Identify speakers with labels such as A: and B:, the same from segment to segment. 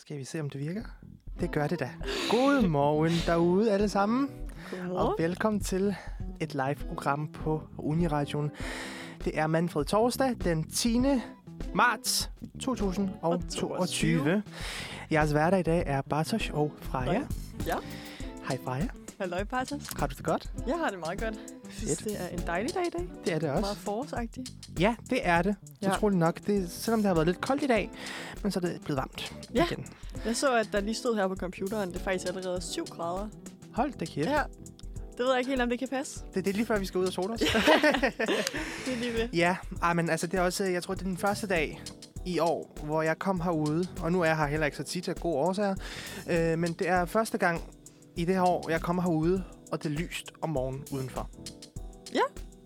A: Skal vi se, om det virker? Det gør det da. God morgen derude alle sammen. Og velkommen til et live-program på Uniradioen. Det er Manfred Torsdag den 10. marts 2022. Jeres hverdag i dag er Bartosz og Freja.
B: Ja.
A: Hej Freja.
B: Halløj, Bartas.
A: Har du det godt?
B: Jeg har det meget godt. Jeg synes,
A: Fedt.
B: det er en dejlig dag i dag.
A: Det er det
B: Meget forårsagtig.
A: Ja, det er det.
B: Ja.
A: Utroligt nok. Det, selvom det har været lidt koldt i dag, men så er det blevet varmt
B: Ja.
A: igen.
B: Jeg så, at der lige stod her på computeren, det er faktisk allerede 7 grader.
A: Hold da kæft. Ja.
B: Det ved jeg ikke helt, om det kan passe.
A: Det, det er lige før, vi skal ud og sole os.
B: Det er lige ved.
A: Ja, ej, men altså, det er også, jeg tror, det er den første dag i år, hvor jeg kom herude, og nu er jeg her heller ikke så tit af gode årsager, øh, men det er første gang i det her år, jeg kommer herude, og det er lyst om morgenen udenfor.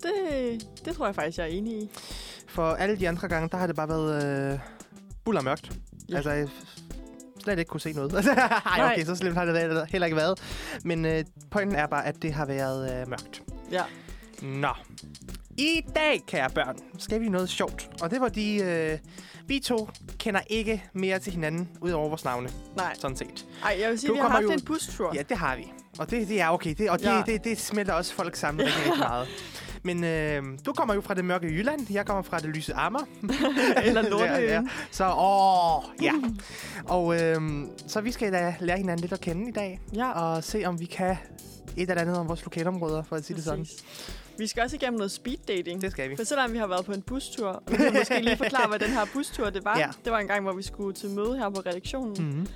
B: Det, det tror jeg faktisk, jeg er enig i.
A: For alle de andre gange, der har det bare været øh, buller mørkt.
B: Ja.
A: Altså, jeg f- slet ikke kunne se noget. Ej, okay,
B: Nej.
A: så slemt har det heller ikke været. Men øh, pointen er bare, at det har været øh, mørkt.
B: Ja.
A: Nå. I dag, kære børn, skal vi noget sjovt. Og det var de... Øh, vi to kender ikke mere til hinanden, ud over vores navne,
B: Nej.
A: sådan set.
B: Ej, jeg vil sige,
A: Du
B: vi har
A: kommer
B: haft
A: jo-
B: en bustur.
A: Ja, det har vi. Og det, det er okay. Det, og det, ja.
B: Ja.
A: det, det, det smelter også folk sammen rigtig, rigtig meget. Men øh, du kommer jo fra det mørke Jylland. Jeg kommer fra det lyse Amager.
B: Eller
A: Ja, ja.
B: Lorteøen.
A: Så åh, ja. Og øh, så vi skal da lære hinanden lidt at kende i dag.
B: Ja,
A: Og se, om vi kan et eller andet om vores lokalområder, for at sige det sådan.
B: præcis. Vi skal også igennem noget speed dating.
A: Det skal vi.
B: For selvom vi har været på en bustur, og vi kan måske lige forklare, hvad den her bustur det var.
A: Ja.
B: Det var en gang, hvor vi skulle til møde her på redaktionen.
A: Mm-hmm.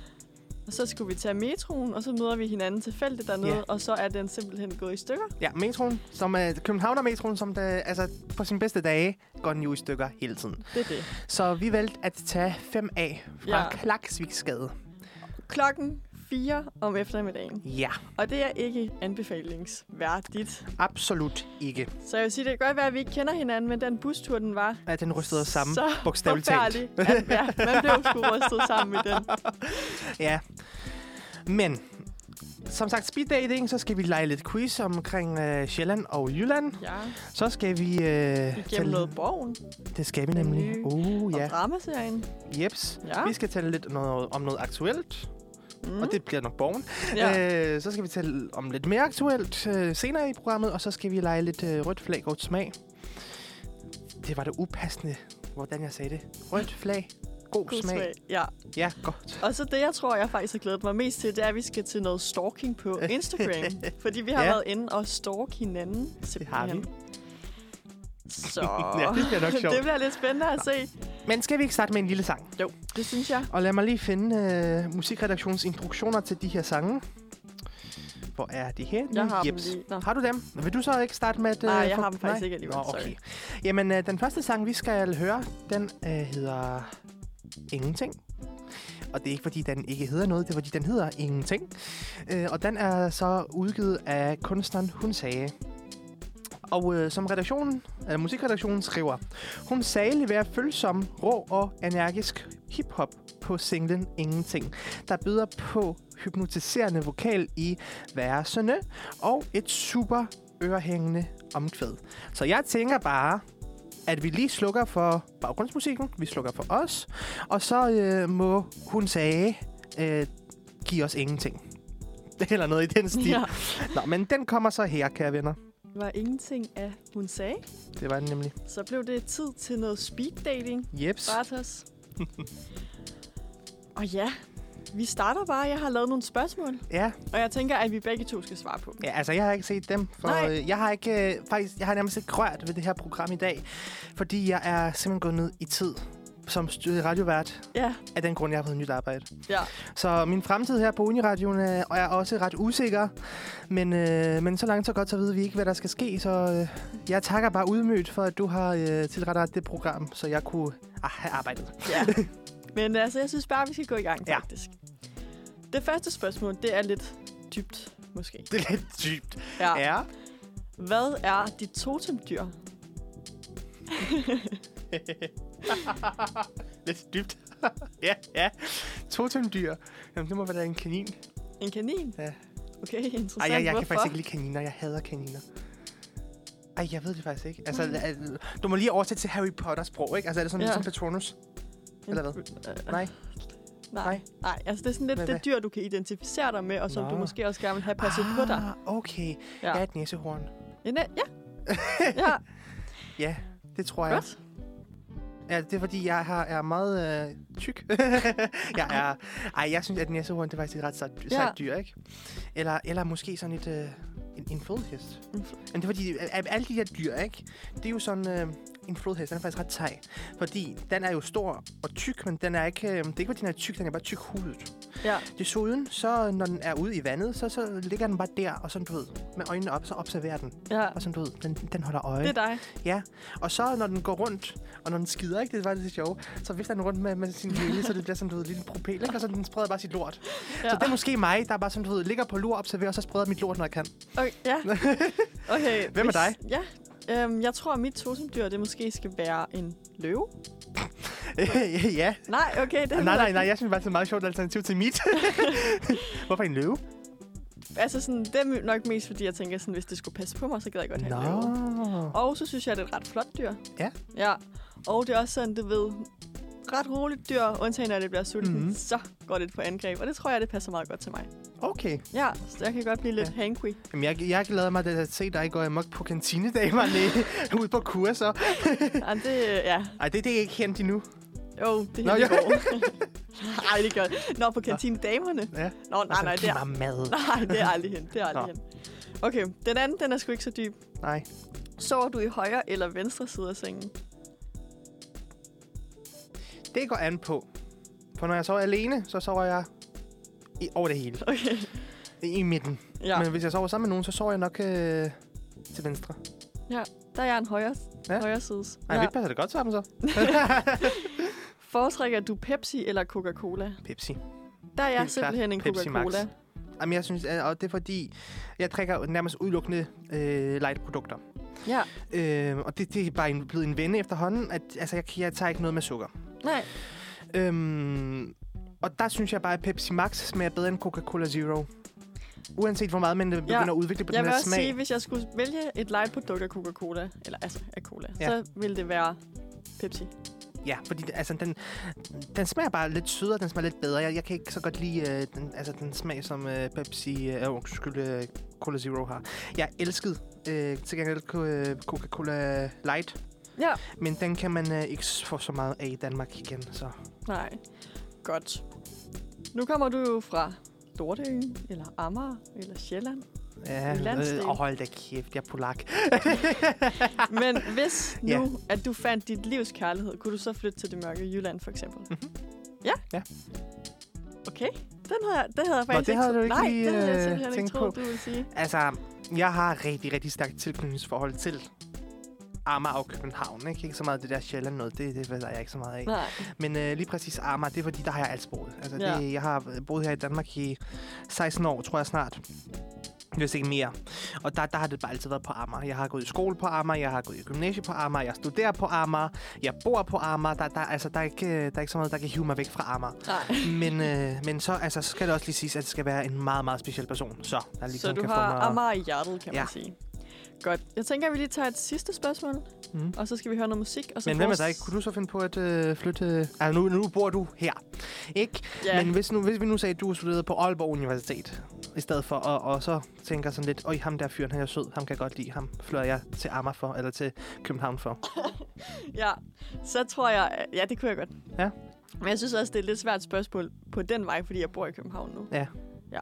B: Og så skulle vi tage metroen, og så møder vi hinanden tilfældigt dernede,
A: Ja.
B: og så er den simpelthen gået i stykker.
A: Ja, metroen, som øh, er Københavnermetroen, som det, altså, på sine bedste dage går den jo i stykker hele tiden.
B: Det er det.
A: Så vi valgte at tage 5A fra ja.
B: Ja.
A: Klaksviksgade.
B: Klokken 4 om eftermiddagen.
A: Ja,
B: Og det er ikke anbefalingsværdigt.
A: absolut ikke.
B: Så jeg vil sige, det kan godt være, at vi ikke kender hinanden, men den bustur, den var
A: At den rystede os sammen,
B: så
A: bogstaveligt talt.
B: forfærdelig, At, ja, man blev sgu rystet sammen i den.
A: Ja. Men, som sagt, speed dating, så skal vi lege lidt quiz omkring øh, Sjælland og Jylland.
B: Ja,
A: Så skal vi... Øh,
B: igennem noget borgen
A: Det skal vi
B: Den
A: nemlig.
B: nye.
A: Uh,
B: og
A: ja.
B: dramaserien.
A: Jeps.
B: Ja.
A: Vi skal tale lidt noget, om noget aktuelt.
B: Mm.
A: Mm. Og det bliver nok borgen.
B: ja.
A: Ja. Øh, så skal vi tale om lidt mere aktuelt øh, senere i programmet, og så skal vi lege lidt øh, rødt flag, godt smag. Det var det upassende, hvordan jeg sagde det. Rødt flag, god,
B: God
A: smag.
B: smag. Ja.
A: Ja, godt.
B: Og så det, jeg tror, jeg faktisk har glædet mig mest til, det er, at vi skal til noget stalking på Instagram. fordi vi har
A: Ja.
B: ja. været inde og stalke hinanden.
A: Det har vi.
B: Så
A: Ja, det bliver nok sjovt.
B: det bliver lidt spændende at se.
A: Men skal vi ikke starte med en lille sang?
B: Jo, det synes jeg.
A: Og lad mig lige finde øh, musikredaktionens instruktioner til de her sange. Hvor er de her?
B: Jeg har dem lige. Nå.
A: Mm. Har du dem? Vil du så ikke starte med at...
B: Nej, jeg
A: få-
B: har dem faktisk ikke alligevel,
A: Nå, okay. Jamen, øh, den første sang, vi skal høre, den øh, hedder Ingenting. Og det er ikke, fordi den ikke hedder noget, det er, fordi den hedder Ingenting. Øh, og den er så udgivet af kunstneren Hun Sage. Og øh, som redaktionen, eller musikredaktionen skriver, hun sagde leverer følsom, rå og energisk hiphop på singlen Ingenting, der byder på hypnotiserende vokal i versene og et super ørehængende omkvæd. Så jeg tænker bare, at vi lige slukker for baggrundsmusikken, vi slukker for os, og så øh, må hun sige, øh, give os ingenting. Eller noget i den stil. Ja.
B: Ja.
A: Nå, men den kommer så her, kære venner.
B: Det var ingenting af, hun sagde.
A: Det var den nemlig.
B: Så blev det tid til noget speed dating,
A: Jeps.
B: Bartos. og ja, vi starter bare. Jeg har lavet nogle spørgsmål,
A: Ja,
B: og jeg tænker, at vi begge to skal svare på dem.
A: ja, altså jeg har ikke set dem, for
B: Nej.
A: øh, jeg har ikke, øh, faktisk, jeg har nærmest ikke rørt ved det her program i dag, fordi jeg er simpelthen gået ned i tid som st- radiovært,
B: Ja,
A: af den grund, jeg har fået nyt arbejde.
B: ja.
A: Så min fremtid her på Uniradioen øh, er også ret usikker. Men, øh, men så langt så godt, så ved vi ikke, hvad der skal ske. Så øh, jeg takker bare udmødt for, at du har øh, tilrettet det program, så jeg kunne ah, have arbejdet.
B: Ja. Men altså, jeg synes bare, vi skal gå i gang,
A: Ja.
B: faktisk. Det første spørgsmål, det er lidt dybt, måske.
A: Det er lidt dybt.
B: Ja.
A: Ja.
B: Hvad er dit totemdyr?
A: lidt dybt. ja, ja. Totemdyr. Jamen, det må være en kanin.
B: En kanin?
A: Ja.
B: Okay, interessant.
A: Ej, jeg, jeg kan
B: Hvorfor?
A: faktisk ikke lide kaniner. Jeg hader kaniner. Ej, jeg ved det faktisk ikke. Altså, øh, du ligesom må lige oversætte til Harry Potter-sprog, ikke? Altså, er det sådan
B: Ja.
A: ligesom Patronus? Eller hvad?
B: Øh,
A: Nej. Nej.
B: Nej, altså det er sådan lidt
A: Hvad- hvad?
B: det dyr, du kan identificere dig med, og som
A: Nå.
B: du måske også gerne vil have passet på dig.
A: Ah, Okay. Ja.
B: Ja.
A: Jeg er et næsehorn.
B: En, ja. ja,
A: Ja, det tror jeg.
B: godt.
A: Ja, det er fordi, jeg har, er meget øh, tyk. jeg er, ej, jeg synes, at næsehorn, det er faktisk et ret sejt, sejt
B: Ja.
A: dyr, ikke? Eller, eller måske sådan et, øh, en, en flodhest.
B: En
A: Men det er fordi, a- a- alle de der dyr, ikke? Det er jo sådan, øh, en flodhest, den er faktisk ret sej. Fordi den er jo stor og tyk, men den er ikke, øh, det er ikke, fordi den er tyk, den er bare tyk hudet.
B: Ja.
A: Desuden, så når den er ude i vandet, så, så ligger den bare der, og sådan, du ved, med øjnene op, så observerer den.
B: ja,
A: Og sådan, du ved, den, den holder øje.
B: det er dig.
A: Og så når den går rundt, og når den skider, ikke, det var det sjove, så vifter den rundt med, med sin hæle, så det bliver sådan, du ved, lidt en propel, ikke? og så den spreder bare sit lort. Ja.
B: Ja.
A: Så det er måske mig, der bare sådan, du ved, ligger på lur, observerer, og så spreder mit lort, når jeg kan.
B: Okay, ja. okay.
A: Hvem er dig?
B: Ja, øhm, jeg tror, at mit totemdyr, det måske skal være en løve.
A: ja.
B: Nej, okay. Det er
A: Nej, nej, nej, jeg synes bare, det er et meget sjovt alternativ til mit. Hvorfor en løve?
B: Altså sådan, det er nok mest, fordi jeg tænker, sådan, hvis det skulle passe på mig, så gad jeg godt have en løve.
A: Nå.
B: Og så synes jeg, det er et ret flot dyr.
A: Ja.
B: Ja. Og det er også sådan, du ved, ret roligt dyr, undtagen når det bliver sulten,
A: Mhm.
B: mm-hmm. så går det på angreb. Og det tror jeg, det passer meget godt til mig.
A: Okay.
B: Ja, så jeg kan godt blive lidt
A: Ja.
B: ja. hangry.
A: Jamen, jeg, jeg glæder mig til at se dig gå amok på kantinedamerne ude på kurser.
B: Ja, det, ja.
A: Ej, det, det er ikke kendt endnu.
B: Jo, oh, det
A: Nå,
B: er helt
A: ja.
B: godt. Nej, det gør det. Nå, på kantinedamerne.
A: Ja.
B: Nå, nej, nej, det er,
A: Giv mig mad.
B: nej, det er aldrig hen. Det er aldrig
A: Altså, Nå.
B: hen. Okay, den anden, den er sgu ikke så dyb.
A: Nej.
B: Sover du i højre eller venstre side af sengen?
A: Det går an på. For når jeg sover alene, så sover jeg i, over det hele.
B: Okay,
A: I midten.
B: ja.
A: Ja. Men hvis jeg sover sammen med nogen, så sover jeg nok øh, til venstre.
B: Der er jeg en højre,
A: Ja.
B: ja. højre side.
A: Nej, ja. vi passer det godt sammen så.
B: Foretrækker du Pepsi eller Coca-Cola?
A: Pepsi.
B: Der er jeg
A: Helt klart
B: simpelthen en
A: Pepsi Max.
B: Coca-Cola.
A: Jamen, jeg synes, at- og det er fordi, jeg drikker jo nærmest udelukkende øh, light produkter.
B: Ja,
A: Øh, og det, det er bare en, blevet en vende efterhånden, at altså, jeg, jeg tager ikke noget med sukker.
B: nej.
A: Øhm, og der synes jeg bare, at Pepsi Max smager bedre end Coca-Cola Zero. Uanset hvor meget man øh, begynder ja. at udvikle på
B: Jeg
A: den
B: vil
A: her
B: også
A: smag.
B: sige, hvis jeg skulle vælge et light-produkt af Coca-Cola, eller altså af cola,
A: Ja.
B: ja. så ville det være Pepsi.
A: Ja, fordi det- altså, den, den smager bare lidt sødere, den smager lidt bedre. Jeg, jeg kan ikke så godt lide øh, den, altså, den smag, som øh, Pepsi, øh, øh, undskyld, øh, Cola Zero har. Jeg elskede øh, til gengæld ko- øh, Coca-Cola Light,
B: Ja,
A: men den kan man øh, ikke s- få så meget af i Danmark igen. Så.
B: nej. Godt. Nu kommer du jo fra Dortøen, eller Amager, eller Sjælland.
A: Ja,
B: En landsdel.
A: øh, og hold da kæft, jeg er polak.
B: Men hvis nu,
A: Ja.
B: at du fandt dit livs kærlighed, kunne du så flytte til det mørke Jylland, for eksempel?
A: Mhm.
B: Ja?
A: Ja.
B: Okay. Den havde, jeg- det havde jeg faktisk
A: det havde
B: tro-
A: du ikke
B: Nej,
A: lige,
B: det havde
A: øh,
B: jeg simpelthen ikke
A: tænkt
B: troet,
A: på.
B: du ville sige.
A: Altså, jeg har rigtig, rigtig stærkt tilknytningsforhold til Amager og København. Ikke, ikke så meget det der Sjælland noget, det, det ved jeg ikke så meget af.
B: Nej.
A: Men øh, lige præcis Amager, det er fordi, der har jeg altid boet. Altså, ja.
B: Ja.
A: det, jeg har boet her i Danmark i 16 år, tror jeg snart. Hvis ikke mere. Og der, der har det bare altid været på Amager. Jeg har gået i skole på Amager, jeg har gået i gymnasiet på Amager, jeg studerer på Amager, jeg bor på Amager. Der, der, altså, der, er ikke, øh, der er ikke så meget, der kan hive mig væk fra Amager.
B: Nej.
A: Men, øh, men så, altså, så skal det også lige siges, at det skal være en meget, meget speciel person. Så, der ligesom
B: Så du
A: kan
B: har
A: få mig...
B: Amager i hjertet, kan
A: Ja.
B: man sige. Godt. Jeg tænker, at vi lige tager et sidste spørgsmål,
A: Mhm.
B: mm. og så skal vi høre noget musik. Og så
A: Men hvem er
B: vores-
A: der ikke? Kunne du så finde på at øh, flytte... Altså, nu, nu bor du her, ikke?
B: Ja,
A: Men hvis, nu, hvis vi nu sagde, at du studerede på Aalborg Universitet, i stedet for, og, og så tænker sådan lidt, øj, ham der fyren, han er sød, ham kan jeg godt lide, ham flytter jeg til Amager for, eller til København for.
B: ja, så tror jeg... at- Ja, det kunne jeg godt.
A: Ja.
B: Men jeg synes også, det er et lidt svært spørgsmål på den vej, fordi jeg bor i København nu.
A: Ja.
B: Ja.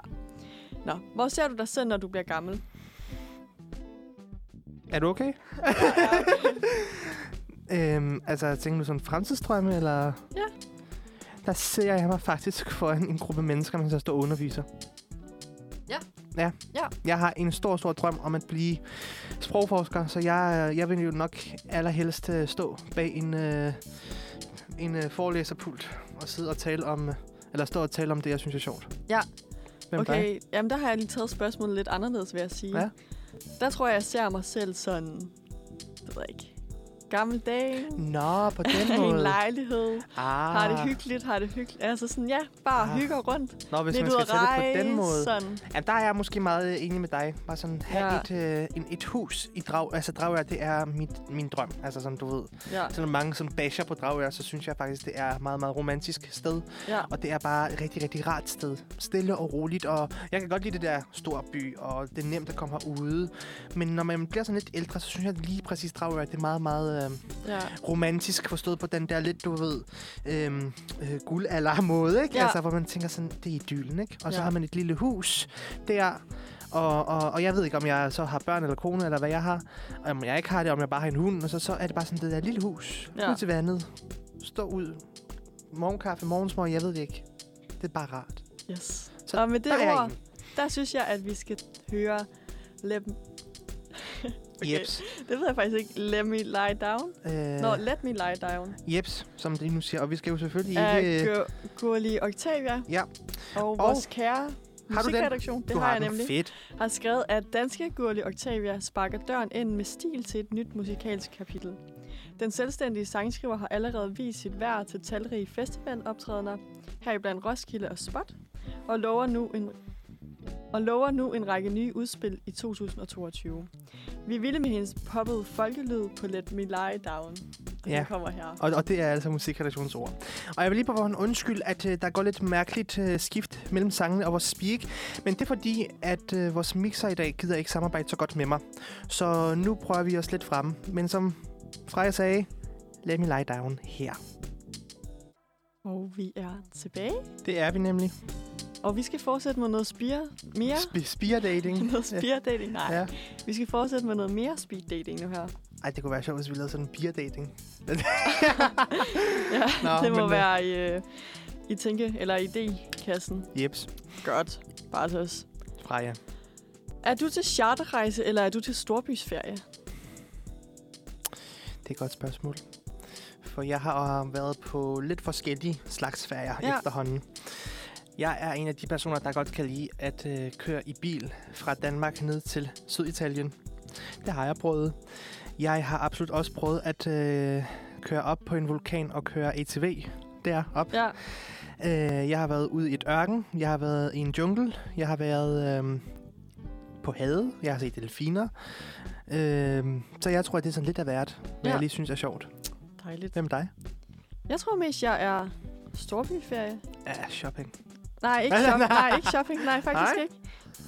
B: Nå, hvor ser du dig selv, når du bliver gammel?
A: Er du okay? øhm, altså, tænker du sådan fremtidsdrømme, eller?
B: Ja.
A: Der ser jeg mig faktisk for en, en gruppe mennesker, man så står og underviser.
B: Ja.
A: Ja.
B: Ja.
A: Jeg har en stor, stor drøm om at blive sprogforsker, så jeg, øh, jeg vil jo nok allerhelst øh, stå bag en, øh, en øh, forelæserpult og sidde og tale om, øh, eller stå og tale om det, jeg synes er sjovt.
B: Ja.
A: Hvem okay.
B: okay, jamen der har jeg lige taget spørgsmålet lidt anderledes, vil jeg sige.
A: Ja.
B: Der tror jeg, jeg ser mig selv sådan... Det ved jeg ikke. gammel dag.
A: Nå, på
B: I
A: den
B: en
A: måde.
B: lejlighed.
A: Ah.
B: Har det hyggeligt, har det hyggeligt. Altså sådan, ja, bare
A: Ah.
B: ah. hygger rundt.
A: Nå, hvis
B: Lidt
A: man
B: ud
A: skal
B: at
A: sætte det på
B: rejse,
A: den måde.
B: sådan.
A: Jamen, der er jeg måske meget øh, enig med dig. Bare sådan, have
B: Ja.
A: et, øh, en, et hus i Drag... Altså, Dragør, det er mit, min drøm. Altså, som du ved.
B: Ja,
A: Selvom mange som basher på Dragør, så synes jeg faktisk, det er et meget, meget romantisk sted.
B: ja.
A: Og det er bare et rigtig, rigtig rart sted. Stille og roligt. Og jeg kan godt lide det der store by, og det er nemt at komme herude. Men når man bliver sådan lidt ældre, så synes jeg lige præcis, Dragør, det er meget, meget øh,
B: ja.
A: romantisk forstået på den der lidt, du ved, øh, øh, guldalder-måde. Ikke? Ja.
B: Ja.
A: Altså, hvor man tænker sådan, det er idyllen, ikke? Og så
B: Ja.
A: har man et lille hus der. Og, og, og jeg ved ikke, om jeg så har børn eller kone, eller hvad jeg har. Om jeg ikke har det, om jeg bare har en hund. Og så, så er det bare sådan det der lille hus. Ja.
B: Ja.
A: Ud til vandet. Stå ud. Morgenkaffe, morgensmorgen, jeg ved det ikke. Det er bare rart.
B: Yes.
A: Så
B: Så og med det
A: der er
B: ord,
A: en.
B: der synes jeg, at vi skal høre Let... okay.
A: Jeps.
B: Det ved jeg faktisk ikke. Let me lie down.
A: Øh,
B: Nå, let me lie down.
A: Jeps, som det nu siger. Og vi skal jo selvfølgelig
B: Af
A: ikke...
B: Gu- Gurli Octavia
A: Ja.
B: og vores kære
A: Har du den?
B: musikredaktion, det
A: du
B: har, jeg
A: den.
B: nemlig,
A: Fedt.
B: har skrevet, at danske Gurli Octavia sparker døren ind med stil til et nyt musikalsk kapitel. Den selvstændige sangskriver har allerede vist sit værd til talrige festivaloptrædener, heriblandt Roskilde og Spot, og lover nu en og lover nu en række nye udspil i 2022. Vi er vilde med hendes poppede folkelyd på Let Me Lie Down. Den
A: Ja.
B: kommer her.
A: Og, og det er altså musikredaktionens ord. Og jeg vil lige på forhånd undskylde, at øh, der går lidt mærkeligt øh, skift mellem sangene og vores speak. Men det er fordi, at øh, vores mixer i dag gider ikke samarbejde så godt med mig. Så nu prøver vi os lidt frem. Men som Freja sagde, let me lie down her.
B: Og vi er tilbage.
A: Det er vi nemlig.
B: Og vi skal fortsætte med noget spire mere.
A: Sp- spear dating.
B: Noget spear dating? Nej.
A: Ja.
B: Ja. Vi skal fortsætte med noget mere speed dating nu her.
A: Ej, det kunne være sjovt, hvis vi lavede sådan en beer dating.
B: Ja,
A: Nå,
B: Nå, det må
A: men, øh,
B: være i, øh, i tænke- eller idé-kassen.
A: Jeps,
B: Godt. Bare til os.
A: Freja.
B: Er du til charterrejse, eller er du til storbysferie?
A: Det er et godt spørgsmål. For jeg har øh, været på lidt forskellige slags færger ja.
B: Ja.
A: efterhånden. Jeg er en af de personer, der godt kan lide at øh, køre i bil fra Danmark ned til Syditalien. Det har jeg prøvet. Jeg har absolut også prøvet at øh, køre op på en vulkan og køre ATV derop.
B: Ja,
A: Øh, jeg har været ude i et ørken, jeg har været i en jungle, jeg har været øh, på havet, jeg har set delfiner. Øh, så jeg tror, at det er sådan lidt af hvert, hvad ja.
B: Ja.
A: jeg lige synes er sjovt.
B: dejligt.
A: Hvem er dig?
B: Jeg tror mest, jeg er storbyferie.
A: Ja, shopping.
B: Nej, ikke,
A: Nej,
B: shop-
A: nej.
B: nej, ikke shopping. Nej, faktisk
A: Nej?
B: nej. ikke.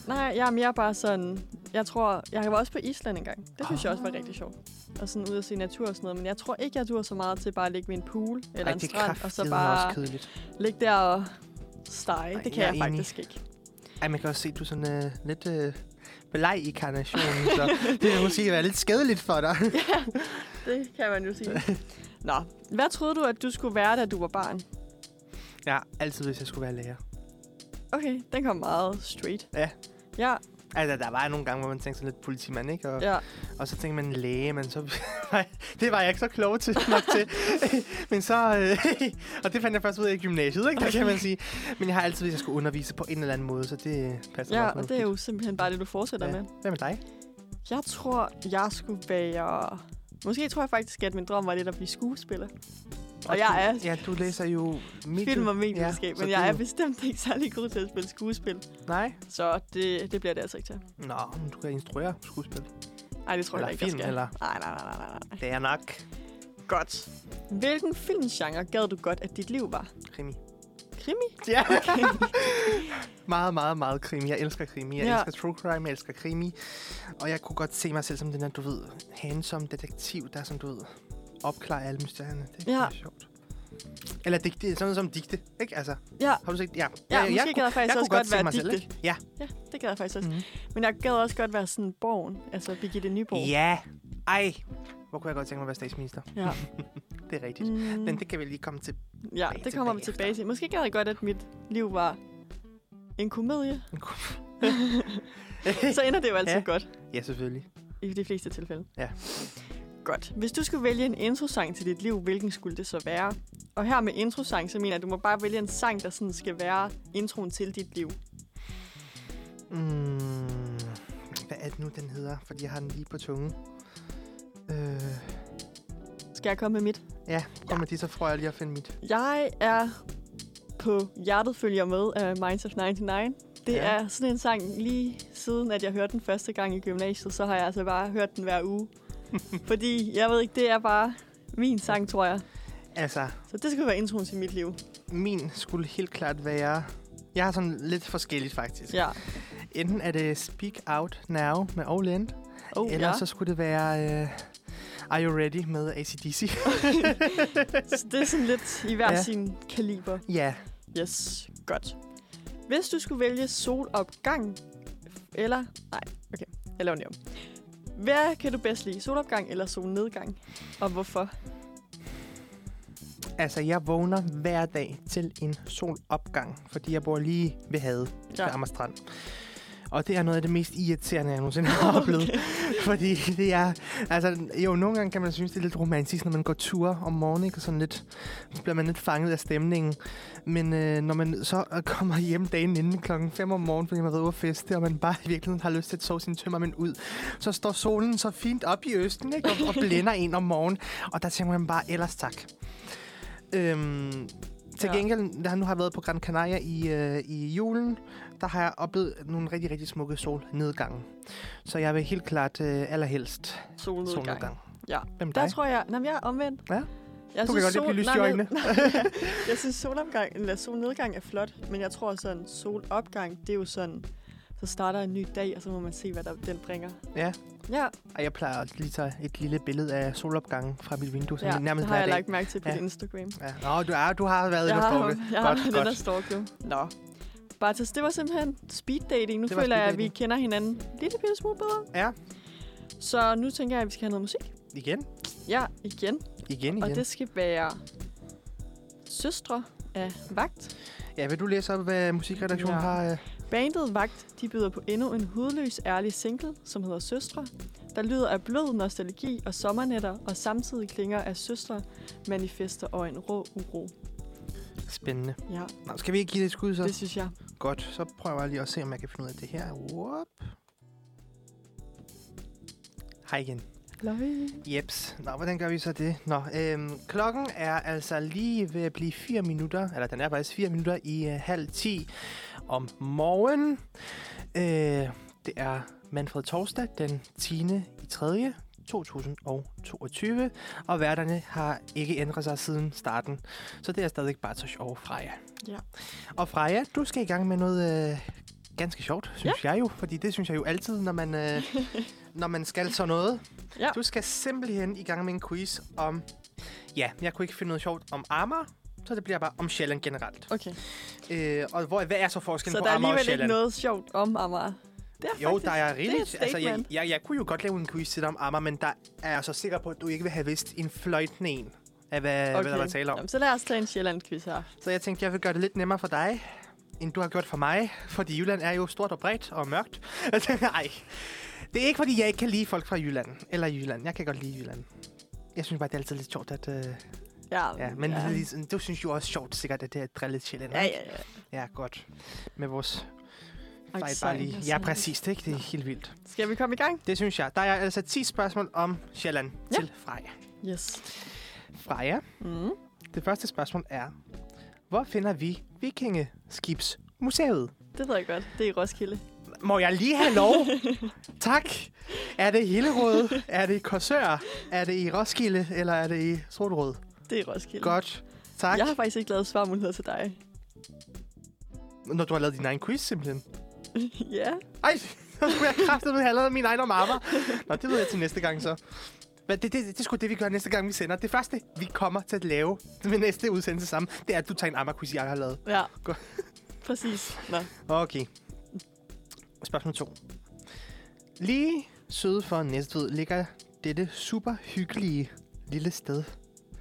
B: Nej, jeg er mere bare sådan... Jeg tror, jeg var også på Island engang. Det synes jeg også var
A: Ah.
B: rigtig sjovt. Og sådan ud at se natur og sådan noget. Men jeg tror ikke, jeg dur så meget til bare at ligge ved en pool eller
A: Ej,
B: en
A: det er
B: strand. Og så
A: kraftedeme
B: bare
A: også kedeligt.
B: Ligge der og stege,
A: Ej,
B: det
A: jeg
B: kan
A: er
B: jeg,
A: enig.
B: faktisk ikke.
A: Ej, man kan også se, at du er sådan øh, lidt øh, beleg i karnationen, så det vil måske være lidt skadeligt for dig.
B: Det kan man jo sige. Nå, hvad troede du, at du skulle være, da du var barn?
A: ja, altid hvis jeg skulle være lærer.
B: Okay, den kom meget straight.
A: Ja.
B: Ja,
A: Altså, der var nogle gange, hvor man tænkte sådan lidt politimand, ikke? Og, ja.
B: ja.
A: og så tænkte man læge, men så... Nej, det var jeg ikke så klog til nok til. men så... Øh, og det fandt jeg først ud af i gymnasiet, ikke? Det kan man sige. Men jeg har altid, hvis jeg skulle undervise på en eller anden måde, så det øh, passer
B: Ja,
A: meget
B: og det er jo simpelthen bare det, du fortsætter
A: Ja.
B: ja. med.
A: Hvem er dig?
B: Jeg tror, jeg skulle være... Måske tror jeg faktisk, at min drøm var lidt at blive skuespiller. Og jeg er
A: Ja, du læser jo... Medie.
B: film- og medievidenskab,
A: så
B: men
A: det er
B: jeg er
A: jo-
B: bestemt ikke særlig god til at spille skuespil.
A: Nej?
B: Så det, det bliver det altså ikke til.
A: Nå, men du kan instruere skuespil.
B: Nej, det tror
A: Eller
B: jeg ikke, jeg
A: film,
B: skal.
A: eller-
B: Nej, nej, nej, nej, nej. nej.
A: Det er nok
B: Godt. Hvilken filmgenre gad du godt, at dit liv var?
A: krimi.
B: Krimi?
A: Ja. meget, meget, meget krimi. Jeg elsker krimi. Jeg ja.
B: Ja.
A: elsker true crime. Jeg elsker krimi. Og jeg kunne godt se mig selv som den der, du ved, handsome detektiv, der som du ved, opklarer alle mysterierne. Det er
B: Ja.
A: ja. sjovt. Eller digte, sådan noget som digte, ikke? Altså,
B: Ja.
A: har du set? Ja,
B: Ja, måske
A: jeg,
B: gad jeg faktisk også godt
A: se
B: være
A: mig
B: digte.
A: ikke? Ja.
B: Ja, det gad jeg faktisk også.
A: Mhm.
B: Mm. Men jeg gad også godt være sådan borgen, altså Birgitte Nyborg.
A: ja. Ej, hvor kunne jeg godt tænke mig at være statsminister.
B: Ja.
A: Det er rigtigt. Mm.
B: Mm,
A: Men det kan vi lige komme til.
B: ja,
A: tilbage
B: det kommer vi
A: efter.
B: tilbage til. Måske gad jeg godt, at mit liv var en komedie. Så ender det jo altid
A: Ja.
B: ja. godt,
A: ja, selvfølgelig.
B: i de fleste tilfælde.
A: Ja.
B: Godt. Hvis du skulle vælge en introsang til dit liv, hvilken skulle det så være? Og her med introsang, så mener jeg, at du må bare vælge en sang, der sådan skal være introen til dit liv.
A: Mm, hvad er det nu, den hedder? Fordi jeg har den lige på tungen. Øh,
B: Skal jeg komme med mit?
A: Ja, kom med det, så får jeg lige at finde mit.
B: Jeg er på hjertet følger med af Minds of 99.
A: Ja.
B: Det ja. er sådan en sang, lige siden at jeg hørte den første gang i gymnasiet, så har jeg altså bare hørt den hver uge. Fordi, jeg ved ikke, det er bare min sang, tror jeg.
A: Altså,
B: Så det skulle være introen til mit liv.
A: min skulle helt klart være... Jeg har sådan lidt forskelligt, faktisk.
B: Ja.
A: Enten er det Speak Out Now med Oland,
B: Oh,
A: eller
B: ja.
A: ja. så skulle det være... Øh, Are You Ready med ACDC?
B: så det er sådan lidt i hver
A: Ja.
B: ja. sin kaliber.
A: ja,
B: Yes, godt. Hvis du skulle vælge solopgang, eller... Nej, okay, jeg laver den lige om. Hvad kan du bedst lide? Solopgang eller solnedgang? Og hvorfor?
A: altså jeg vågner hver dag til en solopgang, fordi jeg bor lige ved havet ja. ved
B: Ja.
A: Amager Strand. Og det er noget af det mest irriterende, jeg nogensinde har oplevet. Fordi det er... Altså, jo, nogle gange kan man synes, det er lidt romantisk, når man går ture om morgenen, ikke? og sådan lidt... Så bliver man lidt fanget af stemningen. Men øh, når man så øh, kommer hjem dagen inden klokken 5 om morgenen, fordi man har været ude at feste, og man bare i virkeligheden har lyst til at sove sin tømmermænd ud, så står solen så fint op i østen, ikke? Og, og blænder en om morgenen. Og der tænker man bare, ellers tak. Øhm, til
B: Ja.
A: gengæld, da jeg nu har været på Gran Canaria i, øh, i julen, der har jeg oplevet nogle rigtig, rigtig smukke solnedgange. Så jeg vil helt klart øh, allerhelst
B: solnedgang.
A: solnedgang.
B: Ja.
A: Hvem
B: Der
A: dig?
B: tror jeg... Jamen, jeg er omvendt.
A: Ja.
B: Jeg
A: Du
B: altså
A: kan godt lide at blive lyst i
B: nej,
A: øjnene.
B: nej. jeg synes, solopgang, eller solnedgang er flot, men jeg tror sådan, solopgang, det er jo sådan, så starter en ny dag, og så må man se, hvad der, den bringer.
A: Ja.
B: Ja,
A: Og jeg plejer at lige tage et lille billede af solopgangen fra mit vindue, så
B: ja
A: ja, nærmest
B: det har
A: hver
B: jeg
A: dag.
B: lagt mærke til på
A: Ja.
B: ja. Instagram.
A: Ja. Nå, du, er, du har været
B: Jeg
A: inde og
B: har,
A: stalke.
B: ham- jeg har
A: Godt,
B: den
A: godt.
B: der stalk, jo. Nå. Bartas, det var simpelthen speed dating. Nu
A: Det var
B: føler jeg, at vi
A: speeddating.
B: kender hinanden lidt bitte smule bedre.
A: Ja.
B: Så nu tænker jeg, at vi skal have noget musik.
A: Igen,
B: Ja, igen.
A: igen, igen.
B: Og det skal være Søstre af Vagt.
A: Ja, vil du læse op, hvad musikredaktionen
B: Ja.
A: har? Øh...
B: Bandet Vagt, de byder på endnu en hudløs ærlig single, som hedder Søstre, der lyder af blød nostalgi og sommernetter, og samtidig klinger af søstre, manifester og en rå uro.
A: Spændende.
B: Ja,
A: Nå, skal vi ikke give det et skud, så?
B: det
A: Det...
B: synes jeg.
A: Godt, så prøver jeg lige at se, om jeg kan finde ud af det her. Whoop. Hej igen.
B: Løg.
A: Jeps. Nå, hvordan gør vi så det? Nå, øhm, klokken er altså lige ved at blive 4 minutter, eller den er faktisk 4 minutter i øh, halv 10 om morgenen. Øh, det er Manfred Torsdag den 10. i 3. 2022, og værterne har ikke ændret sig siden starten, så det er stadig bare så sjovt, Freja.
B: Ja.
A: Og Freja, du skal i gang med noget øh, ganske sjovt, synes ja. jeg jo, fordi det synes jeg jo altid, når man, øh, når man skal sådan noget.
B: Ja.
A: Du skal simpelthen i gang med en quiz om... Ja, jeg kunne ikke finde noget sjovt om Amager, så det bliver bare om Sjælland generelt.
B: Okay.
A: Øh, og hvor, hvad er så forskellen
B: Så
A: på
B: der er
A: Amager og
B: alligevel
A: Sjælland?
B: ikke noget sjovt om Amager. Det er
A: Jo,
B: faktisk,
A: der er
B: det
A: rigeligt.
B: er et
A: altså, jeg,
B: statement.
A: jeg, jeg kunne jo godt lave en quiz til dig om Amager, men der er jeg så sikker på, at du ikke vil have vidst en fløjtende en af, hvad, okay. hvad der var tale om.
B: Jamen, så lad os tage en Sjælland-quiz her.
A: Så jeg tænkte, jeg vil gøre det lidt nemmere for dig, end du har gjort for mig. Fordi Jylland er jo stort og bredt og mørkt. Nej. Det er ikke, fordi jeg ikke kan lide folk fra Jylland. Eller Jylland. Jeg kan godt lide Jylland. Jeg synes bare, det er altid lidt sjovt, at... Øh,
B: Ja,
A: ja, men
B: ja.
A: ja. du synes jo også sjovt sikkert, at det er at drille lidt sjældent.
B: Ja, ja, ja.
A: ja, godt. Med vores fejl bare
B: Accent
A: lige.
B: og
A: Ja,
B: sådan.
A: præcis. Det, er ikke? det er helt vildt.
B: Skal vi komme i gang?
A: Det synes jeg. Der er altså 10 spørgsmål om Sjælland ja.
B: Ja.
A: til Freja.
B: Yes.
A: Freja,
B: Mm.
A: det første spørgsmål er... Hvor finder vi vikingeskibsmuseet?
B: Det ved jeg godt. Det er i Roskilde.
A: Må jeg lige have lov? tak. Er det i Hillerød? Er det i Korsør? Er det i Roskilde? Eller er det i Solrød?
B: Det er i Roskilde.
A: Godt. Tak.
B: Jeg har faktisk ikke lavet svarmuligheder til dig.
A: Når du har lavet din egen quiz, simpelthen.
B: ja.
A: Ej, så skulle jeg kraftedeme have lavet min egen om Amager. Nå, det ved jeg til næste gang så. Men det, det, det er sgu det, vi gør næste gang, vi sender. Det første, vi kommer til at lave ved næste udsendelse sammen, det er, at du tager en Amager-quiz, jeg har lavet.
B: Ja.
A: Godt.
B: Præcis. Nå.
A: Okay. Spørgsmål 2. Lige syd for Næstved ligger dette super hyggelige lille sted.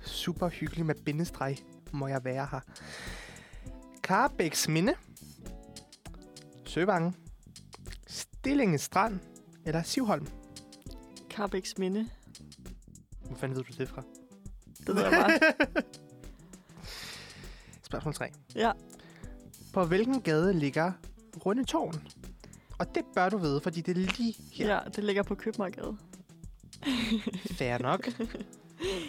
A: Super hyggeligt med bindestreg, må jeg være her. Karbæks Minde. Søvange. Stillingen Strand. Eller Sivholm.
B: Carbæks minde.
A: Hvor fanden ved du det fra?
B: Det ved jeg bare.
A: Spørgsmål 3.
B: Ja.
A: På hvilken gade ligger Runde Tårn? Og det bør du vide, fordi det er lige her.
B: ja. det ligger på Købmagergade.
A: Fair nok.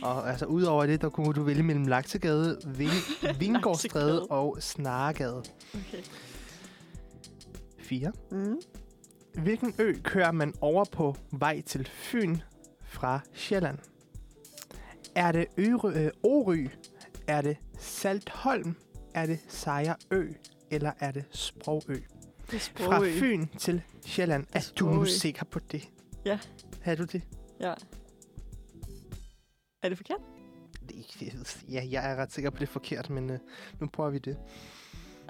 A: Og altså, udover det, der kunne du vælge mellem Laksegade, Ving- Vingårdstræde
B: Laksegade.
A: og Snaregade.
B: Okay.
A: 4.
B: Mm.
A: Hvilken ø kører man over på vej til Fyn fra Sjælland? Er det Øre, øh, Orø? Er det Saltholm? Er det Sejrø? Eller er det Sprogø?
B: Det
A: Fra
B: er sprogø.
A: Fyn til Sjælland. Er du nu
B: Sprogø.
A: sikker på det?
B: Altså Ja.
A: Er du det?
B: Ja. Er det forkert?
A: Det er ikke- jeg ved- Ja, jeg er ret sikker på, det er forkert, men øh, nu prøver vi det.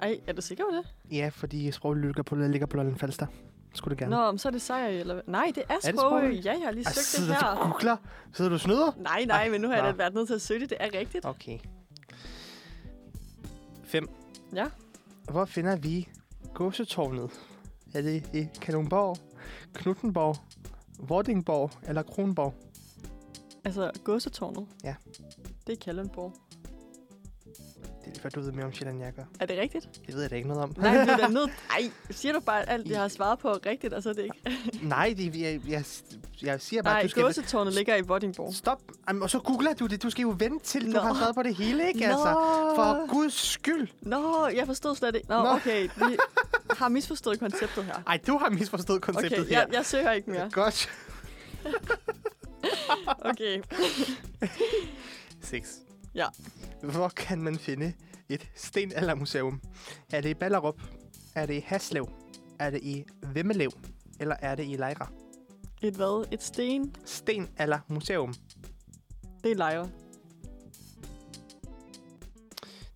B: Ej, er du sikker på det?
A: Ja, fordi Sprogø ligger på, ligger på Lolland Falster. Skulle det gerne.
B: Nå, men så er det sejr, eller hvad? Nej, det er
A: det
B: sprogø.
A: Sprogø?
B: Ja, jeg har lige
A: Ej,
B: søgt det
A: sidder du
B: her.
A: og googler? Sidder du og snyder?
B: Nej, nej, men nu har jeg
A: Nå.
B: da været nødt til at søge det. Det er rigtigt.
A: Okay. 5.
B: Ja.
A: Hvor finder vi gåsetårnet? Er det i Kalundborg, Knuttenborg, Vordingborg eller Kronborg?
B: Altså, godsetårnet.
A: Ja.
B: Det er Kalundborg.
A: Det er lige før, du ved mere om Sjælland, end jeg gør.
B: Er det rigtigt?
A: Det ved jeg da ikke noget om.
B: Nej, vi er da nødt... Ej, siger du bare at alt, jeg har svaret på er rigtigt, og så er det ikke...
A: Nej, det, jeg, jeg, jeg siger bare,
B: Nej,
A: at du skal...
B: godsetårnet ligger i Vordingborg.
A: Stop. Jamen, og så googler du det. Du skal jo vente til, du
B: Nå.
A: har været på det hele, ikke? Altså, for guds skyld.
B: Nå, jeg forstod slet ikke. Nå,
A: Nå.
B: okay, vi har misforstået konceptet her.
A: Ej, du har misforstået konceptet
B: Okay,
A: her.
B: jeg, jeg søger ikke mere.
A: Godt.
B: Okay.
A: 6.
B: Ja.
A: Hvor kan man finde et stenaldermuseum? Er det i Ballerup? Er det i Haslev? Er det i Vemmelev? Eller er det i Lejre?
B: Et hvad? Et sten?
A: Stenaldermuseum.
B: Det er lejre.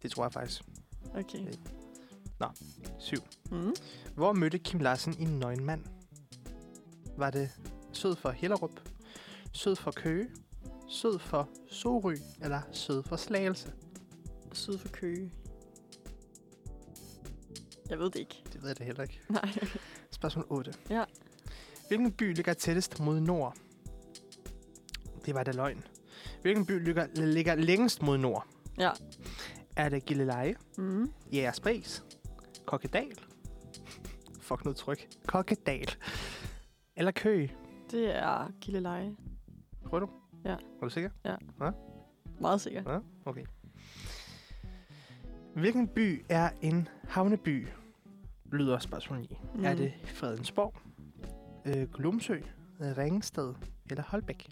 A: Det tror jeg faktisk.
B: Okay.
A: 7.
B: Mm.
A: Hvor mødte Kim Larsen en nøgen mand? Var det sød for Hellerup? Sød for Køge? Sød for Sorø? Eller sød for Slagelse?
B: Syd for Køge. Jeg ved det ikke.
A: Det ved jeg da heller ikke.
B: Nej.
A: Spørgsmål 8.
B: Ja.
A: Hvilken by ligger tættest mod nord? Det var da løgn. Hvilken by ligger, ligger længst mod nord?
B: Ja.
A: Er det Gilleleje,
B: Mm.
A: Jægerspris, Kokkedal? Fuck noget tryk. Kokkedal. Eller Køge.
B: Det er Gilleleje.
A: Prøver du?
B: Ja.
A: Er du sikker?
B: Meget sikkert.
A: Ja, okay. Hvilken by er en havneby? Lyder spørgsmålet i. Mm. Er
B: Mm.
A: det Fredensborg, øh, Glumsø, øh, Ringsted eller Holbæk?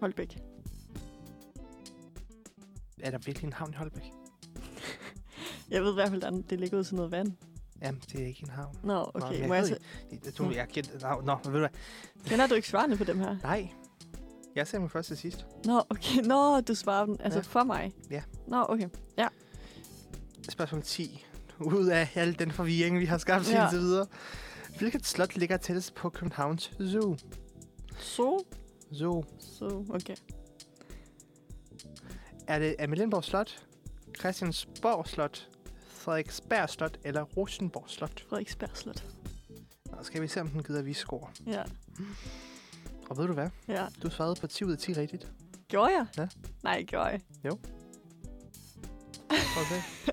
B: Holbæk.
A: Er der virkelig en havn i Holbæk?
B: Jeg ved i hvert fald, at det ligger ud til noget vand.
A: Jamen, det er ikke en havn.
B: Nå,
A: men
B: okay.
A: jeg
B: Nå, Må jeg
A: ved
B: så...
A: Jeg tror,
B: Mm.
A: jeg gætter... Nå, nå, ved du hvad?
B: Kender du ikke svarene på dem her?
A: Nej. Jeg ser mig først til sidst.
B: Nå, okay. Nå, du svarer dem. Altså
A: Ja.
B: for mig.
A: Ja.
B: Nå, okay.
A: Spørgsmål 10. Ud af al den forvirring, vi har skabt ja.
B: Ja.
A: indtil videre. Hvilket slot ligger tættest på Københavns Zoo?
B: Så.
A: Zoo.
B: Så, okay.
A: Er det Amalienborg Slot, Christiansborg Slot, Frederiksberg Slot eller Rosenborg Slot?
B: Frederiksberg Slot.
A: Nå, skal vi se, om den gider at vise score.
B: Ja.
A: Og ved du hvad?
B: ja.
A: Du svarede på 10 ud af 10 rigtigt.
B: Gjorde jeg?
A: Ja.
B: Nej, gjorde jeg.
A: Prøv at se.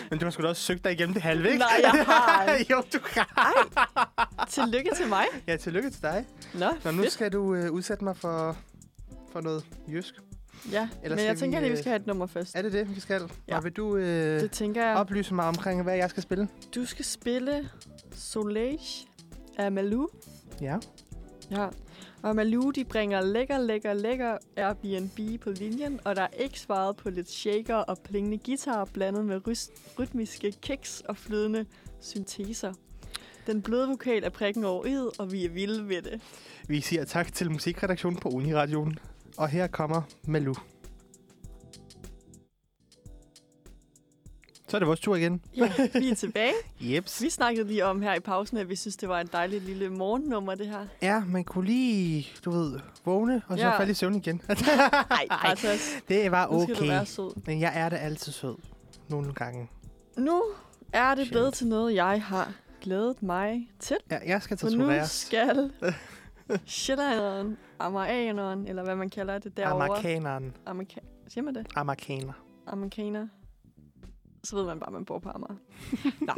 A: Men du har sgu da også søgt dig igennem det halve, ikke?
B: Nej, jeg har
A: jo, du har.
B: Tillykke til mig.
A: Ja, tillykke til dig.
B: Nå,
A: Nå, nu
B: fedt.
A: skal du øh, udsætte mig for, for noget jysk.
B: Ja,
A: Ellers
B: men
A: skal
B: jeg tænker
A: vi,
B: lige, vi
A: øh,
B: skal have et nummer først.
A: Er det det, vi skal?
B: Ja.
A: Og vil du øh,
B: Det tænker jeg.
A: oplyse mig omkring, hvad jeg skal spille?
B: Du skal spille Soleil af Malou.
A: Ja.
B: Ja. Og Malou, de bringer lækker, lækker, lækker Airbnb på linjen, og der er ikke svaret på lidt shaker og plingende guitar blandet med rys- rytmiske kicks og flydende synteser. Den bløde vokal er prikken over i'et, og vi er vilde ved det.
A: Vi siger tak til musikredaktionen på Uniradioen. Og her kommer Malou. Så er det vores tur igen.
B: Ja, vi er tilbage.
A: Jeps.
B: Vi snakkede lige om her i pausen, at vi synes, det var en dejlig lille morgennummer, det her.
A: Ja, man kunne lige, du ved, vågne og så
B: Ja.
A: falde i søvn igen.
B: Nej, bare til os.
A: det var
B: Nu skal du
A: okay.
B: være sød.
A: Men jeg er da altid sød. Nogle gange.
B: Nu er det
A: Sjældent.
B: blevet til noget, jeg har glædet mig til.
A: Ja, jeg skal
B: For nu
A: tatoveres.
B: skal sjællanderen, amerikaneren, eller hvad man kalder det derovre.
A: Amerikaneren.
B: Amerika- siger man det?
A: Amerikaner.
B: Amerikaner. Så ved man bare, at man bor på Amager. Nå.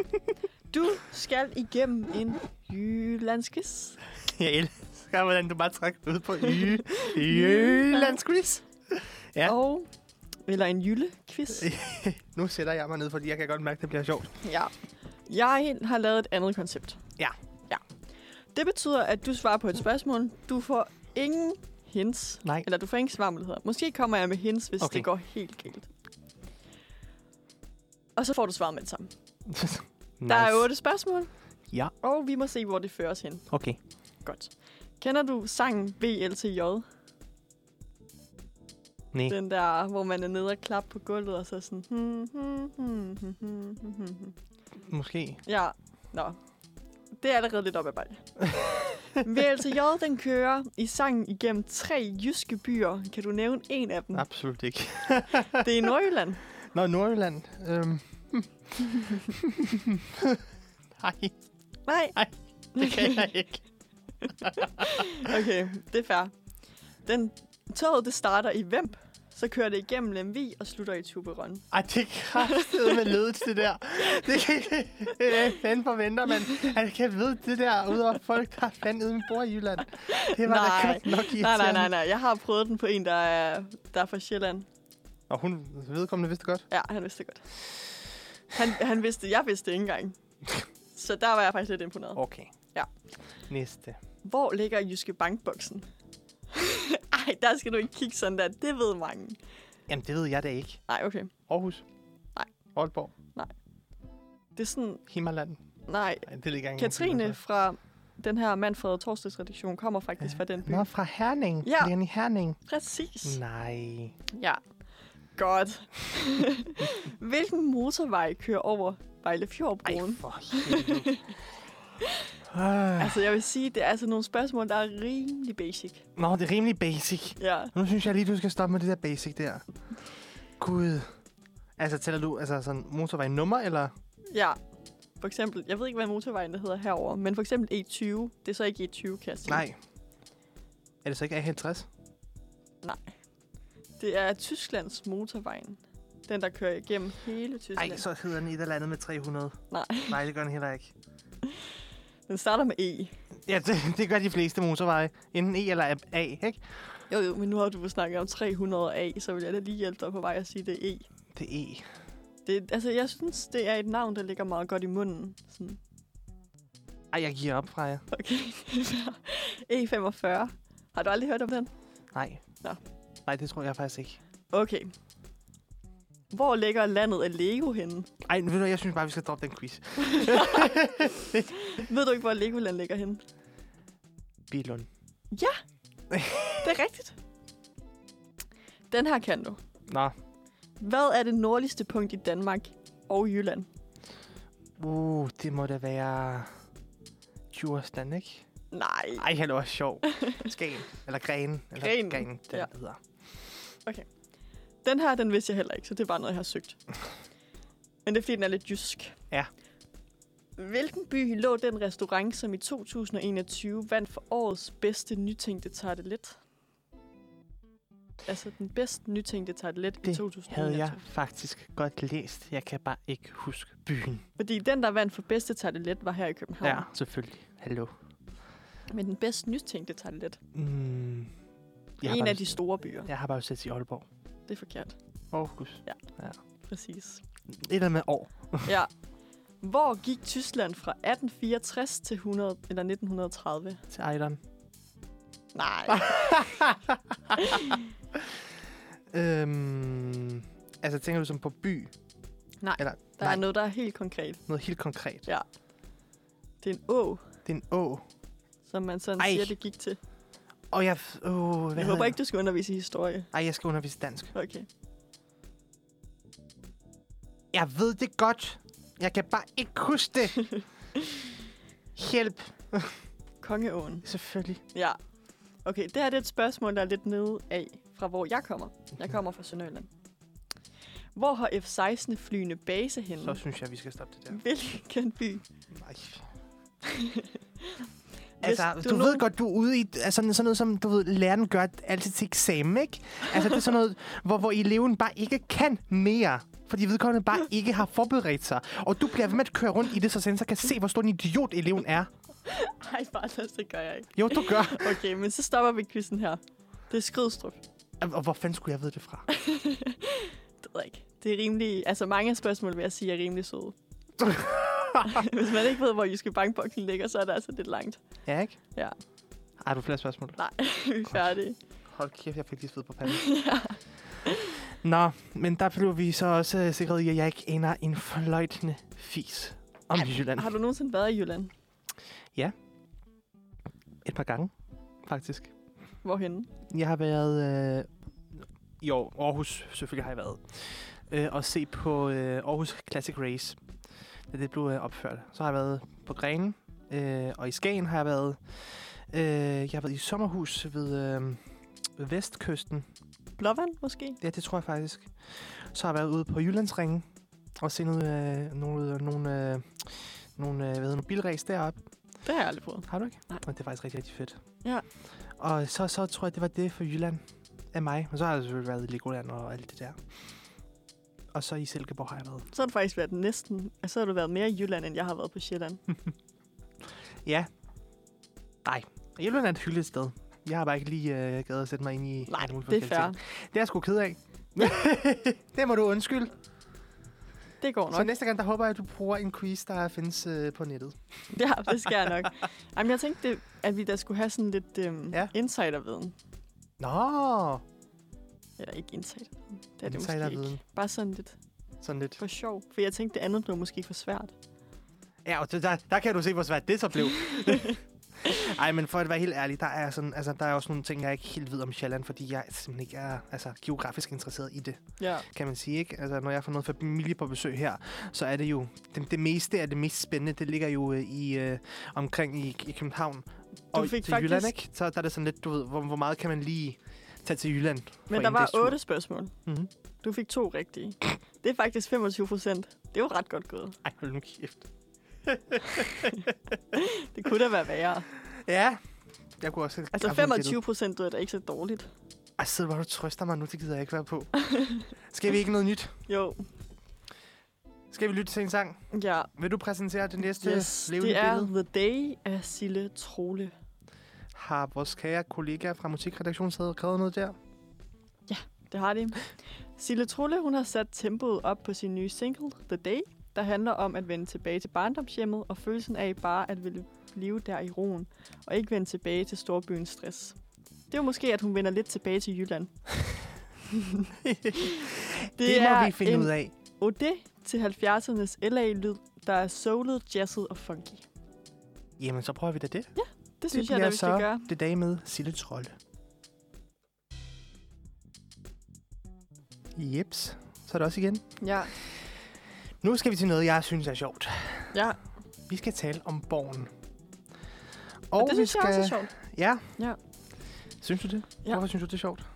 B: Du skal igennem en jyllandsquiz.
A: Jeg, el- elsker, hvordan du bare trækker det ud på y- Jyllandsquiz. Ja.
B: Og, eller en jylle-quiz.
A: Nu sætter jeg mig ned, fordi jeg kan godt mærke, at det bliver sjovt.
B: Ja. Jeg har lavet et andet koncept.
A: Ja.
B: Ja. Det betyder, at du svarer på et spørgsmål. Du får ingen hints.
A: Nej.
B: Eller du får ingen svarmuligheder. Måske kommer jeg med hints, hvis
A: Okay.
B: det går helt galt. Og så får du svaret med det samme. Nice.
A: nice.
B: Der er otte spørgsmål.
A: Ja.
B: Og vi må se, hvor det fører os hen.
A: Okay.
B: Godt. Kender du sangen VLTJ?
A: Nej.
B: Den der, hvor man er nede og klapper på gulvet, og så sådan... Hmm, hmm, hmm, hmm, hmm, hmm, hmm.
A: Måske.
B: Ja, nå. Det er allerede lidt op ad bakke. VLTJ, den kører i sangen igennem tre jyske byer. Kan du nævne en af dem? Ja.
A: Absolut ikke.
B: Det er i Nordjylland.
A: Nå, Nordjylland. Øhm. Nej,
B: Nej.
A: Ej, det kan jeg ikke.
B: Okay, det er fair. Den, toget, det starter i Vemb, så kører det igennem Lemvi og slutter i Tuberon.
A: Ej, det er med ledet, det der. Det kan ikke... Øh, fanden forventer, man. Altså, kan jeg vide det der, udover folk, der fandme bor i Jylland. Det var da
B: Nej.
A: godt nok irriterende.
B: Nej, nej, nej, nej. Jeg har prøvet den på en, der er, der er fra Sjælland.
A: Og hun vedkommende vidste godt.
B: Ja, han vidste det godt. Han, han vidste, jeg vidste det ikke engang. Så der var jeg faktisk lidt imponeret.
A: Okay.
B: Ja.
A: Næste.
B: Hvor ligger Jyske Bankboksen? Ej, der skal du ikke kigge sådan der. Det ved mange.
A: Jamen, det ved jeg da ikke.
B: Nej, okay.
A: Aarhus.
B: Nej.
A: Aalborg.
B: Det er sådan...
A: Himmerland.
B: Nej.
A: Nej, det ligger ikke
B: Katrine fra den her Manfred og Torsdags redaktion kommer faktisk fra den by.
A: Nå, fra Herning.
B: Ja.
A: Lene Herning.
B: Præcis.
A: Nej. Mm.
B: Ja. Godt. Hvilken motorvej kører over Vejle
A: Ej,
B: Fjordbroen?
A: for helvede. Ah.
B: Altså, jeg vil sige, det er altså nogle spørgsmål, der er rimelig basic.
A: Nå, det er rimelig basic.
B: Ja.
A: Nu synes jeg lige, du skal stoppe med det der basic der. Gud. Altså, tæller du altså, sådan motorvej nummer, eller?
B: Ja. For eksempel, jeg ved ikke, hvad motorvejen der hedder herover, men for eksempel E20. Det er så ikke E20, kan jeg sige.
A: Nej. Er det så ikke A50?
B: Det er Tysklands motorvejen. Den, der kører igennem hele Tyskland.
A: Nej, så hedder den et eller andet med 300.
B: Nej.
A: Nej, det gør den heller ikke.
B: Den starter med E.
A: Ja, det, det gør de fleste motorveje. Enten E eller A, ikke?
B: Jo, jo, men nu har du snakket om 300A, så vil jeg da lige hjælpe dig på vej at sige, det er E.
A: Det er E.
B: Det, altså, jeg synes, det er et navn, der ligger meget godt i munden. Sådan,
A: Ej, jeg giver op, Freja.
B: okay. E45. Har du aldrig hørt om den?
A: Nej.
B: Nå.
A: Nej, det tror jeg faktisk ikke.
B: Okay. Hvor ligger landet af Lego henne?
A: Ej, ved du hvad, jeg synes bare, vi skal droppe den quiz.
B: Ved du ikke, hvor Legoland ligger henne?
A: Bilund.
B: Det er rigtigt. Den her kan du.
A: Nå.
B: Hvad er det nordligste punkt i Danmark og Jylland?
A: Uh, det må da være... Djursland, ikke?
B: Nej.
A: Ej, han var sjov. Skagen. Eller Grenen. Eller
B: Grenen,
A: Grenen, den
B: ja.
A: ja. hedder.
B: Den her, den vidste jeg heller ikke, så det er bare noget, jeg har søgt. Men det er, fordi den er lidt jysk.
A: Ja.
B: Hvilken by lå den restaurant, som i 2021 vandt for årets bedste nytænkte tartelet? Altså den bedste nytænkte tartelet i
A: Det
B: 2021.
A: Havde jeg faktisk godt læst. Jeg kan bare ikke huske byen.
B: Fordi den, der vandt for bedste tartelet, var her i København.
A: Ja, selvfølgelig. Hallo.
B: Men den bedste nytænkte tartelet,
A: Mm. Jeg har
B: en
A: bare
B: af de
A: lyst-
B: store byer.
A: Jeg har bare set i Aalborg.
B: Det er forkert.
A: Aarhus.
B: Præcis.
A: Et eller andet med år.
B: Ja. Hvor gik Tyskland fra 1864 til 100, eller 1930?
A: Til Ejderen.
B: Nej.
A: Øhm, altså, tænker du som på by?
B: Nej,
A: Eller,
B: Der
A: nej,
B: er noget, der er helt konkret.
A: noget helt konkret.
B: Det er en å,
A: Det er en å.
B: som man sådan
A: Ej.
B: Ej. siger, det gik til.
A: Og jeg... Oh, hvad
B: Jeg
A: hedder
B: håber ikke, du skal undervise i historie.
A: Ej, jeg skal undervise dansk.
B: Okay.
A: Jeg ved det godt. Jeg kan bare ikke huske det. Hjælp.
B: Kongeåen.
A: Selvfølgelig.
B: Ja. Okay, det her det er et spørgsmål, der er lidt nede af, fra hvor jeg kommer. Jeg kommer fra Sønderjylland. Hvor har F-16 flyende base henne?
A: Så synes jeg, vi skal stoppe det der.
B: Hvilken by?
A: Nej. altså,
B: Hvis
A: du, Altså,
B: du
A: du
B: nu-
A: ved godt, du er ude i altså, sådan sådan noget, som du ved, læreren gør altid til eksamen, ikke? Altså, det er sådan noget, hvor, hvor eleven bare ikke kan mere, fordi vedkommende bare ikke har forberedt sig. Og du bliver ved med at køre rundt i det, så sensor kan se, hvor stor en idiot eleven er.
B: Ej, Bartels, det gør jeg ikke.
A: Jo, du gør.
B: Okay, men så stopper vi quizzen her. Det er Skrydstrup.
A: Og hvor fanden skulle jeg vide det fra?
B: Det ved jeg ikke. Det er rimelig... Altså, mange af spørgsmål, vil jeg sige, er rimelig søde. Hvis man ikke ved, hvor Jyske Bankboksen ligger, så er det altså lidt langt.
A: ja, ikke?
B: Ja.
A: Har du flere spørgsmål?
B: Nej, vi er færdige.
A: Hold kæft, jeg fik lige sved på panden. Nå, men der blev vi så også øh, sikret i, at jeg ikke aner en fløjtende fis om Jylland.
B: Har du nogensinde været i Jylland?
A: Et par gange, faktisk.
B: Hvorhenne?
A: Jeg har været øh, i år, Aarhus, selvfølgelig har jeg været, øh, og se på øh, Aarhus Classic Race, da det blev øh, opført. Så har jeg været på Grenen, øh, og i Skagen har jeg været, øh, jeg har været i sommerhus ved, øh, ved Vestkysten.
B: Blåvand, måske?
A: Ja, det tror jeg faktisk. Så har jeg været ude på Jyllandsringen og se noget, øh, nogle, nogle, øh, nogle, øh, hvad hedder, det, bilræs deroppe.
B: Det har jeg aldrig prøvet.
A: Har du ikke?
B: Nej.
A: Og det er faktisk rigtig, rigtig fedt.
B: Ja.
A: Og så, så tror jeg, det var det for Jylland af mig. Men så har jeg selvfølgelig været i Legoland og alt det der. Og så i Silkeborg har jeg været.
B: Så har du faktisk været næsten... Altså, så har du været mere i Jylland, end jeg har været på Sjælland.
A: Ja. Nej. Jylland er et hyldigt sted. Jeg har bare ikke lige øh, gad at sætte mig ind i...
B: Nej,
A: alle mulige
B: det er
A: forskellige
B: fair.
A: ting. Det er jeg sgu ked af. det må du undskylde.
B: Det går
A: Så
B: nok.
A: næste gang, der håber jeg, at du bruger en quiz, der findes øh, på nettet.
B: Ja, det skal jeg nok. Jamen, jeg tænkte, det- at vi da skulle have sådan lidt øhm,
A: Ja.
B: ja. insiderviden.
A: Nå!
B: Eller ikke insider. Det er det måske
A: Insiderviden.
B: ikke. Bare sådan lidt
A: Sådan lidt.
B: for sjov. For jeg tænkte, det andet blev måske for svært.
A: Ja, og det- der, der kan du se, hvor svært det så blev. Ej, men for at være helt ærlig, der er, sådan, altså, der er også nogle ting, jeg ikke helt ved om Sjælland, fordi jeg simpelthen ikke er altså, geografisk interesseret i det,
B: Ja.
A: kan man sige. Ikke? Altså, når jeg får noget familie på besøg her, så er det jo det, det meste af det mest spændende, det ligger jo øh, i øh, omkring i, i København og
B: fik
A: til Jylland,
B: faktisk-
A: ikke? Så der er det sådan lidt, du ved, hvor, hvor meget kan man lige tage til Jylland?
B: Men
A: en
B: der var
A: dags tur.
B: otte spørgsmål.
A: Mhm.
B: Du fik to rigtige. Det er faktisk 25 procent. Det var ret godt gået.
A: Ej, hold nu kæft.
B: Det kunne da være værre.
A: Ja, jeg kunne også...
B: Altså
A: jeg kunne have gættet.
B: 25 procent, det er da ikke så dårligt.
A: Ej, sid, hvor du trøster mig nu, det gider jeg ikke være på. Skal vi ikke noget nyt?
B: Jo,
A: Skal vi lytte til en sang?
B: ja.
A: Vil du præsentere det næste
B: Yes,
A: levende
B: det er
A: billede?
B: The Day af Sille Trole.
A: Har vores kære kollega fra musikredaktionen siddet og skrevet noget der?
B: Det har de. Sille Trolle, hun har sat tempoet op på sin nye single, The Day, der handler om at vende tilbage til barndomshjemmet og følelsen af bare at ville blive der i roen, og ikke vende tilbage til storbyens stress. Det er jo måske, at hun vender lidt tilbage til Jylland. det,
A: det må vi finde
B: en
A: ud af.
B: ode til 70'ernes LA-lyd, der er soulet, jazzet og funky.
A: Jamen, så prøver vi da det. Det,
B: Det synes jeg, da, vi skal gøre.
A: det dag med Sille Trolle. Jeps, så er det også igen.
B: Ja,
A: Nu skal vi til noget, jeg synes er sjovt.
B: ja.
A: Vi skal tale om borgen.
B: Og, og
A: vi
B: det synes jeg også er sjovt.
A: Ja.
B: Ja.
A: Synes du det?
B: Ja.
A: Hvorfor synes du det er sjovt?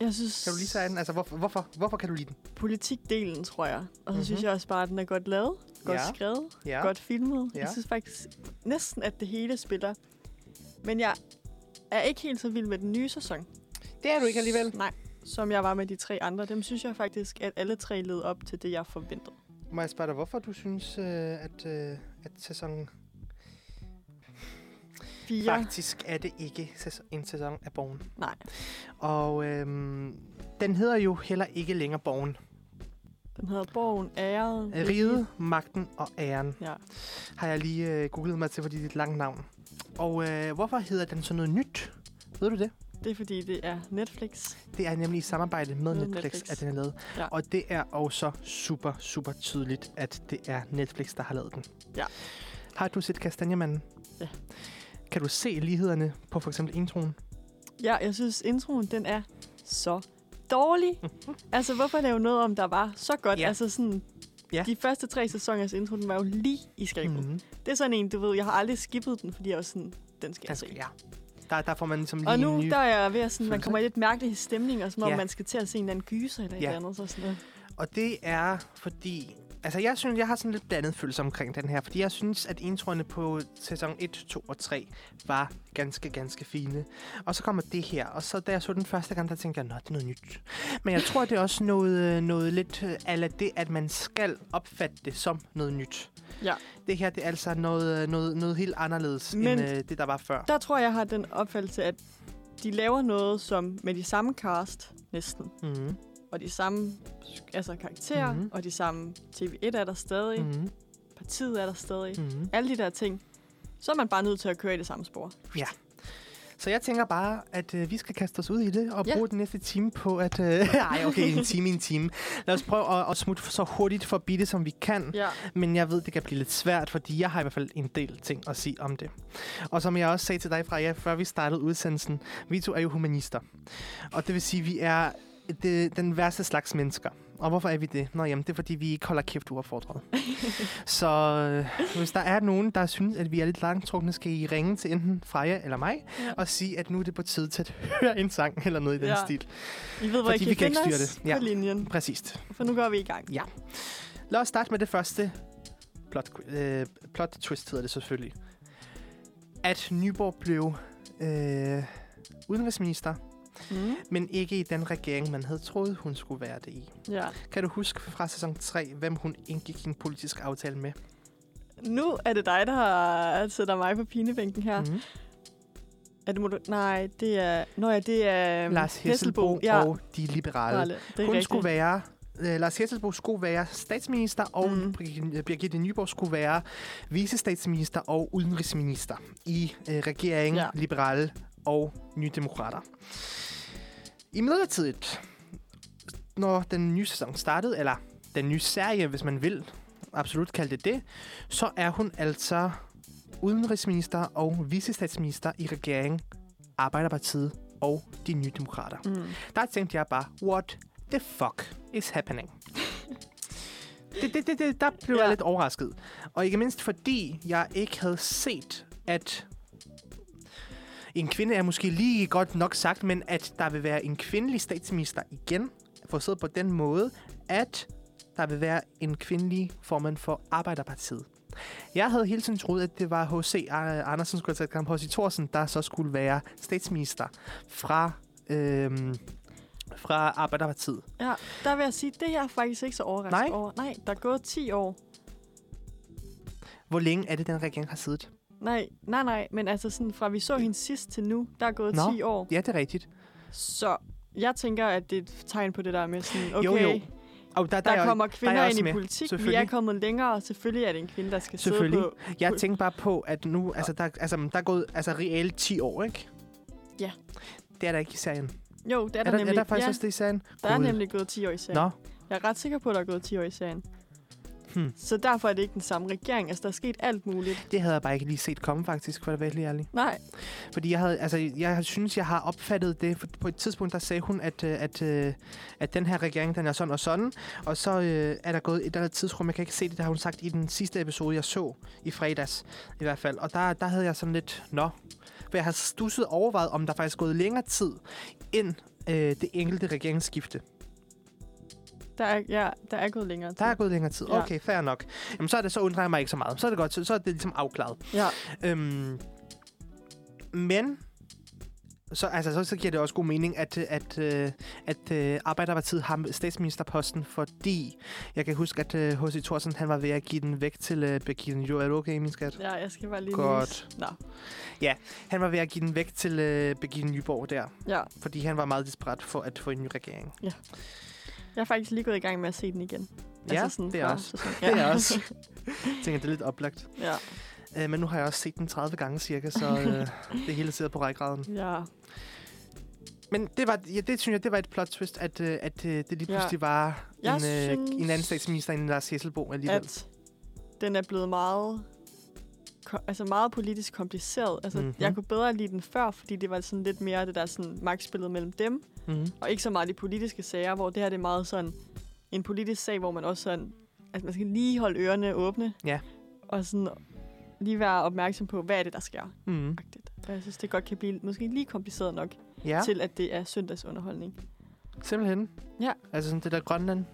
B: Jeg synes...
A: Kan du lige tage den? Altså, hvorfor, hvorfor, hvorfor kan du lide den?
B: politikdelen, tror jeg. Og så
A: Mhm.
B: mm-hmm. synes jeg også bare, at den er godt lavet, godt
A: Ja.
B: ja. skrevet,
A: Ja.
B: ja. godt filmet.
A: Ja.
B: Ja. Jeg synes faktisk næsten, at det hele spiller. Men jeg er ikke helt så vild med den nye sæson.
A: Det er du ikke alligevel.
B: Nej, som jeg var med de tre andre. Dem synes jeg faktisk, at alle tre led op til det, jeg forventede.
A: Må jeg spørge dig, hvorfor du synes, øh, at, øh, at sæsonen
B: Fire.
A: ja. faktisk er det ikke sæson, en sæson af Borgen?
B: Nej.
A: Og øhm, den hedder jo heller ikke længere Borgen. Øh,
B: Den hedder Borgen Æret.
A: Riget, Magten og Æren
B: Ja.
A: har jeg lige øh, googlet mig til, fordi det er et langt navn. Og øh, hvorfor hedder den så noget nyt? Ved du det?
B: Det er fordi, det er Netflix.
A: Det er nemlig i samarbejde med
B: Med
A: Netflix, Netflix,
B: Netflix.
A: at den er lavet.
B: Ja.
A: Og det er også super, super tydeligt, at det er Netflix, der har lavet den.
B: Ja.
A: Har du set Kastanjemanden?
B: Ja.
A: Kan du se lighederne på for eksempel introen?
B: Ja, jeg synes, introen, den er så dårlig. altså, hvorfor lave noget om, der var så godt?
A: Ja.
B: Ja. Altså sådan,
A: Ja.
B: ja. de første tre sæsoners intro, den var jo lige i skabet. Mm.
A: Mhm.
B: Det er sådan en, du ved, jeg har aldrig skippet den, fordi jeg var sådan, den skal jeg
A: Altså,
B: se.
A: ja. Der, der får man ligesom lige
B: Og nu,
A: en ny...
B: der er jeg ved at sådan, man
A: følelse,
B: kommer i lidt mærkelige stemninger, som om
A: Ja.
B: man skal til at se en eller anden gyser eller
A: Ja.
B: et eller andet. Så sådan noget.
A: Og det er fordi, Altså, jeg synes, jeg har sådan lidt blandet følelse omkring den her, fordi jeg synes, at introerne på sæson 1, 2 og 3 var ganske, ganske fine. Og så kommer det her, og så da jeg så den første gang, der tænkte jeg, nå, det er noget nyt. Men jeg tror, det er også noget, øh, noget lidt ala det, at man skal opfatte det som noget nyt.
B: Ja.
A: Det her, det er altså noget, noget, noget helt anderledes Men
B: Men
A: end øh, det, der var før.
B: Der tror jeg, jeg har den opfattelse, at de laver noget som med de samme cast næsten,
A: Mm-hmm.
B: og de samme altså karakterer,
A: Mhm.
B: mm-hmm. og de samme TV1 er der stadig, mm-hmm.
A: Mm-hmm.
B: partiet er der stadig,
A: Mm-hmm.
B: alle de der ting. Så er man bare nødt til at køre i det samme spor.
A: Så jeg tænker bare, at øh, vi skal kaste os ud i det og
B: Ja.
A: bruge den næste time på at... Øh, ej, okay, en time, en time. Lad os prøve at, at smutte så hurtigt forbi det, som vi kan.
B: Ja.
A: Men jeg ved, det kan blive lidt svært, fordi jeg har i hvert fald en del ting at sige om det. Og som jeg også sagde til dig, Freja, før vi startede udsendelsen, vi to er jo humanister. Og det vil sige, vi er det, den værste slags mennesker. Og hvorfor er vi det? Nå jamen, det er fordi, vi ikke holder kæft uaffordret. Så øh, hvis der er nogen, der synes, at vi er lidt langtrukne, skal I ringe til enten Freja eller mig,
B: Ja.
A: og sige, at nu er det på tide til at høre en sang eller noget i den
B: Ja.
A: stil.
B: I ved, hvor
A: Fordi
B: I
A: vi
B: kan,
A: kan ikke
B: finde
A: styre
B: os
A: det. Ja.
B: på linjen,
A: Præcist.
B: for nu går vi i gang.
A: Lad os starte med det første plot, øh, plot twist, hedder det selvfølgelig. At Nyborg blev øh, udenrigsminister,
B: Mm.
A: men ikke i den regering, man havde troet, hun skulle være det i.
B: Ja.
A: Kan du huske fra sæson 3, hvem hun indgik en politisk aftale med?
B: Nu er det dig, der har- sætter mig på pinebænken her. Mm.
A: Mm-hmm.
B: Er det moder- Nej, det er... Nå ja, det er... øhm,
A: Mm. Lars Hesselbo
B: Ja,
A: og de liberale.
B: Arle. det er
A: Hun
B: rigtigt.
A: skulle være... Øh, Lars Hesselbo skulle være statsminister, og
B: Mhm.
A: mm. Birgitte Nyborg skulle være vicestatsminister og udenrigsminister i øh, regeringen,
B: Ja.
A: ja. liberale og nye demokrater. I midlertidigt, når den nye sæson startede, eller den nye serie, hvis man vil absolut kalde det det, så er hun altså udenrigsminister og vicestatsminister i regeringen, Arbejderpartiet og de nye demokrater.
B: Mm.
A: Der tænkte jeg bare, what the fuck is happening? det, det, det, det, der blev ja.
B: Ja.
A: jeg lidt overrasket. Og ikke mindst fordi, jeg ikke havde set, at en kvinde er måske lige godt nok sagt, men at der vil være en kvindelig statsminister igen, forstået på den måde, at der vil være en kvindelig formand for Arbejderpartiet. Jeg havde hele tiden troet, at det var H.C. Ar- Andersen, skulle jeg tage kamp, H.C. Thorsen, der så skulle være statsminister fra, øhm, fra Arbejderpartiet.
B: Ja, der vil jeg sige, det er jeg faktisk ikke så overrasket
A: Nej.
B: over. Nej, der er gået 10 år.
A: Hvor længe er det, den regering har siddet?
B: Nej, nej, nej, men altså sådan, fra vi så hende sidst til nu, der er gået
A: Nå.
B: 10 år.
A: Ja, det er rigtigt.
B: Så jeg tænker, at det er et tegn på det der med sådan, okay,
A: Jo, jo. Og der,
B: der,
A: er
B: der
A: jo-
B: kommer kvinder
A: også
B: ind i
A: med,
B: politik, vi er
A: selvfølgelig.
B: kommet længere, og selvfølgelig er det en kvinde, der skal sidde
A: Selvfølgelig.
B: på...
A: Jeg tænkte bare på, at nu, altså, der, altså, der er gået altså, reelt 10 år, ikke?
B: Ja.
A: Det er der ikke i serien.
B: Jo, det er
A: Er
B: der,
A: der, er
B: nemlig.
A: der faktisk
B: ja,
A: også det i serien?
B: der er
A: Gud.
B: nemlig gået 10 år i serien.
A: Nå,
B: Jeg er ret sikker på, at der er gået 10 år i serien.
A: Hmm.
B: Så derfor er det ikke den samme regering. Altså, der er sket alt muligt.
A: det havde jeg bare ikke lige set komme, faktisk, for at være helt ærlig.
B: Nej,
A: Fordi jeg, havde, altså, jeg synes, jeg har opfattet det. For på et tidspunkt, der sagde hun, at, øh, at, øh, at den her regering, den er sådan og sådan. Og så øh, er der gået et eller andet tidsrum, jeg kan ikke se det, der har hun sagt i den sidste episode, jeg så i fredags i hvert fald. Og der, der havde jeg sådan lidt, nå. For jeg har stusset overvejet, om der faktisk er gået længere tid end øh, det enkelte regeringsskifte.
B: der er, ja, der er gået længere tid.
A: Der er gået længere tid.
B: Ja.
A: Okay, fair nok. Jamen, så, er det, så undrer jeg mig ikke så meget. Så er det godt. Så, så er det ligesom afklaret.
B: Ja.
A: Øhm, men så, altså, så, så giver det også god mening, at, øh, at, øh, at, at Arbejderpartiet har statsministerposten, fordi jeg kan huske, at øh, H.C. Thorsen han var ved at give den væk til øh, Birgitte Jo. Er du okay, min skat?
B: ja, jeg skal bare lige
A: Godt.
B: nuse. Nå,
A: Han var ved at give den væk til øh, Birgitte Nyborg der,
B: ja.
A: fordi han var meget desperat for at få en ny regering.
B: Jeg er faktisk lige gået i gang med at se den igen. Altså
A: Ja, det er
B: fra
A: også.
B: sæson-
A: Ja. Det er jeg også. Jeg tænker, det er lidt oplagt.
B: ja.
A: Øh, men nu har jeg også set den 30 gange cirka, så øh, det hele sidder på rækkegraden.
B: ja.
A: Men det var, ja, det synes jeg, det var et plot twist, at, øh, at øh, det lige
B: Ja.
A: pludselig var en,
B: Jeg
A: øh,
B: synes-
A: en anden statsminister end Lars Hesselbo alligevel. At...
B: At den er blevet meget ko- altså meget politisk kompliceret. Altså,
A: Mhm.
B: mm-hmm. Jeg kunne bedre lide den før, fordi det var sådan lidt mere det der sådan, magtspillet mellem dem,
A: Mm-hmm.
B: og ikke så meget de politiske sager, hvor det her det er meget sådan en politisk sag, hvor man også sådan, altså man skal lige holde ørerne åbne.
A: Ja.
B: Og sådan lige være opmærksom på, hvad er det, der sker.
A: Mm-hmm.
B: -agtigt. Og jeg synes, det godt kan blive måske lige kompliceret nok
A: Ja,
B: ja.
A: til...
B: til, at det er søndagsunderholdning.
A: simpelthen.
B: Ja.
A: Altså sådan det der Grønland.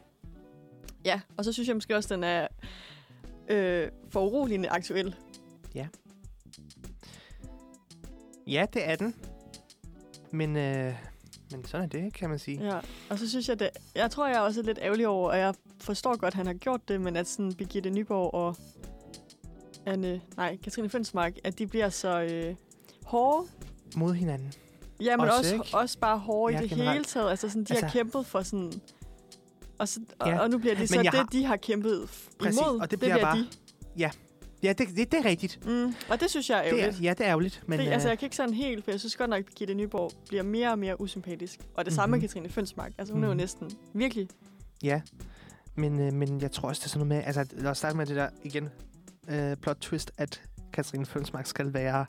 B: Ja, og så synes jeg måske også, den er øh, foruroligende aktuel.
A: Ja, det er den. Men, øh, men sådan er det, kan man sige.
B: Ja. Og så synes jeg, det, jeg tror, jeg er også lidt ærgerlig over, og jeg forstår godt, at han har gjort det, men at sådan Birgitte Nyborg og Anne, nej, Katrine Fønsmark, at de bliver så øh, hårde.
A: Mod hinanden.
B: Ja, men
A: Også,
B: også,
A: ikke?
B: også, også bare hårde
A: Ja,
B: ja, i det
A: generelt.
B: hele taget. Altså sådan, de altså,
A: Altså-
B: har kæmpet for sådan... Og, så, og,
A: Ja,
B: ja, og nu bliver det så
A: jeg
B: det,
A: har-
B: har... de har kæmpet f-
A: Præcis,
B: imod.
A: og det bliver bare-
B: de.
A: Ja, det, det, det er rigtigt.
B: Mm, og det synes jeg er
A: Det
B: ærgerligt.
A: er, ja, det er ærgerligt. Men,
B: Men, det,
A: øh,
B: altså, jeg kan ikke sådan helt, for jeg synes godt nok, at Birgitte Nyborg bliver mere og mere usympatisk. Og det mm-hmm. samme med
A: Mhm.
B: Katrine Fønsmark. Altså, hun mm-hmm. er
A: Mhm.
B: jo næsten virkelig...
A: Ja, men, øh, men jeg tror også, det er sådan noget med... Altså, lad os starte med det der igen. Øh, plot twist, at Katrine Følsmark skal være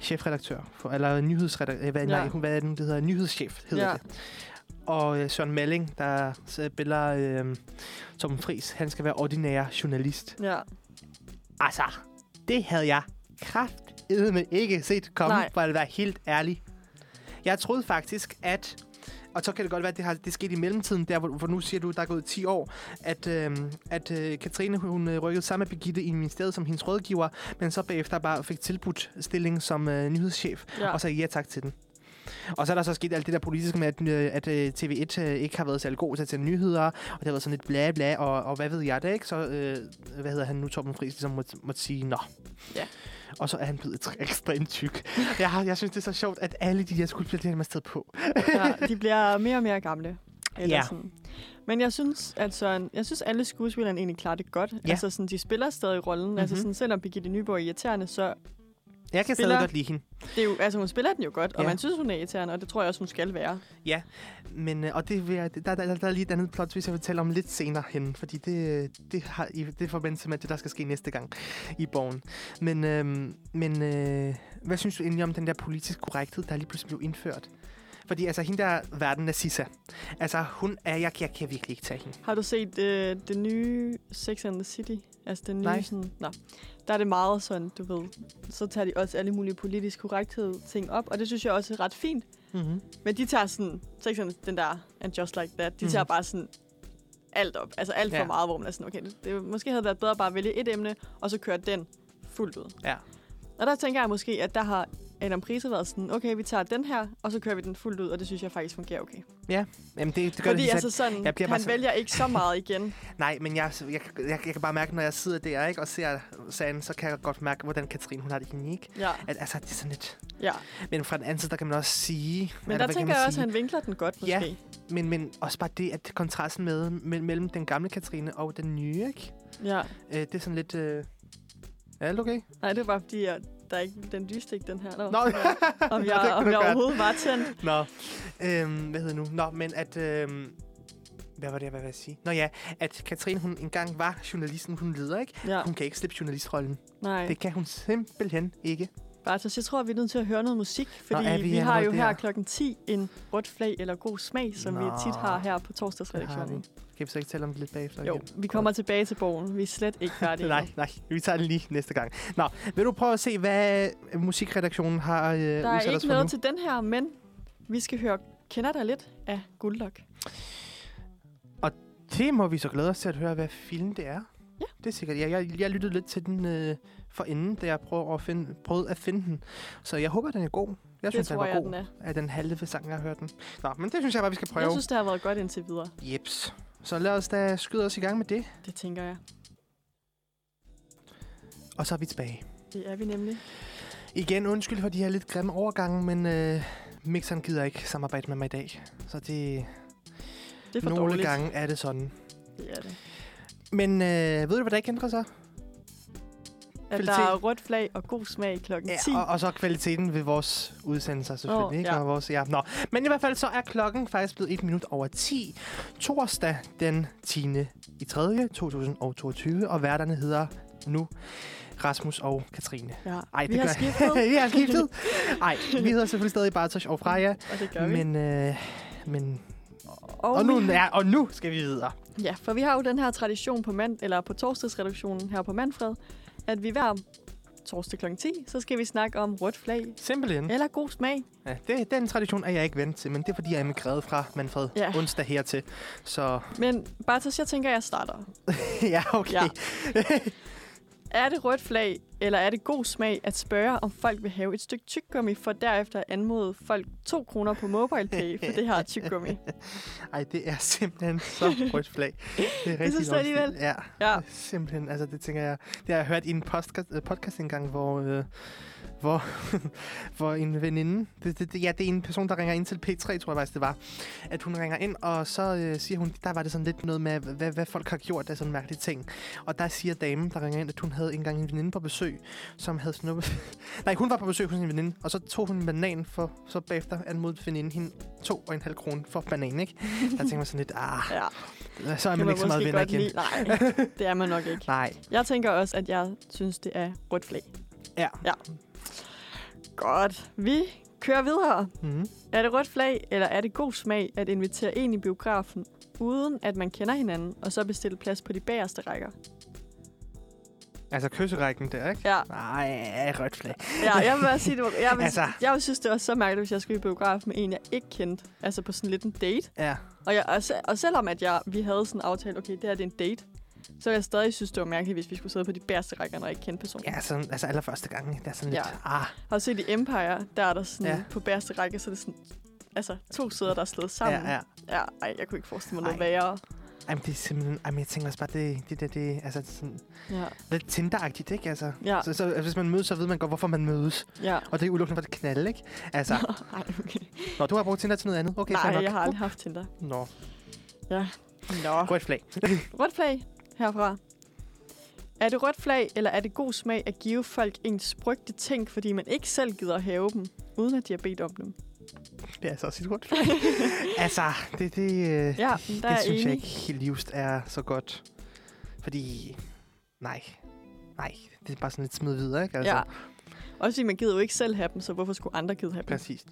A: chefredaktør, for, eller nyhedsredaktør, øh, hvad, ja. nej,
B: Ja.
A: hun, hvad er det, nu, det hedder, nyhedschef, hedder ja.
B: Ja.
A: det. Og øh, Søren Malling, der spiller øh, Tom Fris, han skal være ordinær journalist.
B: Ja.
A: Altså, det havde jeg kraftedeme ikke set komme,
B: Nej.
A: for at være helt ærlig. Jeg troede faktisk, at... Og så kan det godt være, at det, har, det skete i mellemtiden, der hvor, hvor nu siger du, der er gået 10 år, at, øh, at øh, Katrine hun øh, rykkede sammen med Birgitte i ministeriet som hendes rådgiver, men så bagefter bare fik tilbudt stilling som øh, nyhedschef,
B: Ja.
A: ja. og så ja tak til den. Og så er der så sket alt det der politiske med, at, øh, at øh, TV1 øh, ikke har været særlig god til at sende nyheder, og det har været sådan lidt bla bla, og, og hvad ved jeg da, ikke? Så, øh, hvad hedder han nu, Torben Friis, ligesom måtte, måtte sige, nå.
B: Ja.
A: Og så er han blevet tr- ekstremt tyk. Jeg, har, jeg synes, det er så sjovt, at alle de her skuespillere, de har man sted på.
B: ja, de bliver mere og mere gamle. Eller
A: Ja.
B: ja. sådan. Men jeg synes, at Søren, jeg synes, alle skuespillerne egentlig klarer det godt.
A: Ja.
B: Ja. Altså, sådan, de spiller stadig rollen. Mm-hmm. Altså,
A: Mhm.
B: sådan, selvom Birgitte Nyborg er irriterende, så
A: Jeg kan stadig
B: Spiller.
A: godt lide hende.
B: det er jo, altså, hun spiller den jo godt, og
A: Ja.
B: man synes, hun er irriterende, og det tror jeg også, hun skal være.
A: Men, øh, og det vil jeg, der, der, der, der er lige et andet plot, hvis jeg vil tale om lidt senere hen, fordi det, øh, det har i det er i forbindelse med det, der skal ske næste gang i borgen. Men, øh, men øh, hvad synes du egentlig om den der politisk korrekthed, der lige pludselig blev indført? Fordi altså, hende der verden er Sissa. Altså, hun er, jeg, jeg kan virkelig ikke tage hende.
B: Har du set øh, det nye Sex and the City? Altså den nye
A: Nej.
B: sådan... Nå. Der er det meget sådan, du ved. Så tager de også alle mulige politisk korrekthed ting op, og det synes jeg også er ret fint.
A: Mm-hmm.
B: Men de tager sådan, for eksempel den der And Just Like That, de
A: Mhm.
B: tager bare sådan alt op. Altså alt for
A: Ja.
B: meget, hvor man er sådan, okay, det, det, måske havde været bedre bare at vælge et emne, og så køre den fuldt ud.
A: Ja.
B: Og der tænker jeg måske, at der har Adam Prise været sådan, okay, vi tager den her, og så kører vi den fuldt ud, og det synes jeg faktisk fungerer okay.
A: Jamen, det, det gør
B: Fordi
A: det
B: altså sådan,
A: Jeg bliver bare
B: han
A: så-
B: vælger ikke så meget igen.
A: Nej, men jeg, jeg, jeg, jeg, kan bare mærke, når jeg sidder der ikke, og ser sagen, så kan jeg godt mærke, hvordan Katrine hun har det i hende, ikke?
B: Ja,
A: At, altså, det er sådan lidt...
B: ja.
A: Men fra den anden side, der kan man også sige...
B: Men
A: eller hvad
B: der
A: kan
B: tænker
A: man
B: jeg også,
A: sige?
B: at han vinkler den godt, måske.
A: Ja.
B: Ja.
A: Men, men også bare det, at kontrasten med, me- mellem den gamle Katrine og den nye, ikke?
B: ja.
A: Øh, det er sådan lidt... Øh... Er alt okay?
B: Nej, det var bare fordi, at der er ikke den lyste ikke den her. Nå,
A: Nå,
B: om
A: Nå, det
B: jeg, om
A: kunne du
B: jeg
A: godt.
B: overhovedet var tændt.
A: Nå. Øhm, hvad hedder det nu? Nå, men at... Øhm... Hvad var det, jeg var ved at sige? Nå ja, at Katrine, hun engang var journalisten, hun leder, ikke?
B: Ja,
A: Hun kan ikke slippe journalistrollen.
B: nej.
A: Det kan hun simpelthen ikke.
B: Bartos, jeg tror, vi er nødt til at høre noget musik, fordi
A: er
B: Nå,
A: vi
B: vi, vi har jo
A: allerede
B: her
A: der?
B: klokken 10 en rødt flag eller god smag, som Nå. vi
A: Nå.
B: tit har her på
A: Det har
B: torsdagsredaktionen.
A: vi. Kan vi så ikke tale om det lidt bagefter?
B: Jo,
A: igen?
B: vi kommer tilbage til bogen. Vi er slet ikke færdige.
A: Nej,
B: endnu.
A: nej. Vi tager den lige næste gang. Nå, vil du prøve at se, hvad musikredaktionen har øh,
B: Der er
A: udsat os
B: ikke
A: for
B: noget
A: nu?
B: til den her, men vi skal høre Kender dig lidt af Guldlok.
A: Det må vi så glæde os til at høre, hvad film det er.
B: Ja.
A: Det er sikkert. Jeg, jeg, jeg lyttede lidt til den øh, for inden, da jeg prøver at finde, prøvede at finde den. Så jeg håber, den er god. Jeg
B: Det
A: synes, den
B: tror
A: var
B: jeg,
A: god.
B: den er.
A: Af den halve sang, jeg har hørt den. Nå, men det synes jeg bare, vi skal prøve.
B: Jeg synes, det har været godt indtil videre.
A: Jeps. Så lad os da skyde os i gang med det.
B: Det tænker jeg.
A: Og så er vi tilbage.
B: Det er vi nemlig.
A: Igen, undskyld for de her lidt grimme overgange, men øh, mixeren gider ikke samarbejde med mig i dag. Så det,
B: Det er for
A: nogle
B: dårligt.
A: gange er det sådan.
B: Det er det.
A: Men øh, ved du, hvad der ikke ændrer sig?
B: At
A: Kvalitet.
B: der er rødt flag og god smag klokken 10.
A: Ja, og, og så kvaliteten ved vores udsendelser selvfølgelig.
B: Åh,
A: Oh, ikke?
B: ja.
A: Og vores, ja. Nå. Men i hvert fald så er klokken faktisk blevet 1 minut over 10. Torsdag den 10. i 3. 2022. Og værterne hedder nu Rasmus og Katrine.
B: Ja.
A: Ej,
B: vi
A: det
B: har
A: gør-
B: skiftet,
A: Vi har skiftet.Ej, vi hedder selvfølgelig stadig Bartosz og Freja.
B: og det gør vi.
A: Men, øh, men,
B: og,
A: og, nu,
B: vi-
A: ja, og nu skal vi videre.
B: Ja, for vi har jo den her tradition på mand, eller på torsdagsreduktionen her på Manfred, at vi hver torsdag kl. 10, så skal vi snakke om rødt flag
A: Mm. Simpelthen.
B: eller god smag.
A: Ja, det, den tradition er jeg ikke vant til, men det er, fordi jeg er emigreret fra Manfred
B: Ja.
A: onsdag hertil. Så
B: Men Bartos, jeg tænker, jeg starter.
A: ja, okay.
B: Ja.
A: Ja.
B: Er det rødt flag, eller er det god smag at spørge, om folk vil have et stykke tyggegummi, for derefter at anmode folk 2 kroner på MobilePay for det her tyggegummi?
A: Ej, det er simpelthen så rødt flag. Det er rigtig
B: synes du
A: dårligt.
B: alligevel?
A: Ja,
B: Ja,
A: simpelthen. Altså, det tænker jeg... Det har jeg hørt i en podcast, øh, podcast engang, hvor... Øh, hvor, hvor en veninde... Det, det, det, ja, det er en person, der ringer ind til P3, tror jeg faktisk, det var. At hun ringer ind, og så øh, siger hun... Der var det sådan lidt noget med, hvad, hvad folk har gjort af sådan mærkelige ting. Og der siger damen, der ringer ind, at hun havde engang en veninde på besøg, som havde snuppet... Nej, hun var på besøg hos en veninde, og så tog hun en banan for... Så bagefter anmodede veninden hende to og en halv krone for bananen, ikke? Der tænker man sådan lidt, ah,
B: ja.
A: så er man ikke så meget venner igen.
B: lide. Nej, det er man nok ikke.
A: Nej.
B: Jeg tænker også, at jeg synes, det er rødt flag.
A: Ja.
B: ja. Godt. Vi kører videre.
A: Mm.
B: Er det rødt flag, eller er det god smag at invitere en i biografen, uden at man kender hinanden, og så bestille plads på de bagerste rækker?
A: Altså kysserækken der, ikke?
B: Ja,
A: Nej, rødt flag.
B: ja jeg vil bare sige, det var, jeg, vil, altså.
A: Altså.
B: jeg vil synes, det var så mærkeligt, hvis jeg skulle i biografen med en, jeg ikke kendte. Altså på sådan lidt en date.
A: Ja.
B: Og, jeg, og, se, og selvom at jeg, vi havde sådan en aftale, okay, det her det er en date, så ville jeg stadig synes, det var mærkeligt, hvis vi skulle sidde på de bagerste rækker, når jeg ikke kendte personen.
A: Ja, sådan, altså allerførste gang, det er sådan
B: Ja.
A: lidt, ah,
B: Har du set i Empire, der er der sådan, ja.
A: Ja.
B: på bagerste række, så er det sådan, altså to sæder, der er slået sammen.
A: ja, ja.
B: ja ej, jeg kunne ikke forestille mig noget
A: Ej.
B: værre.
A: Jamen, det er simpelthen, jamen, jeg tænker også bare, det, det der, det, altså sådan
B: Ja,
A: lidt Tinder-agtigt, ikke? Altså,
B: ja,
A: så, så, hvis man mødes, så ved man godt, hvorfor man mødes.
B: ja.
A: Og det er udelukkende for at knalde, ikke? Altså,
B: Ej, okay.
A: når du har brugt Tinder til noget andet, okay,
B: Nej,
A: fair nok.
B: jeg har aldrig haft Tinder.
A: Nå,
B: Nå.
A: rødt flag.
B: Rødt flag herfra. Er det rødt flag, eller er det god smag at give folk en sprygte ting, fordi man ikke selv gider at have dem, uden at de har bedt om dem?
A: det er altså også et rødt flag. altså, det, det, øh,
B: Ja, men der
A: det
B: er
A: synes
B: enig.
A: jeg ikke livst er så godt. Fordi, nej, nej, det er bare sådan lidt smid videre, ikke? Altså,
B: Ja. Også fordi man gider jo ikke selv have dem, så hvorfor skulle andre gide have dem?
A: Præcis.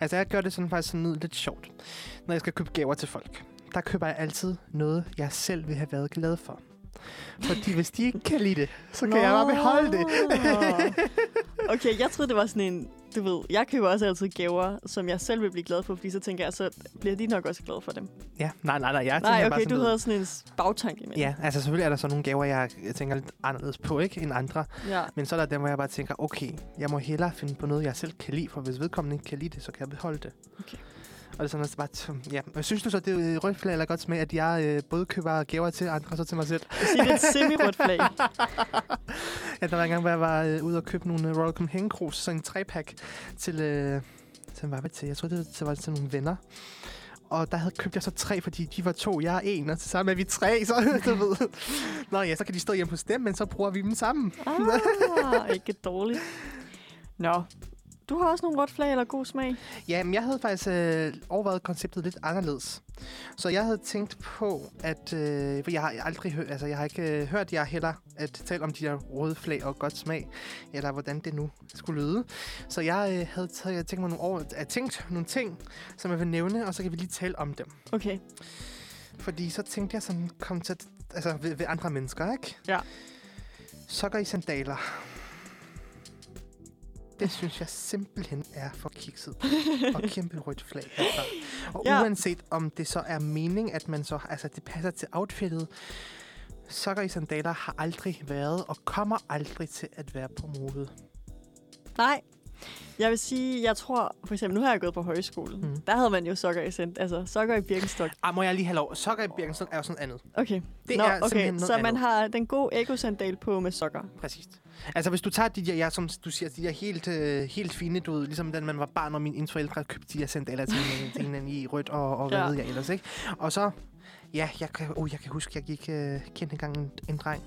A: Altså, jeg gør det sådan faktisk sådan noget lidt sjovt. Når jeg skal købe gaver til folk, der køber jeg altid noget, jeg selv vil have været glad for. Fordi hvis de ikke kan lide det, så kan Nå. jeg bare beholde det.
B: Nå. okay, jeg troede, det var sådan en... Du ved, jeg køber også altid gaver, som jeg selv vil blive glad for, fordi så tænker jeg, så bliver de nok også glade for dem.
A: Ja, nej, nej, nej. Jeg tænker
B: Nej,
A: bare
B: okay,
A: sådan
B: du
A: noget.
B: havde sådan en s- bagtanke med.
A: Ja, altså selvfølgelig er der så nogle gaver, jeg jeg tænker lidt anderledes på, ikke, end andre.
B: ja.
A: Men så er der dem, hvor jeg bare tænker, okay, jeg må hellere finde på noget, jeg selv kan lide, for hvis vedkommende ikke kan lide det, så kan jeg beholde det.
B: Okay.
A: Og det er sådan, at bare, t- ja. Men Synes du så, det er øh, rødt flag eller godt smag, at jeg øh, både køber gaver til andre og så til mig selv?
B: Jeg siger, det er et semi-rødt flag.
A: Ja, der var engang, hvor jeg var øh, ude og købe nogle øh, Royal Copenhagen Cruise, sådan en trepack til, øh, til, hvad var det til? Jeg tror, det var, det var til nogle venner. Og der havde købt jeg så tre, fordi de var to, jeg er en, og så sammen er vi tre, så du ved. Nå ja, så kan de stå hjemme hos dem, men så bruger vi dem sammen.
B: Ah, ikke dårligt. Nå, du har også nogle rødt flag eller god smag.
A: Ja, men jeg havde faktisk øh, overvejet konceptet lidt anderledes. Så jeg havde tænkt på, at... Øh, for jeg har aldrig hørt... Altså, jeg har ikke øh, hørt jer heller at tale om de der røde flag og godt smag, eller hvordan det nu skulle lyde. Så jeg øh, havde taget, jeg tænkt, mig nogle over, at tænkt nogle ting, som jeg vil nævne, og så kan vi lige tale om dem.
B: Okay,
A: Fordi så tænkte jeg sådan, kom til, at- altså ved, ved andre mennesker, ikke?
B: Ja.
A: Sokker i sandaler. Det synes jeg simpelthen er for kikset. Og kæmpe rødt flag herfra. Og
B: Ja.
A: ja. uanset om det så er mening, at man så, altså det passer til outfittet, sokker i sandaler har aldrig været og kommer aldrig til at være på mode.
B: nej. Jeg vil sige, jeg tror, for eksempel, nu har jeg gået på højskole. Mm.
A: Mhm.
B: Der havde man jo sokker i sendt, altså sokker i birkenstok.
A: Ah, må jeg lige have lov? Sokker i Birkenstock er jo sådan andet.
B: Okay,
A: Det
B: Nå,
A: er
B: okay.
A: simpelthen noget
B: så man
A: andet.
B: har den gode ekosandal på med sokker.
A: Præcis. Altså, hvis du tager de der, ja, som du siger, de der helt, øh, helt fine, du ved, ligesom da man var barn, og mine ens forældre købte de der sandaler til hinanden, til hinanden i rødt og, og hvad
B: Ja.
A: ja. ved jeg ellers, ikke? Og så, ja, jeg kan, oh, jeg kan huske, jeg gik, øh, kendte engang en, en dreng.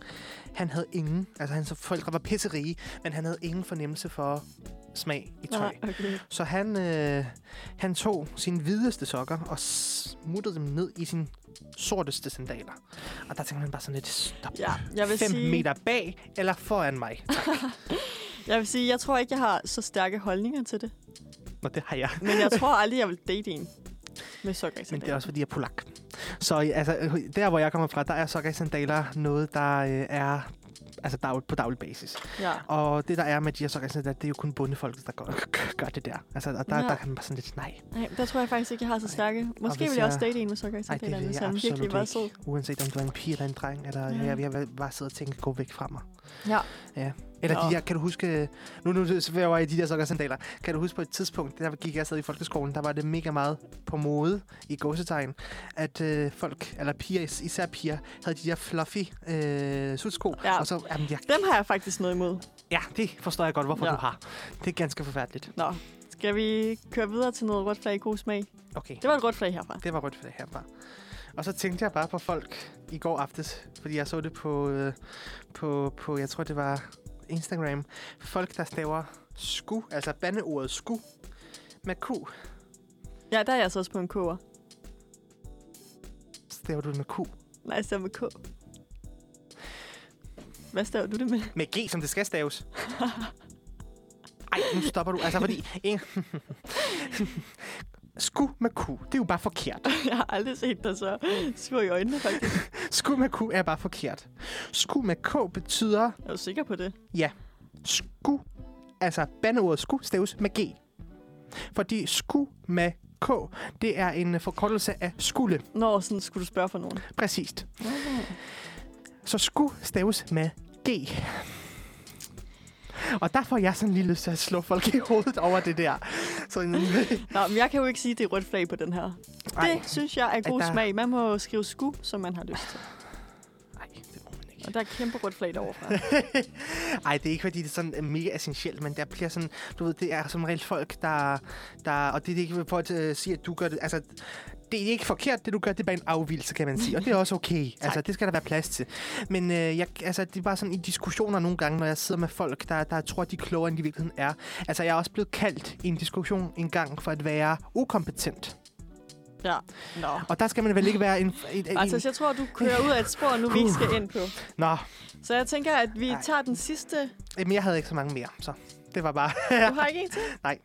A: Han havde ingen, altså hans forældre var pisserige, men han havde ingen fornemmelse for smag i tøj.
B: Nej, okay.
A: Så han, øh, han tog sine hvideste sokker og smuttede dem ned i sine sorteste sandaler. Og der tænkte man bare sådan lidt, stop.
B: Ja, jeg vil
A: 5
B: sige-
A: meter bag eller foran mig.
B: Jeg vil sige, jeg tror ikke, jeg har så stærke holdninger til det.
A: Nå, det har jeg.
B: Men jeg tror aldrig, jeg vil date en med sokker i
A: Men
B: sandaler.
A: det er også, fordi jeg er polak. Så øh, altså, øh, der, hvor jeg kommer fra, der er sokker i sandaler noget, der øh, er altså dag, på daglig basis.
B: Ja.
A: Og det, der er med de her såkaldte, det er jo kun bundefolket, der gør, gør det der. Altså, og der,
B: Ja.
A: ja. der kan man bare sådan lidt, nej,
B: Nej, der tror jeg faktisk ikke, jeg har så stærke. Måske
A: hvis
B: ville jeg også
A: jeg-
B: date en med sokker i
A: Ej, det
B: sandalerne,
A: vil jeg
B: som virkelig
A: absolut
B: var
A: ikke.
B: sød.
A: uanset om du er en pige eller en dreng, eller
B: Ja.
A: ja. jeg, jeg vil bare sidde og tænke, gå væk fra mig.
B: Ja.
A: ja. Eller
B: Nå.
A: de der, kan du huske, nu, nu svæver jeg i de der sokker og sandaler, kan du huske på et tidspunkt, der gik jeg sad i folkeskolen, der var det mega meget på mode i gåsetegn, at øh, folk, eller piger, is- især piger, havde de der fluffy øh, sudsko,
B: Ja.
A: og så, jamen, jeg,
B: Dem har jeg faktisk noget imod.
A: ja, det forstår jeg godt, hvorfor
B: Ja.
A: ja. du har. Det er ganske forfærdeligt.
B: Nå, skal vi køre videre til noget rødt flag i god smag?
A: Okay.
B: Det var et rødt flag herfra.
A: Det var rødt flag herfra. Og så tænkte jeg bare på folk i går aftes, fordi jeg så det på, øh, på, på jeg tror det var Instagram. Folk, der staver sku, altså bandeordet sku, med Q.
B: Ja, der er jeg så også på en k'er.
A: Staver du det med Q?
B: Nej, jeg stemmer med k. Hvad staver du det med?
A: Med G, som det skal staves. Ej, nu stopper du. Altså, fordi... En... sku med Q, det er jo bare forkert.
B: Jeg har aldrig set dig så sur i øjnene, faktisk.
A: Sku med Q er bare forkert. Sku med K betyder
B: Er du sikker på det?
A: sku, altså bandeordet sku, staves med G. Fordi sku med K, det er en øh, forkortelse af skulle,
B: Nå, sådan skulle du spørge for nogen.
A: præcist. Så sku staves med G. Og der får jeg sådan lige lyst til at slå folk i hovedet over det der. Sådan,
B: Nå, men jeg kan jo ikke sige, at det er rødt flag på den her.
A: ej,
B: Det synes jeg er god
A: Ej, der-
B: smag. Man må skrive sku, som man har lyst til.
A: ej, det må man ikke.
B: Og der er kæmpe rødt flag derovre fra.
A: Ej, det er ikke, fordi det er sådan øh, mega essentielt, men der bliver sådan, du ved, det er som regel folk, der, der og det er det ikke for at øh, sige, at du gør det, altså, det er ikke forkert, det du gør, det er bare en afvielse, kan man sige, og det er også okay, altså, det skal der være plads til. Men øh, jeg, altså, det er bare sådan i diskussioner nogle gange, når jeg sidder med folk, der, der tror, de er klogere, end de i virkeligheden er. Altså, jeg er også blevet kaldt i en diskussion en gang for at være ukompetent,
B: Ja. Nå.
A: og der skal man vel ikke være en... en, en, en
B: Altså, jeg tror, du kører ud af et spor, nu vi ikke skal ind på.
A: nå,
B: Så jeg tænker, at vi
A: Ej.
B: tager den sidste.
A: jamen, jeg havde ikke så mange mere, så det var bare...
B: Du har ikke en til?
A: Nej.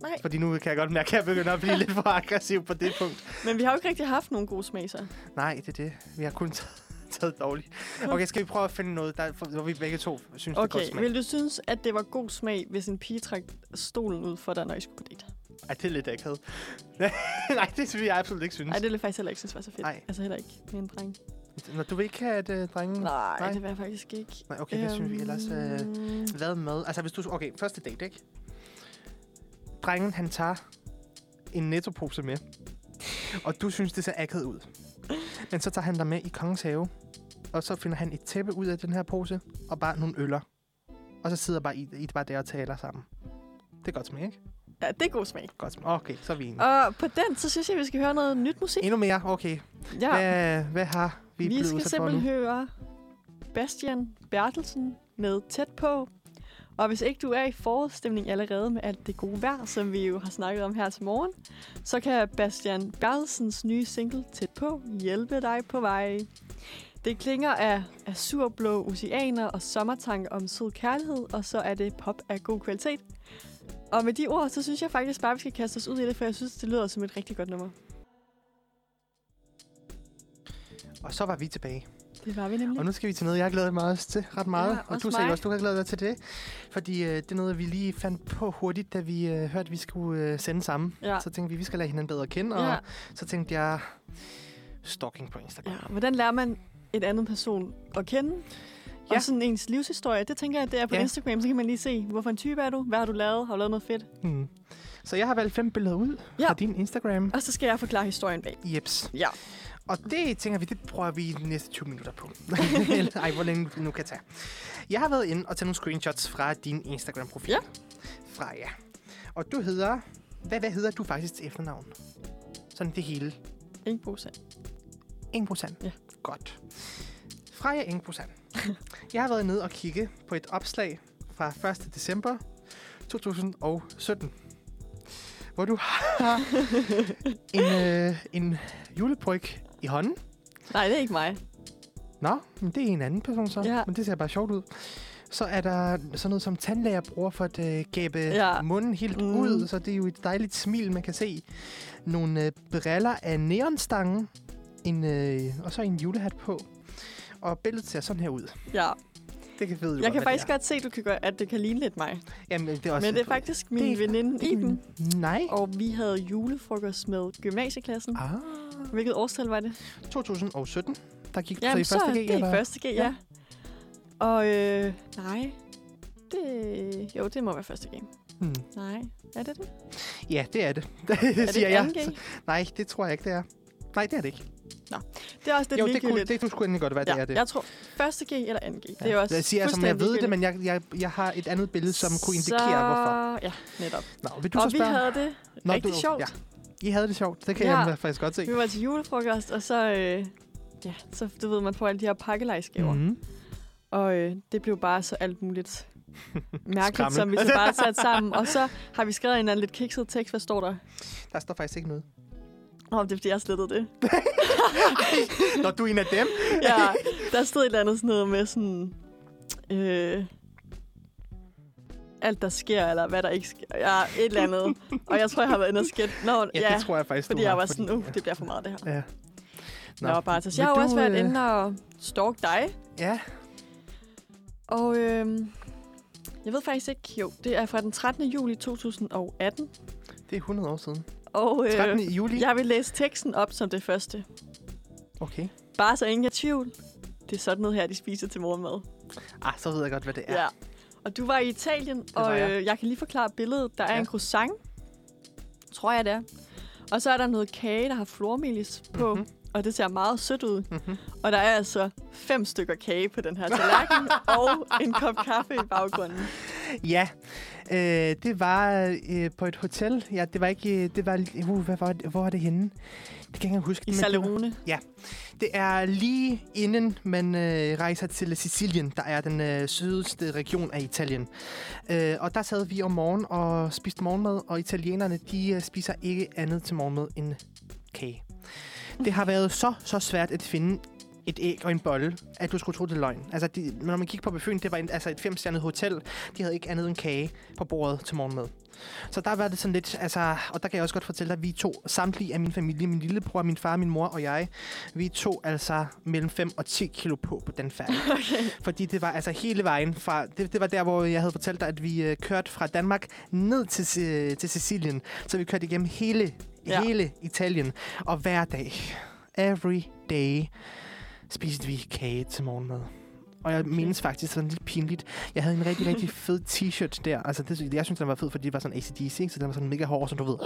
B: Nej,
A: Fordi nu kan jeg godt mærke, at jeg begynder at blive lidt for aggressiv på det punkt.
B: men vi har jo ikke rigtig haft nogen gode smag, så.
A: Nej, det er det. Vi har kun taget- taget dårligt. Okay, skal vi prøve at finde noget, der, hvor vi begge to synes, det er godt
B: Okay,
A: smag?
B: vil du synes, at det var god smag, hvis en pige trak stolen ud for dig, når I skulle på date?
A: Ej, det er lidt akavet. Nej, det synes jeg absolut ikke synes.
B: Nej, det ville jeg faktisk heller ikke synes var så fedt.
A: Nej.
B: Altså heller ikke med en dreng.
A: Nå, du vil ikke have, at uh, drengen...
B: Nej,
A: Nej.
B: det vil jeg faktisk ikke.
A: Nej, okay, det synes vi ellers... Uh,
B: Øhm,
A: hvad med? Altså, hvis du... Okay, første date, ikke? Drengen, han tager en nettopose med. Og du synes, det ser akavet ud. Men så tager han dig med i kongens have. Og så finder han et tæppe ud af den her pose. Og bare nogle øller. Og så sidder bare I, I bare der og taler sammen. Det er godt smag, ikke?
B: Ja, det er god smag.
A: Godt smag. Okay, så er vi enige.
B: Og på den, så synes jeg, vi skal høre noget nyt musik.
A: Endnu mere? Okay.
B: Ja,
A: Hvad, hvad har vi,
B: vi
A: blevet
B: skal
A: udsat for nu?
B: simpelthen høre Bastian Bertelsen med Tæt på. Og hvis ikke du er i forårsstemning allerede med alt det gode vejr, som vi jo har snakket om her til morgen, så kan Bastian Bertelsens nye single Tæt på hjælpe dig på vej. Det klinger af azurblå oceaner og sommertanke om sød kærlighed, og så er det pop af god kvalitet. Og med de ord, så synes jeg faktisk bare, vi skal kaste os ud i det, for jeg synes, det lyder som et rigtig godt nummer.
A: Og så var vi tilbage.
B: Det var vi nemlig.
A: Og nu skal vi til noget, jeg har glædet mig også til ret meget.
B: Ja,
A: Ja, og
B: også
A: du sagde
B: mig.
A: også, du har glædet dig til det. Fordi øh, det er noget, vi lige fandt på hurtigt, da vi øh, hørte, at vi skulle øh, sende sammen.
B: Ja.
A: Så tænkte vi, vi skal lade hinanden bedre at kende. Og
B: Ja.
A: så tænkte jeg, stalking på Instagram.
B: Ja, hvordan lærer man en anden person at kende? Ja.
A: Ja.
B: Og sådan ens livshistorie, det tænker jeg, det er på ja.
A: Ja.
B: Instagram, så kan man lige se, hvorfor en type er du, hvad har du lavet, har du lavet noget fedt?
A: Ja. Hmm. Så jeg har valgt fem billeder ud
B: Ja.
A: ja. fra din Instagram.
B: Og så skal jeg forklare historien bag.
A: Jeps.
B: Ja.
A: Og det tænker vi, det bruger vi de næste 20 minutter på. Eller, Ej, hvor længe det nu kan tage. Jeg har været inde og taget nogle screenshots fra din Instagram-profil.
B: Ja.
A: Freja. Og du hedder... Hvad, hvad hedder du faktisk til efternavn? Sådan det hele.
B: Ingebrugsen.
A: 1%?
B: Ja.
A: Godt. Freja 1%. Jeg har været nede og kigge på et opslag fra 1. december 2017, hvor du har en, øh, en julebryg i hånden.
B: Nej, det er ikke mig.
A: Nå, men det er en anden person så,
B: Ja.
A: ja. men det ser bare sjovt ud. Så er der sådan noget, som tandlæger bruger for at øh, gabe
B: Ja.
A: ja. munden helt
B: Mm.
A: mm. ud, så det er jo et dejligt smil, man kan se. Nogle øh, briller af neonstange, en, øh, og så en julehat på. Og billedet ser sådan her ud.
B: Ja.
A: det kan ved du
B: Jeg kan
A: hvad
B: faktisk
A: det er.
B: godt se, du kan gøre, at det kan ligne lidt mig.
A: Jamen, det er også
B: Men det er
A: lidt-
B: faktisk
A: Det
B: min
A: er-
B: veninde Iben,
A: Nej.
B: og vi havde julefrokost med gymnasieklassen.
A: Ah,
B: Hvilket årstal var det?
A: 2017. Der gik du så i
B: Jamen, så,
A: første G,
B: det er
A: eller?
B: i første G, ja.
A: Ja.
B: ja. Og øh, nej, det, jo, det må være første G.
A: Hmm.
B: Nej, er det det?
A: Ja, det er det. det
B: Er det
A: siger jeg.
B: anden G?
A: Nej, det tror jeg ikke, det er. Nej, det er det ikke.
B: Det er også lidt
A: jo, det kunne,
B: ligegyldigt.
A: det, det skulle endelig godt være, det
B: ja,
A: er det.
B: Jeg tror, første G eller anden G. Det er også
A: jeg siger, altså, men jeg
B: fuldstændig
A: ved det,
B: ligegyldigt.
A: men jeg, jeg, jeg har et andet billede, som kunne indikere,
B: så...
A: hvorfor.
B: Ja, netop.
A: Nå, vil du
B: og
A: så
B: vi
A: spørge?
B: havde det
A: Nå,
B: rigtig
A: du-
B: sjovt.
A: Ja, I havde det sjovt. Det kan
B: Ja.
A: jeg faktisk godt se.
B: Vi var til julefrokost, og så, øh, ja, så du ved, man får alle de her pakkelejsgaver. Mm.
A: Mm.
B: Og øh, det blev bare så alt muligt mærkeligt,
A: Skræmmende.
B: som vi så bare satte sammen. Og så har vi skrevet en eller anden lidt kikset tekst. Hvad står der?
A: Der står faktisk ikke noget.
B: Åh, oh, det er fordi, jeg slettede det.
A: Når du er en af dem.
B: Ja, der stod et eller andet sådan noget med sådan... Øh, alt, der sker, eller hvad der ikke sker. Ja, et eller andet. og jeg tror, jeg har været inde og skætte. Nå, ja,
A: Ja, det tror jeg faktisk,
B: fordi
A: du har,
B: jeg var sådan, uh,
A: ja.
B: det bliver for meget, det her.
A: Ja.
B: Nå, Nå Bartas,
A: Vil
B: jeg har jo
A: du,
B: også været
A: øh,
B: inde og stalk dig.
A: Ja,
B: Og øhm, jeg ved faktisk ikke, jo, det er fra den 13. juli 2018.
A: det er 100 år siden.
B: Og
A: 13.
B: øh,
A: juli.
B: jeg vil læse teksten op som det første.
A: Okay.
B: Bare så ingen er i tvivl. Det er sådan noget her, de spiser til morgenmad.
A: Ah, så ved jeg godt, hvad det er.
B: Og du var i Italien,
A: var
B: og
A: jeg.
B: øh, jeg kan lige forklare billedet. Der er
A: Ja.
B: ja. en croissant, tror jeg det er. Og så er der noget kage, der har flormelis på,
A: Mhm.
B: mm-hmm. og det ser meget sødt ud.
A: Mhm.
B: Og der er altså fem stykker kage på den her tallerken, og en kop kaffe i baggrunden.
A: Ja, øh, det var øh, på et hotel. Ja, det var ikke... øh, Det var, uh, hvad var det, hvor er det henne? Det kan jeg ikke engang huske.
B: I
A: men det, var,
B: Salerone.
A: det er lige inden man øh, rejser til Sicilien, der er den øh, sydøstlige region af Italien. Øh, og der sad vi om morgenen og spiste morgenmad, og italienerne, de øh, spiser ikke andet til morgenmad end kage. Det har været så, så svært at finde et æg og en bolle, at du skulle tro, det er løgn. Altså, de, når man kigger på buffeten, det var en, altså et femstjernet hotel. De havde ikke andet end kage på bordet til morgenmad. Så der var det sådan lidt, altså, og der kan jeg også godt fortælle dig, at vi to, samtlige af min familie, min lillebror, min far, min mor og jeg, vi tog altså mellem 5 og 10 kilo på på den færge.
B: Okay.
A: Fordi det var altså hele vejen fra... Det, det var der, hvor jeg havde fortalt dig, at vi øh, kørte fra Danmark ned til, Si- til Sicilien. Så vi kørte igennem hele, ja.
B: Ja.
A: hele Italien. Og hver dag, every day, spiste vi kage til morgenmad. Og jeg mindes faktisk sådan lidt pinligt. Jeg havde en rigtig, rigtig fed t-shirt der. Altså, det, jeg synes, den var fed, fordi det var sådan ACDC, ikke? så den var sådan mega hård, som du ved.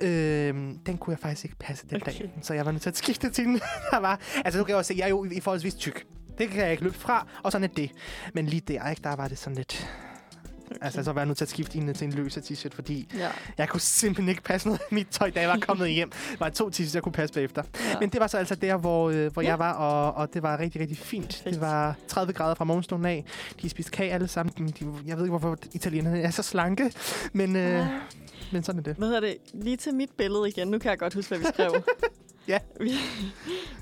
A: Øhm, den kunne jeg faktisk ikke passe den okay. dag.
B: Okay.
A: Så jeg var nødt til at skifte til en, der var... Altså, nu kan jeg også se, jeg er jo i forholdsvis tyk. Det kan jeg ikke løbe fra, og sådan er det. Men lige der, ikke, der var det sådan lidt... Okay. Altså, så var jeg nødt til at skifte en til en løser t-shirt, fordi
B: Ja.
A: jeg kunne simpelthen ikke passe noget af mit tøj, da jeg var kommet hjem. Der var to t-shirts, jeg kunne passe bagefter.
B: ja.
A: Men det var så altså der, hvor, øh, hvor ja.
B: Ja.
A: jeg var, og, og det var rigtig, rigtig fint.
B: Perfekt.
A: Det var 30 grader fra morgenstunden af. De spiste kage alle sammen. De, jeg ved ikke, hvorfor italienerne er så slanke, men, øh,
B: Ja.
A: men sådan er det.
B: Hvad hedder det? Lige til mit billede igen. Nu kan jeg godt huske, hvad vi skrev.
A: Ja.
B: Vi,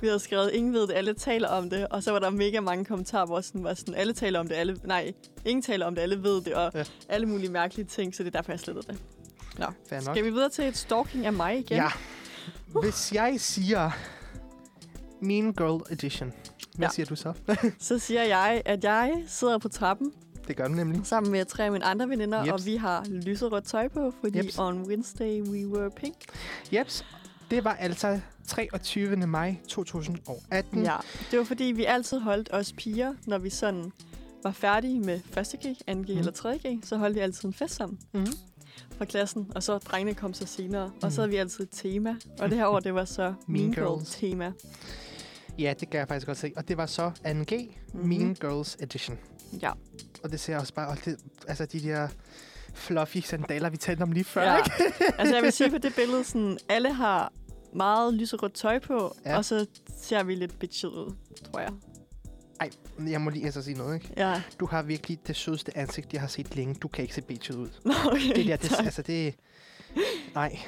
B: vi havde skrevet, ingen ved det, alle taler om det. Og så var der mega mange kommentarer, hvor sådan var sådan, alle taler om det, alle... Nej, ingen taler om det, alle ved det, og
A: Ja.
B: ja. alle mulige mærkelige ting. Så det er derfor, jeg slettede det. Nå.
A: Fair nok.
B: Skal vi videre til et stalking af mig igen?
A: Ja.
B: Uh.
A: Hvis jeg siger Mean Girl Edition, hvad ja.
B: Ja.
A: siger du så?
B: Så siger jeg, at jeg sidder på trappen
A: det gør den nemlig.
B: sammen med tre af mine andre veninder,
A: Jeps.
B: og vi har lyserødt tøj på, fordi
A: Jeps.
B: on Wednesday we were pink.
A: Jeps, det var altså 23. maj 2018.
B: Ja, det var fordi, vi altid holdt os piger, når vi sådan var færdige med 1.G, 2G mm. eller 3.G, så holdt vi altid en fest sammen
A: Mm-hmm.
B: fra klassen, og så drengene kom så senere, mm. og så havde vi altid et tema, og det her år, det var så
A: Mean
B: Mean Girl
A: Girls.
B: tema.
A: ja, det kan jeg faktisk godt se. Og det var så 2G Mean
B: Mhm.
A: Girls Edition.
B: Ja,
A: Og det ser også bare... Og det, altså, de der fluffy sandaler, vi talte om lige før,
B: ja.
A: ikke?
B: altså jeg vil sige på det billede, sådan, alle har meget lyserødt tøj på,
A: Ja.
B: ja. og så ser vi lidt bitchet ud, tror jeg.
A: Ej, jeg må lige altså sige noget, ikke?
B: Ja,
A: Du har virkelig det sødeste ansigt, jeg har set længe. Du kan ikke se bitchet ud.
B: Nå, okay.
A: Det der, det,
B: tak.
A: altså, det... Nej,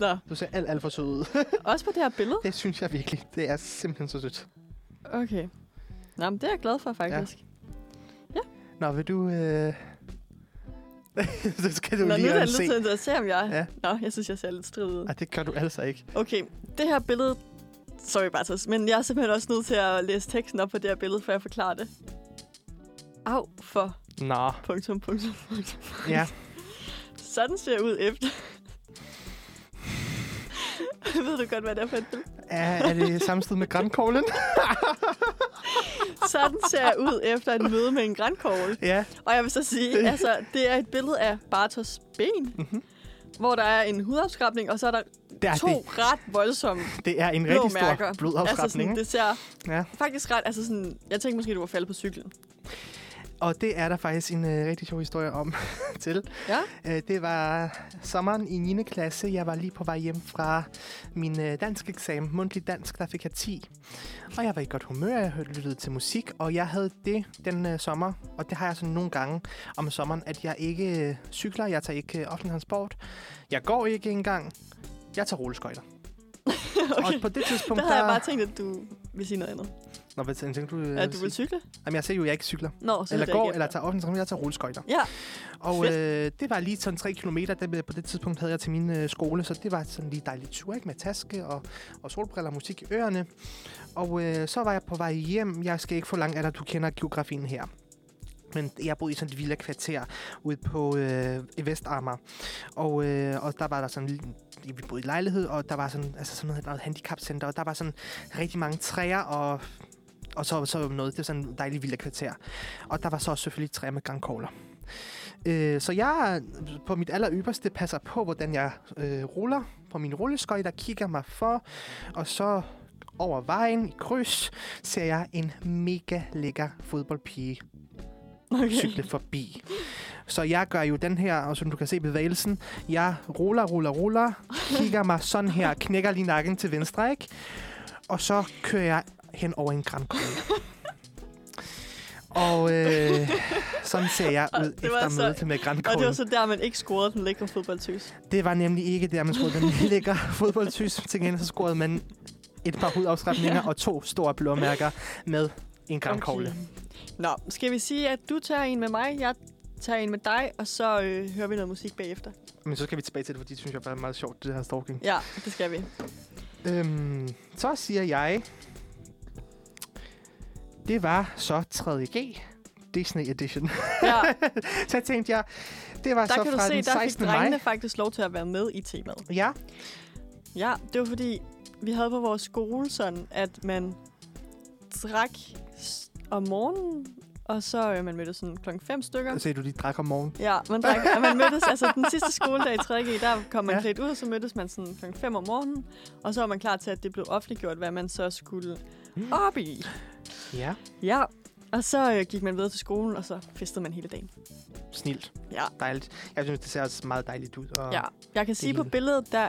B: Nå.
A: du ser alt, alt for sød ud.
B: Også på det her billede?
A: det synes jeg virkelig. Det er simpelthen så sødt.
B: Okay. Nå, men det er jeg glad for, faktisk.
A: Nå, vil du... Øh... så skal du
B: Nå, nu
A: lige
B: er jeg
A: øh,
B: lidt
A: se.
B: til at se, om jeg...
A: Ja.
B: Ja. Nå, jeg synes, jeg ser lidt strid ud.
A: Ej, det gør du altså ikke.
B: Okay, det her billede... Sorry, Bartos, men jeg er simpelthen også nødt til at læse teksten op på det her billede, før jeg forklarer det. Au for...
A: Nå,
B: Punktum, punktum, punktum.
A: ja.
B: Sådan ser jeg ud efter. Ved du godt, hvad det er for et billede?
A: Er, er det samtidig med grænkoglen?
B: Sådan ser jeg ud efter et møde med en grænkogl.
A: ja.
B: Og jeg vil så sige, altså, det er et billede af Bartos ben,
A: Mhm.
B: mm-hmm. hvor der er en hudafskrabning, og så er der
A: Det er,
B: to
A: det,
B: ret voldsomme
A: det er en
B: blå
A: rigtig stor
B: mærker. altså,
A: blodafskrabning.
B: sådan,
A: Altså
B: det ser
A: Ja.
B: ja. faktisk ret... Altså sådan, jeg tænkte måske, du var faldet på cyklen.
A: og det er der faktisk en øh, rigtig sjov historie om til.
B: Ja?
A: Øh, det var sommeren i 9. klasse. Jeg var lige på vej hjem fra min øh, dansk eksamen, mundtlig dansk, der fik jeg 10. Og jeg var i godt humør, jeg hørte lyttede til musik, og jeg havde det den øh, sommer, og det har jeg sådan nogle gange om sommeren, at jeg ikke øh, cykler, jeg tager ikke øh, offentlig transport, jeg går ikke engang, jeg tager rulleskøjter. okay. Og på det tidspunkt,
B: Der havde jeg
A: der...
B: bare tænkt, at du ville sige noget andet.
A: Nå, hvad tænkte du? Øh,
B: Ja, at du ville cykle?
A: Jamen, jeg ser jo, at jeg ikke cykler.
B: Nå, så
A: Eller
B: hørte jeg
A: går,
B: ikke
A: eller
B: efter.
A: tager offentlig transport, jeg tager rulleskøjter.
B: Ja,
A: Og
B: Fedt.
A: øh, det var lige sådan 3 km, det, øh, på det tidspunkt havde jeg til min øh, skole, så det var sådan lige dejlig tur, ikke? Med taske og, og solbriller og musik i ørerne. Og øh, så var jeg på vej hjem. Jeg skal ikke få langt af dig, du kender geografien her. Men jeg boede i sådan et villa kvarter ude på øh, i Vestamager. Og, øh, og der var der sådan en lille- vi boede i lejlighed, og der var sådan, altså sådan noget, noget handicapcenter, og der var sådan rigtig mange træer, og, og så, så noget, det var sådan en dejlig villa kvarter. Og der var så også selvfølgelig træer med grankogler. Øh, så jeg øh, på mit aller ypperste passer på, hvordan jeg øh, ruller på min rulleskøj, der kigger mig for, og så over vejen i kryds, ser jeg en mega lækker fodboldpige
B: okay.
A: cykle forbi. Så jeg gør jo den her, og som du kan se bevægelsen, jeg ruller, ruller, ruller, kigger mig sådan her, knækker lige nakken til venstre, ikke? Og så kører jeg hen over en grankogle. Og øh, sådan ser jeg
B: Og
A: ud
B: det var
A: efter
B: så-
A: mødet til med
B: Og det
A: grankoglen.
B: var så der, man ikke scorede den lækre fodboldtøs.
A: Det var nemlig ikke der, man scorede den lækker fodboldtys. Til gengæld så scorede man et par hudafstrapninger ja. og to store blåmærker med en grankogle.
B: Okay. Nå, skal vi sige, at du tager en med mig, jeg tager en med dig, og så øh, hører vi noget musik bagefter.
A: Men så skal vi tilbage til det, fordi det synes jeg bare er meget sjovt, det her stalking.
B: Ja, det skal vi.
A: Øhm, så siger jeg... Det var så 3.G Disney Edition.
B: Ja,
A: så tænkte jeg, det var
B: der
A: så
B: kan du
A: fra
B: se,
A: den
B: der fik
A: 16.
B: drengene
A: maj.
B: faktisk lov til at være med i temaet.
A: Ja,
B: Ja, det var fordi, vi havde på vores skole sådan, at man drak s- om morgenen, og så øh, man mødtes sådan klokken 5 stykker.
A: så du, de drak om morgenen.
B: Ja, man, drak, og man mødtes, altså den sidste skoledag i 3.G, der kom man
A: Ja.
B: ja. klædt ud, og så mødtes man sådan kl. 5 om morgenen, og så var man klar til, at det blev offentliggjort, hvad man så skulle
A: Mm.
B: op i.
A: Ja,
B: Ja, og så øh, gik man videre til skolen, og så festede man hele dagen.
A: snilt.
B: Ja.
A: Dejligt. Jeg synes, det ser også meget dejligt ud. Og
B: Ja, jeg kan sige, på
A: hele.
B: billedet, der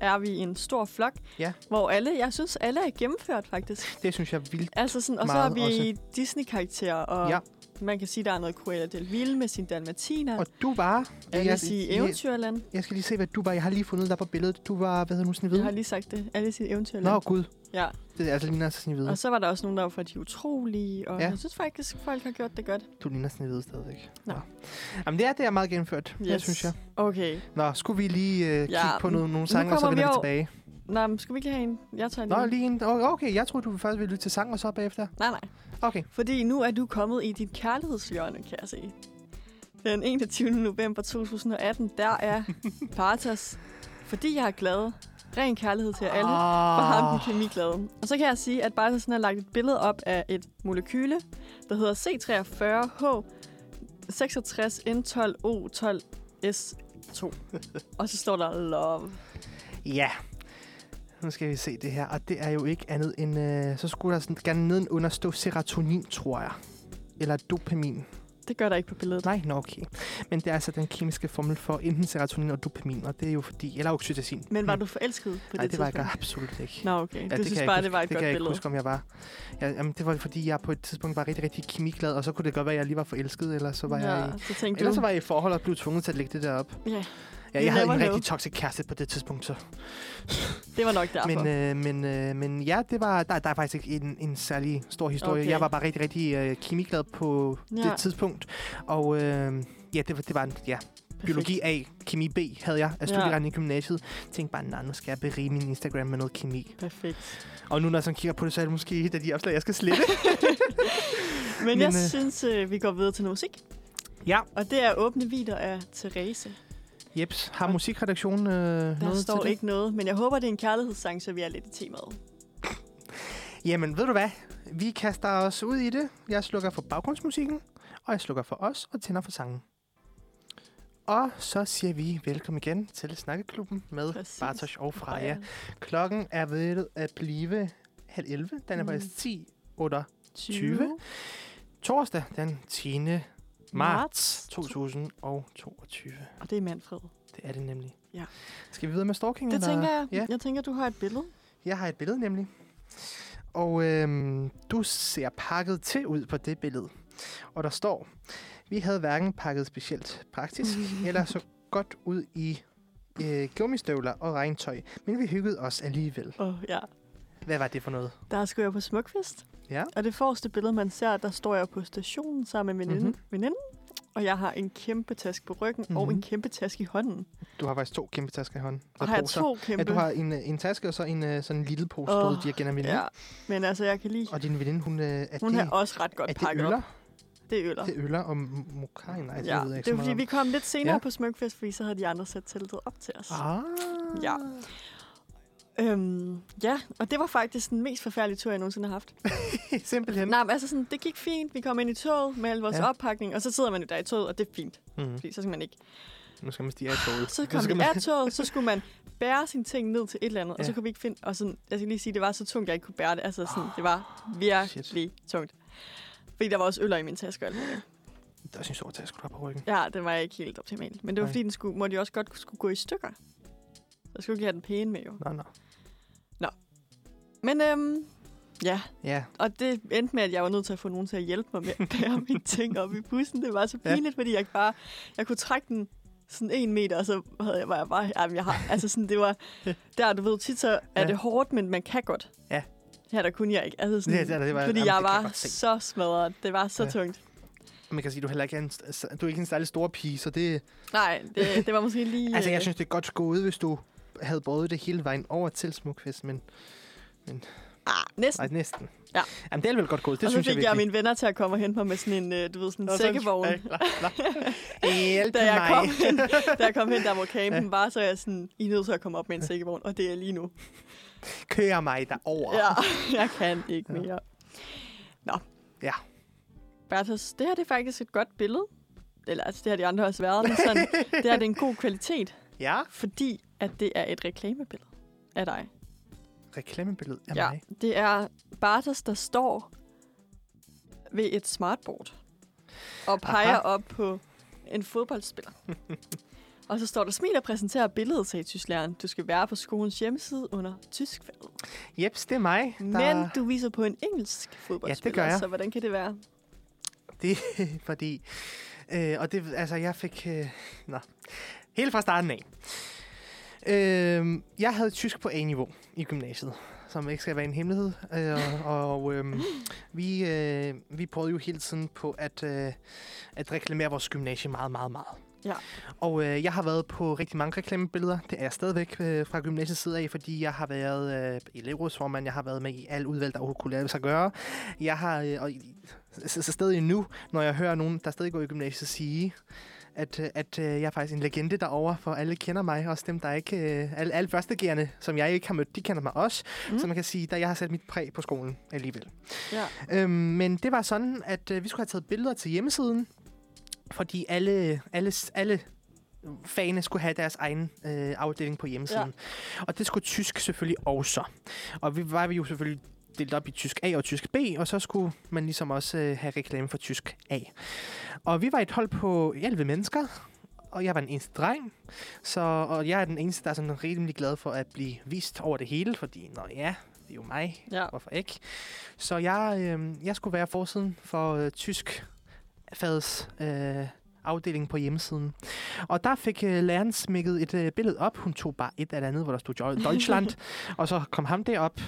B: er vi en stor flok,
A: Ja.
B: hvor alle, jeg synes, alle er gennemført faktisk.
A: Det synes jeg er vildt
B: Altså sådan, og så
A: Meget
B: har vi
A: også.
B: Disney-karakterer, og
A: Ja.
B: ja. man kan sige, der er noget Cruella del Vil med sin Dalmatiner.
A: Og du var...
B: jeg vil
A: jeg,
B: sige
A: jeg,
B: Eventyrland.
A: jeg skal lige se, hvad du var. Jeg har lige fundet dig på billedet. Du var, hvad hedder nu, Snevide?
B: Jeg har lige sagt det. Alle siger Eventyrland.
A: Nå, gud.
B: Ja.
A: Det er altså ligner altså Snevide.
B: Og så var der også nogen, der var fra De Utrolige, og
A: Ja.
B: ja. jeg synes faktisk, folk har gjort det godt.
A: Du ligner Snevide stadigvæk.
B: Nå.
A: Nå. Jamen, det er det, er meget gennemført. Yes. Det
B: Yes.
A: synes jeg.
B: Okay.
A: Nå, skulle vi lige øh, kigge
B: Ja,
A: på
B: nu-
A: nogle, nogle sange, og så
B: kommer
A: vender
B: vi
A: vi
B: over-
A: tilbage?
B: Nå, men skal vi ikke lige have en? Jeg tager en.
A: Nå,
B: nu.
A: lige en... o- Okay, jeg tror du først ville lytte til sang, og så bagefter.
B: Nej, nej.
A: Okay.
B: Fordi nu er du kommet i dit kærlighedshjørne, kan jeg se. Den 21. november 2018, der er Partas, fordi jeg er glad, ren kærlighed til jer alle, for ham den
A: Oh.
B: kemiglade. Og så kan jeg sige, at Partasen har lagt et billede op af et molekyle, der hedder C43H66N12O12S2. Og så står der love.
A: Ja. Nu skal vi se det her. Og det er jo ikke andet end... Øh, så skulle der sådan, gerne nedenunder stå serotonin, tror jeg. Eller dopamin.
B: Det gør der ikke på billedet.
A: Nej, nå okay. Men det er altså den kemiske formel for enten serotonin og dopamin, og det er jo fordi... Eller oxytocin.
B: Men var
A: Mm.
B: du forelsket på
A: Nej, det,
B: det
A: var jeg
B: tidspunkt?
A: gar- absolut ikke.
B: Nå, okay. Ja, du
A: kan jeg
B: synes
A: ikke
B: bare,
A: huske.
B: det var et
A: det
B: godt
A: kan jeg
B: billede.
A: ikke huske, om jeg var. Ja, jamen, det var fordi, jeg på et tidspunkt var rigtig, rigtig kemiglad, og så kunne det godt være, at jeg lige var forelsket, eller så var ja. jeg i...
B: så tænkte
A: Ellers
B: du,
A: så var jeg i forhold og blev tvunget til at lægge det der op.
B: Ja.
A: Ja,
B: You
A: jeg havde en
B: never know.
A: rigtig toxic kæreste på det tidspunkt, så.
B: det var nok derfor.
A: Men, øh, men, øh, men ja, det var, der, der er faktisk ikke en, en særlig stor historie. Okay.
B: Okay.
A: Jeg var bare rigtig, rigtig øh, kemiglad på ja.
B: Ja.
A: det tidspunkt. Og øh, ja, det var, det var en, ja, biologi A, kemi B havde jeg af
B: Ja.
A: studieretten i gymnasiet. Tænkte bare, nej, nu skal jeg berige min Instagram med noget kemi.
B: Perfekt.
A: Og nu, når jeg sådan kigger på det, så er det måske et af de opslag, jeg skal slette.
B: Men, Men jeg
A: øh,
B: øh... synes, øh, vi går videre til noget musik.
A: Ja.
B: Og det er åbne vider af Therese.
A: Jeps, har musikredaktionen øh,
B: Der
A: noget
B: står
A: til det?
B: ikke noget, men jeg håber, det er en kærlighedssang, så vi er lidt i temaet.
A: Jamen, ved du hvad? Vi kaster os ud i det. Jeg slukker for baggrundsmusikken, og jeg slukker for os og tænder for sangen. Og så siger vi velkommen igen til Snakkeklubben med
B: Præcis.
A: Bartosz og Freja. Klokken er ved at blive halv 11. Den er
B: Mm.
A: faktisk 10 under torsdag den 10. marts, marts 2022.
B: Og det er Manfred.
A: Det er det nemlig.
B: Ja.
A: Skal vi videre med stalking?
B: Det
A: eller?
B: tænker jeg.
A: Ja.
B: Jeg tænker, du har et billede.
A: Jeg har et billede nemlig. Og øhm, du ser pakket til ud på det billede. Og der står, vi havde hverken pakket specielt praktisk, eller så godt ud i øh, gummistøvler og regntøj, men vi hyggede os alligevel.
B: Åh, oh, ja.
A: Hvad var det for noget?
B: Der skulle jeg på smukfest.
A: Ja.
B: Og det forreste billede, man ser, der står jeg på stationen sammen med veninden.
A: Mhm.
B: Mm-hmm. veninden og jeg har en kæmpe taske på ryggen mm-hmm. og
A: Mhm.
B: en kæmpe taske i hånden.
A: Du har faktisk to kæmpe tasker i hånden.
B: Og har jeg
A: poser.
B: to kæmpe.
A: Ja, du har en, øh, en taske og så en øh, sådan en lille pose,
B: Åh,
A: oh, du giver gennem veninde.
B: Ja, men altså, jeg kan lide...
A: Og din veninde, hun øh, er
B: Hun
A: det,
B: har også ret godt
A: er det
B: pakket
A: øller?
B: op. Det er øller.
A: Det er øller og m- mokai? Nej, det
B: ja,
A: ved jeg ikke
B: det
A: så
B: er fordi,
A: meget
B: vi kom lidt senere
A: Ja.
B: ja. på Smukfest, fordi så havde de andre sat teltet op til os.
A: om. Ah.
B: Ja. Øhm, ja, og det var faktisk den mest forfærdelige tur, jeg nogensinde har haft.
A: Simpelthen.
B: Nej, men altså sådan, det gik fint. Vi kom ind i toget med al vores
A: Ja.
B: ja. oppakning, og så sidder man jo der i toget, og det er fint,
A: Mm.
B: fordi så skal man ikke.
A: Nu skal man stige af toget.
B: Så
A: Nu
B: kom
A: skal
B: vi
A: man-
B: af toget, så skulle man bære sine ting ned til et eller andet, ja. og
A: Ja.
B: så kunne vi ikke finde... Og sådan, jeg skal lige sige, det var så tungt, jeg ikke kunne bære det. Altså
A: Ah,
B: sådan, det var virkelig Shit. tungt. Fordi der var også øller i min taske. og alt muligt.
A: Det er også en stor taske, du har på ryggen.
B: Ja, den var ikke helt optimal. Men det var
A: Nej.
B: fordi, den skulle, måtte jo også godt skulle gå i stykker. Så skulle jeg ikke have den pæne med jo.
A: Nå, nå.
B: Men øhm, ja,
A: Ja,
B: Og det endte med, at jeg var nødt til at få nogen til at hjælpe mig med at bære mine ting op i bussen. Det var så pinligt, ja. fordi jeg bare... Jeg kunne trække den sådan en meter, og så havde jeg, var jeg bare... Jamen, jeg har, altså sådan, det var... Der, du ved, tit så er
A: Ja.
B: ja. det hårdt, men man kan godt.
A: Ja.
B: Her, der kunne jeg ikke. Altså sådan,
A: Det- det- det var-
B: fordi
A: jamen, det
B: jeg
A: kan jeg
B: var
A: godt se.
B: så smadret. Det var så
A: Ja.
B: ja. tungt.
A: og man kan sige, du er heller ikke er en, st- altså, du er ikke en særlig stor pige, så det...
B: Nej, det, det var måske lige...
A: Altså, jeg
B: øh,
A: synes, det er godt gået, hvis du havde båret det hele vejen over til Smukfest, men
B: Ah, næsten.
A: nej, næsten.
B: Ja.
A: Jamen, det er vel godt gået, det
B: og så
A: synes
B: fik jeg,
A: jeg
B: mine venner til at komme og hente mig med sådan en, øh, du ved, sådan en sækkevogn.
A: Hjælp
B: da jeg, kom
A: mig.
B: hen, da jeg kom hen, der hvor campen var, så er jeg sådan, I er nødt til at komme op med en sækkevogn, og det er lige nu.
A: Kør mig derover.
B: Ja, jeg kan ikke
A: Ja.
B: mere. Nå.
A: Ja.
B: Bertus, det her det er faktisk et godt billede. Eller altså, det har de andre også været, men sådan, det her det er en god kvalitet,
A: ja.
B: fordi at det er et reklamebillede af dig.
A: Reklamebillede af mig.
B: Det er Bartos, der står ved et smartboard og peger
A: Aha.
B: Aha. op på en fodboldspiller. og så står der, smil og præsenterer billedet, sagde tysklæreren. Du skal være på skolens hjemmeside under tyskfaget.
A: Jeps, det er mig. Der...
B: Men du viser på en engelsk fodboldspiller,
A: jeg.
B: så hvordan kan det være?
A: Det fordi... Øh, og det, altså, jeg fik... Øh, nå. Helt fra starten af. Øh, jeg havde tysk på A-niveau i gymnasiet, som ikke skal være en hemmelighed. Øh, og øh, vi, øh, vi prøvede jo hele tiden på at, øh, at reklamere vores gymnasie meget, meget, meget.
B: Ja.
A: Og øh, jeg har været på rigtig mange reklamebilleder. Det er jeg stadigvæk øh, fra gymnasiets side af, fordi jeg har været øh, elevrådsformand. Jeg har været med i alle udvalg, der overhovedet kunne lade sig gøre. Jeg har øh, og, i- så, så stadig nu, når jeg hører nogen, der stadig går i gymnasiet, sige, at, øh, at øh, jeg er faktisk en legende derovre, for alle kender mig, også dem, der ikke... Øh, alle, alle førstegærende, som jeg ikke har mødt, de kender mig også. Mm.
B: Mm.
A: Så man kan sige, at jeg har sat mit præg på skolen alligevel.
B: Ja.
A: Øhm, men det var sådan, at øh, vi skulle have taget billeder til hjemmesiden, fordi alle, alle, alle fagene skulle have deres egen øh, afdeling på hjemmesiden. Ja. Og det skulle tysk selvfølgelig også. Og vi var vi jo selvfølgelig delt op i tysk A og tysk B, og så skulle man ligesom også øh, have reklame for tysk A. Og vi var et hold på 11 mennesker, og jeg var den eneste dreng, så, og jeg er den eneste, der er sådan rimelig glad for at blive vist over det hele, fordi, nå ja, det er jo mig,
B: ja.
A: Hvorfor ikke? Så jeg, øh, jeg skulle være forsiden for øh, tysk fagets øh, afdeling på hjemmesiden. Og der fik øh, læreren smækket et øh, billede op. Hun tog bare et eller andet, hvor der stod Deu- Deutschland, og så kom ham derop.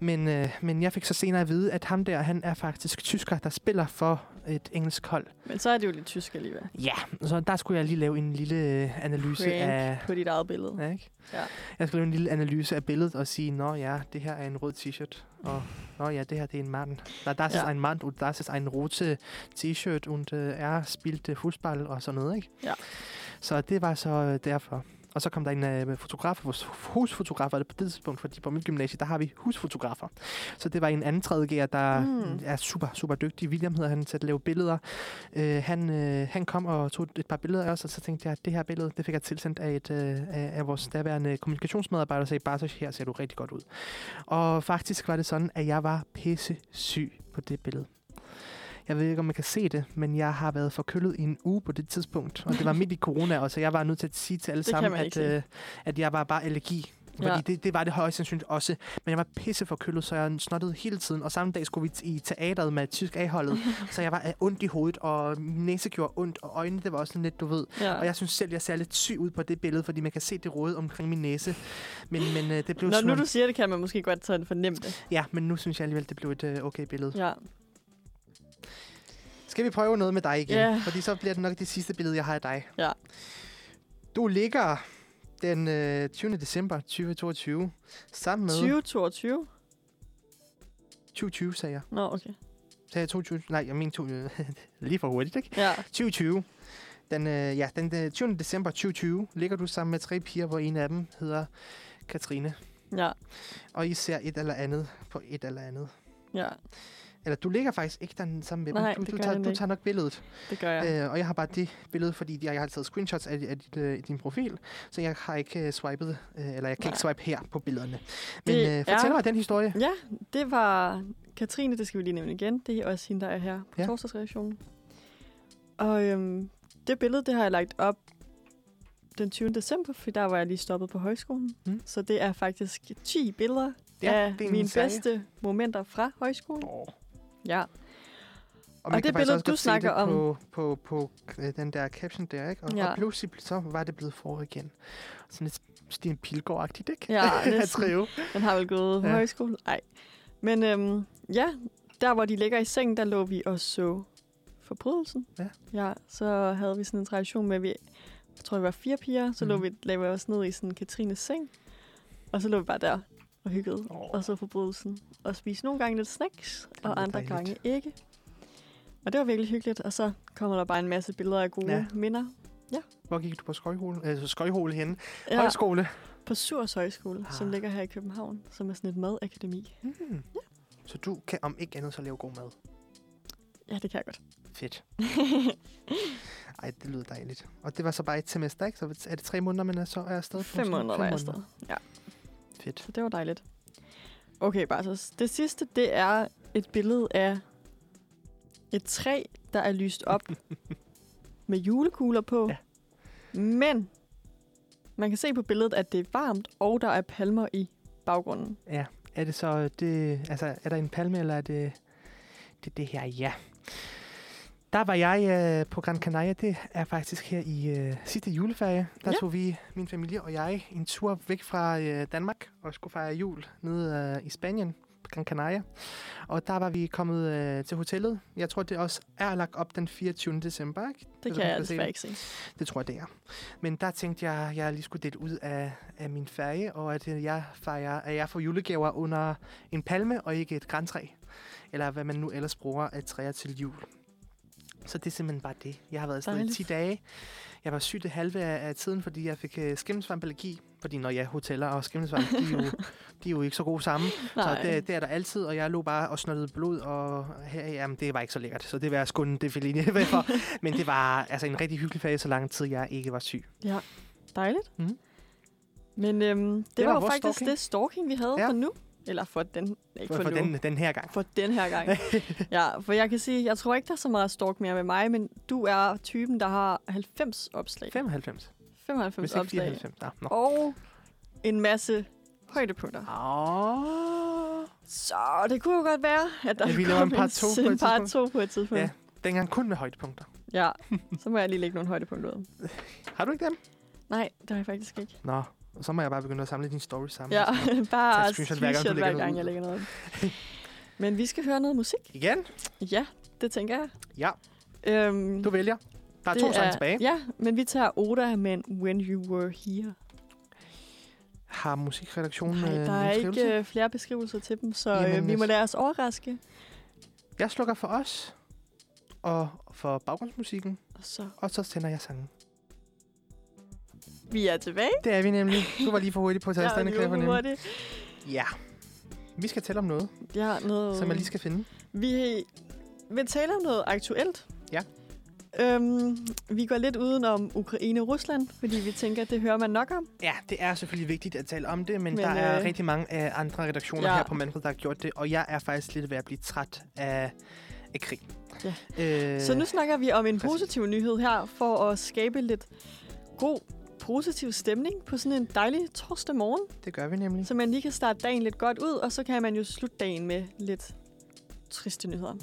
A: Men, øh, men jeg fik så senere at vide, at ham der, han er faktisk tysker, der spiller for et engelsk hold.
B: Men så er det jo lidt tysk alligevel.
A: Ja, så der skulle jeg lige lave en lille øh, analyse
B: Prank
A: af...
B: på dit eget billede.
A: Ja, ikke?
B: Ja.
A: Jeg skal lave en lille analyse af billedet og sige, nå ja, det her er en rød t-shirt, og nå ja, det her det er en Mann. Da, das
B: Ja.
A: ist ein Mann und das ist ein rote T-Shirt und äh, er spielte Fußball og sådan noget, ikke?
B: Ja.
A: Så det var så øh, derfor. Og så kom der en øh, fotograf, vores husfotograf var det på det tidspunkt, fordi på mit gymnasie, der har vi husfotografer. Så det var en anden tredjeger, der
B: Mm.
A: mm. er super, super dygtig. William hedder han til at lave billeder. Øh, han, øh, han kom og tog et par billeder af os, og så tænkte jeg, at det her billede, det fik jeg tilsendt af, et, øh, af, af vores daværende kommunikationsmedarbejder, og sagde, bare så her ser du rigtig godt ud. Og faktisk var det sådan, at jeg var pisse syg på det billede. Jeg ved ikke, om man kan se det, men jeg har været forkølet i en uge på det tidspunkt. Og det var midt i corona også, så jeg var nødt til at sige til alle
B: Det kan
A: sammen,
B: man ikke
A: at,
B: se.
A: øh, at jeg var bare allergi. Fordi
B: Ja.
A: ja. det, det var det højst sandsynligt også. Men jeg var pisse forkølet, så jeg snottede hele tiden. Og samme dag skulle vi i teateret med tysk A-holdet. så jeg var øh, ondt i hovedet, og min næse gjorde ondt, og øjnene, det var også sådan lidt, du ved.
B: Ja.
A: Og jeg synes selv, jeg ser lidt syg ud på det billede, fordi man kan se det røde omkring min næse. Men, men øh, det blev
B: Når
A: som
B: nu
A: om-
B: du siger det, kan man måske godt sådan fornemme det.
A: Ja, men nu synes jeg alligevel, det blev et øh, okay billede.
B: Ja.
A: Skal vi prøve noget med dig igen?
B: Ja.
A: Yeah. Fordi så bliver det nok det sidste billede, jeg har af dig.
B: Ja.
A: Du ligger den øh, 20. december 2022 sammen med...
B: 2022?
A: 2020, sagde jeg.
B: Nå, okay.
A: Sagde jeg 2020? Nej, jeg mente to, øh, lige for hurtigt, ikke?
B: Ja.
A: 2020. Den, øh, ja, den øh, 20. december 2020 ligger du sammen med tre piger, hvor en af dem hedder Katrine.
B: Ja.
A: Og I ser et eller andet på et eller andet.
B: Ja.
A: Eller du ligger faktisk ikke den sammen med
B: Nej,
A: dem. Du,
B: det
A: du,
B: gør
A: tager,
B: jeg
A: du
B: ikke.
A: tager nok billedet.
B: Det gør jeg.
A: Øh, og jeg har bare det billede, fordi jeg har taget screenshots af, af, dit, øh, din profil, så jeg har ikke øh, swipet, øh, eller jeg kan
B: Nej.
A: ikke swipe her på billederne. Men øh,
B: Det
A: fortæl
B: er-
A: mig den historie.
B: Ja, det var Katrine, det skal vi lige nævne igen. Det er også hende, der er her på ja.
A: Ja.
B: torsdagsreaktionen. Og øhm, det billede, det har jeg lagt op den 20. december, for der var jeg lige stoppet på højskolen. Mm.
A: Mm.
B: Så det er faktisk 10 billeder
A: Ja,
B: ja, af
A: det er
B: mine
A: min serie.
B: bedste momenter fra højskolen.
A: Oh.
B: Ja,
A: Og, man
B: det
A: kan faktisk
B: billede,
A: også
B: du
A: godt se
B: snakker
A: det
B: om.
A: På, på, på øh, den der caption der, ikke? Og,
B: Ja.
A: ja. og pludselig så var det blevet forår igen. Sådan lidt Stine Pilgaard-agtigt, ikke?
B: Ja,
A: At
B: næsten.
A: skrive.
B: Den har vel gået på ja.
A: Ja.
B: højskole? Nej. Men øhm, ja, der hvor de ligger i sengen, der lå vi og så forbrydelsen.
A: Ja.
B: ja så havde vi sådan en tradition med, at vi, jeg tror det var fire piger, så mm. lå
A: Mhm.
B: vi, lagde vi os ned i sådan Katrines seng. Og så lå vi bare der og hyggede
A: Åh.
B: og så forbrydelsen. Og spiste nogle gange lidt snacks,
A: lyder
B: og andre
A: dejligt.
B: gange ikke. Og det var virkelig hyggeligt, og så kommer der bare en masse billeder af gode ja.
A: Ja.
B: minder.
A: Hvor gik du på skøjhole, altså, skøjhole henne? Ja.
B: Ja,
A: Højskole.
B: på Surs Højskole, ah. som
A: Ah.
B: ligger her i København, som er sådan et madakademi.
A: Hmm. Så du kan om ikke andet så lave god mad.
B: Ja, det kan jeg godt.
A: Fedt. Ej, det lyder dejligt. Og det var så bare et semester, ikke? Så er det tre måneder, man er så er afsted? på
B: Fem
A: sådan-
B: måneder var jeg afsted.
A: Fedt.
B: Så det var dejligt. Okay, Bartos. Det sidste, det er et billede af et træ, der er lyst op med julekugler på.
A: Ja.
B: Men man kan se på billedet, at det er varmt, og der er palmer i baggrunden.
A: Ja, er det så det, altså er der en palme, eller er det det, det her? Ja. Der var jeg øh, på Gran Canaria, det er faktisk her i øh, sidste juleferie. Der
B: Ja.
A: tog vi, min familie og jeg, en tur væk fra øh, Danmark og skulle fejre jul nede øh, i Spanien på Gran Canaria. Og der var vi kommet øh, til hotellet. Jeg tror, det også er lagt op den 24. december, ikke?
B: Det
A: Ved du,
B: kan
A: om du
B: jeg
A: se
B: desværre
A: det?
B: ikke se.
A: Det tror jeg, det er. Men der tænkte jeg, at jeg lige skulle dele ud af, af min ferie, og at øh, jeg, fejrer, at jeg får julegaver under en palme og ikke et græntræ. Eller hvad man nu ellers bruger af træer til jul. Så det er simpelthen bare det. Jeg har været afsted i
B: Dejligt.
A: 10 dage. Jeg var syg det halve af, af tiden, fordi jeg fik øh, skimmelsvampallergi. Fordi når jeg ja, hoteller og skimmelsvamp, de, er jo, de er jo ikke så gode sammen.
B: Nej,
A: Så det, det er der altid, og jeg lå bare og snottede blod, og her, jamen, det var ikke så lækkert. Så det var jeg skåne det Feline væk for. Men det var altså en rigtig hyggelig ferie, så lang tid jeg ikke var syg.
B: dejligt.
A: Mhm.
B: Men øhm, det, det
A: var
B: var, var
A: vores
B: faktisk
A: stalking.
B: det stalking, vi havde
A: Ja.
B: for nu. Eller for den, ikke
A: For,
B: for,
A: for
B: nu.
A: den, den her gang.
B: for den her gang. ja, for jeg kan sige, jeg tror ikke, der er så meget stalk mere med mig, men du er typen, der har 90 opslag.
A: 95.
B: 95
A: Hvis ikke
B: opslag.
A: 94. Nå, nå.
B: Og en masse højdepunkter.
A: Åh.
B: Så det kunne jo godt være, at der
A: Ja, vi laver en
B: kom
A: part to på
B: en,
A: et
B: part
A: tidspunkt.
B: 2 på et tidspunkt. Ja.
A: Ja. Dengang kun med højdepunkter.
B: ja. Så må jeg lige lægge nogle højdepunkter ud.
A: Har du ikke dem?
B: Nej, det har jeg faktisk ikke.
A: Nå, så må jeg bare begynde at samle dine stories sammen.
B: Ja, bare
A: Tag et
B: screenshot
A: screenshot hver gang, du
B: hver
A: lægger noget
B: gang,
A: ud.
B: jeg lægger noget. ud. Men vi skal høre noget musik.
A: Igen?
B: Ja, Det tænker jeg.
A: Ja.
B: Øhm,
A: Du vælger. Der er
B: det
A: to sange tilbage.
B: Ja, men vi tager Oda med en When You Were Here.
A: Har musikredaktionen
B: Nej,
A: øh,
B: der
A: nogen
B: er
A: skrivelse?
B: ikke øh, flere beskrivelser til dem, så
A: Jamen,
B: øh, vi må
A: altså-
B: lade os overraske.
A: Jeg slukker for os og for baggrundsmusikken,
B: Og så
A: og så tænder jeg sangen.
B: Mm. vi er tilbage.
A: Det er vi nemlig. Du var lige for hurtig på at tage afstand, kan jeg
B: jeg
A: fornemme.
B: var det.
A: Ja. Vi skal tale om noget,
B: Jeg har noget...
A: som jeg lige skal finde.
B: Vi vil tale om noget aktuelt.
A: Ja.
B: Øhm, vi går lidt udenom Ukraine og Rusland, fordi vi tænker, at det hører man nok om.
A: Ja, det er selvfølgelig vigtigt at tale om det, men,
B: Men,
A: men der er
B: øh,
A: øh... rigtig mange af andre redaktioner
B: ja.
A: ja. her på Manfred, der har gjort det, og jeg er faktisk lidt ved at blive træt af, af krig.
B: Ja.
A: Øh,
B: Øh, så nu snakker vi om en
A: præcis.
B: positiv nyhed her, for at skabe lidt god, positiv stemning på sådan en dejlig torsdag morgen,
A: Det gør vi nemlig.
B: så man lige kan starte dagen lidt godt ud, og så kan man jo slutte dagen med lidt triste nyheder.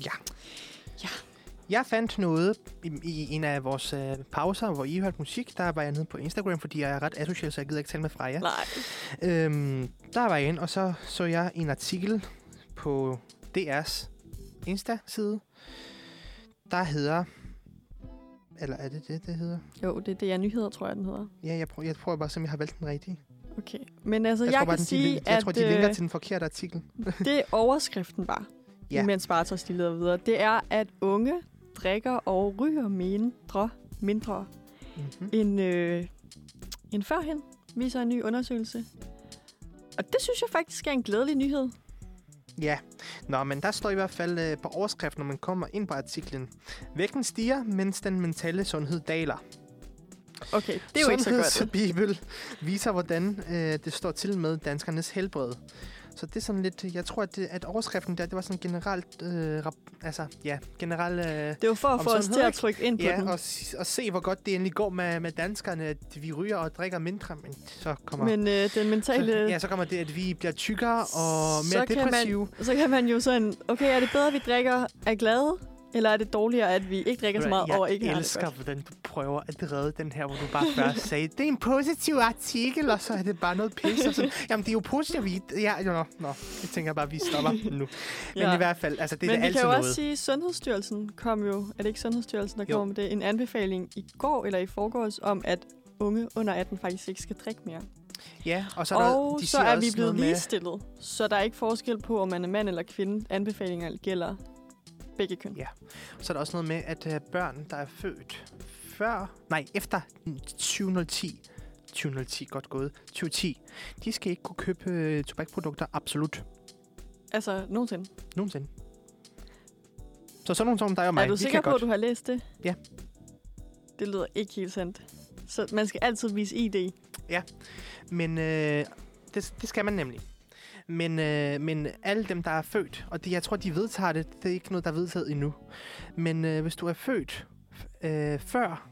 A: Jeg fandt noget i, i en af vores øh, pauser, hvor I hørte musik. Der var jeg nede på Instagram, fordi jeg er ret asocial, så jeg gider ikke tale med Freja.
B: Nej,
A: Øhm, der var jeg inde, og så så jeg en artikel på DR's Insta-side, der hedder... Eller er det det, det hedder?
B: jo, det, det er nyheder, tror jeg, den hedder.
A: Ja, jeg prøver, jeg prøver bare, som jeg har valgt den rigtige.
B: Okay, men altså, jeg,
A: tror
B: jeg
A: bare,
B: kan
A: den,
B: sige,
A: de, lin- jeg
B: at
A: tror, de linker
B: øh,
A: til den forkerte artikel.
B: det overskriften var,
A: Ja.
B: ja. mens Bartos de leder videre, det er, at unge drikker og ryger mindre, mindre
A: Mm-hmm.
B: end, øh, end førhen, viser en ny undersøgelse. Og det synes jeg faktisk er en glædelig nyhed.
A: Ja, nå, men der står i hvert fald øh, på overskriften, når man kommer ind på artiklen. Vægten stiger, mens den mentale sundhed daler.
B: Okay, det er jo ikke så godt.
A: Sundhedsbibel viser, hvordan øh, det står til med danskernes helbred. Så det er sådan lidt, jeg tror, at, det, at overskriften der, det var sådan generelt, øh, rap, altså ja, generelt, øh,
B: Det er jo for at
A: Om
B: få os
A: sundhed,
B: til at
A: ikke?
B: trykke ind på ja, den.
A: ja, og, s- og se, hvor godt det endelig går med, med danskerne, at vi ryger og drikker mindre, men så kommer...
B: Men øh, den mentale...
A: så, ja, så kommer det, at vi bliver tykkere og mere
B: så kan
A: depressive.
B: Man, så kan man jo sådan, okay, er det bedre, at vi drikker af glade, eller er det dårligere, at vi ikke drikker så meget
A: jeg
B: og ikke har det
A: elsker,
B: godt?
A: hvordan du prøver at redde den her, hvor du bare før sagde, det er en positiv artikel, og så er det bare noget pis. Og sådan, Jamen, det er jo positivt. vi- Ja, jo, nå, nå, jeg tænker bare, at vi stopper nu. Men
B: Ja.
A: ja. i hvert fald, altså, det er
B: Men
A: da
B: vi
A: altid
B: kan jo
A: noget.
B: også sige, at Sundhedsstyrelsen kom jo, er det ikke Sundhedsstyrelsen, der
A: Jo.
B: kom med det, en anbefaling i går eller i forgårs om, at unge under 18 faktisk ikke skal drikke mere.
A: Ja, og så
B: Så
A: er, der,
B: og
A: de
B: så
A: siger
B: er
A: også
B: vi blevet
A: noget med-
B: ligestillet, så der er ikke forskel på, om man er mand eller kvinde. Anbefalinger gælder begge køn.
A: Ja. Så er der også noget med, at øh, børn, der er født før, nej, efter 2010, 2010, godt gået, 2010, de skal ikke kunne købe øh, tobakprodukter absolut
B: Altså, nogensinde.
A: nogensinde. Så sådan nogen som dig og mig,
B: er du
A: vi
B: sikker
A: kan
B: på,
A: godt...
B: at du har læst det?
A: Ja.
B: Det lyder ikke helt sandt. Så man skal altid vise ID.
A: Men øh, det, det skal man nemlig. Men, øh, men alle dem, der er født, og det, jeg tror, de vedtager det, det er ikke noget, der er vedtaget endnu. Men øh, hvis du er født øh, før,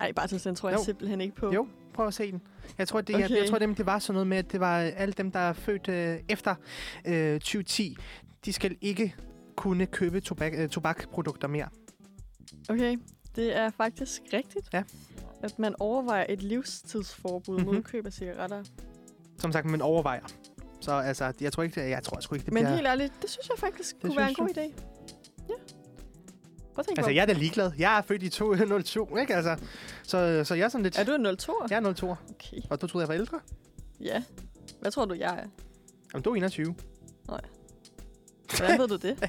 B: Ej, bare til den tror jeg
A: Jo.
B: simpelthen ikke på.
A: Jo. prøv at se den. Jeg tror, det, okay. jeg,
B: Okay.
A: jeg tror nemlig, det var sådan noget med, at det var øh, alle dem, der er født øh, efter øh, 2010, de skal ikke kunne købe tobak, øh, tobakprodukter mere.
B: Okay, det er faktisk rigtigt.
A: Ja.
B: At man overvejer et livstidsforbud mm-hmm. mod
A: Mhm.
B: køb af cigaretter.
A: Som sagt, man overvejer. Så altså, jeg tror ikke, det, jeg tror sgu ikke, det
B: Men
A: bliver...
B: helt ærligt, det synes jeg faktisk det kunne være en god
A: synes
B: idé. Ja. Prøv at tænke
A: Altså,
B: på.
A: jeg er da ligeglad. Jeg er født i 2002, ikke? Altså, så, så jeg er sådan lidt...
B: Er du en 02?
A: Jeg er 02.
B: Okay.
A: Og du troede, jeg var ældre?
B: Ja. Hvad tror du, jeg er?
A: Jamen, du er 21.
B: Hvordan ved du det?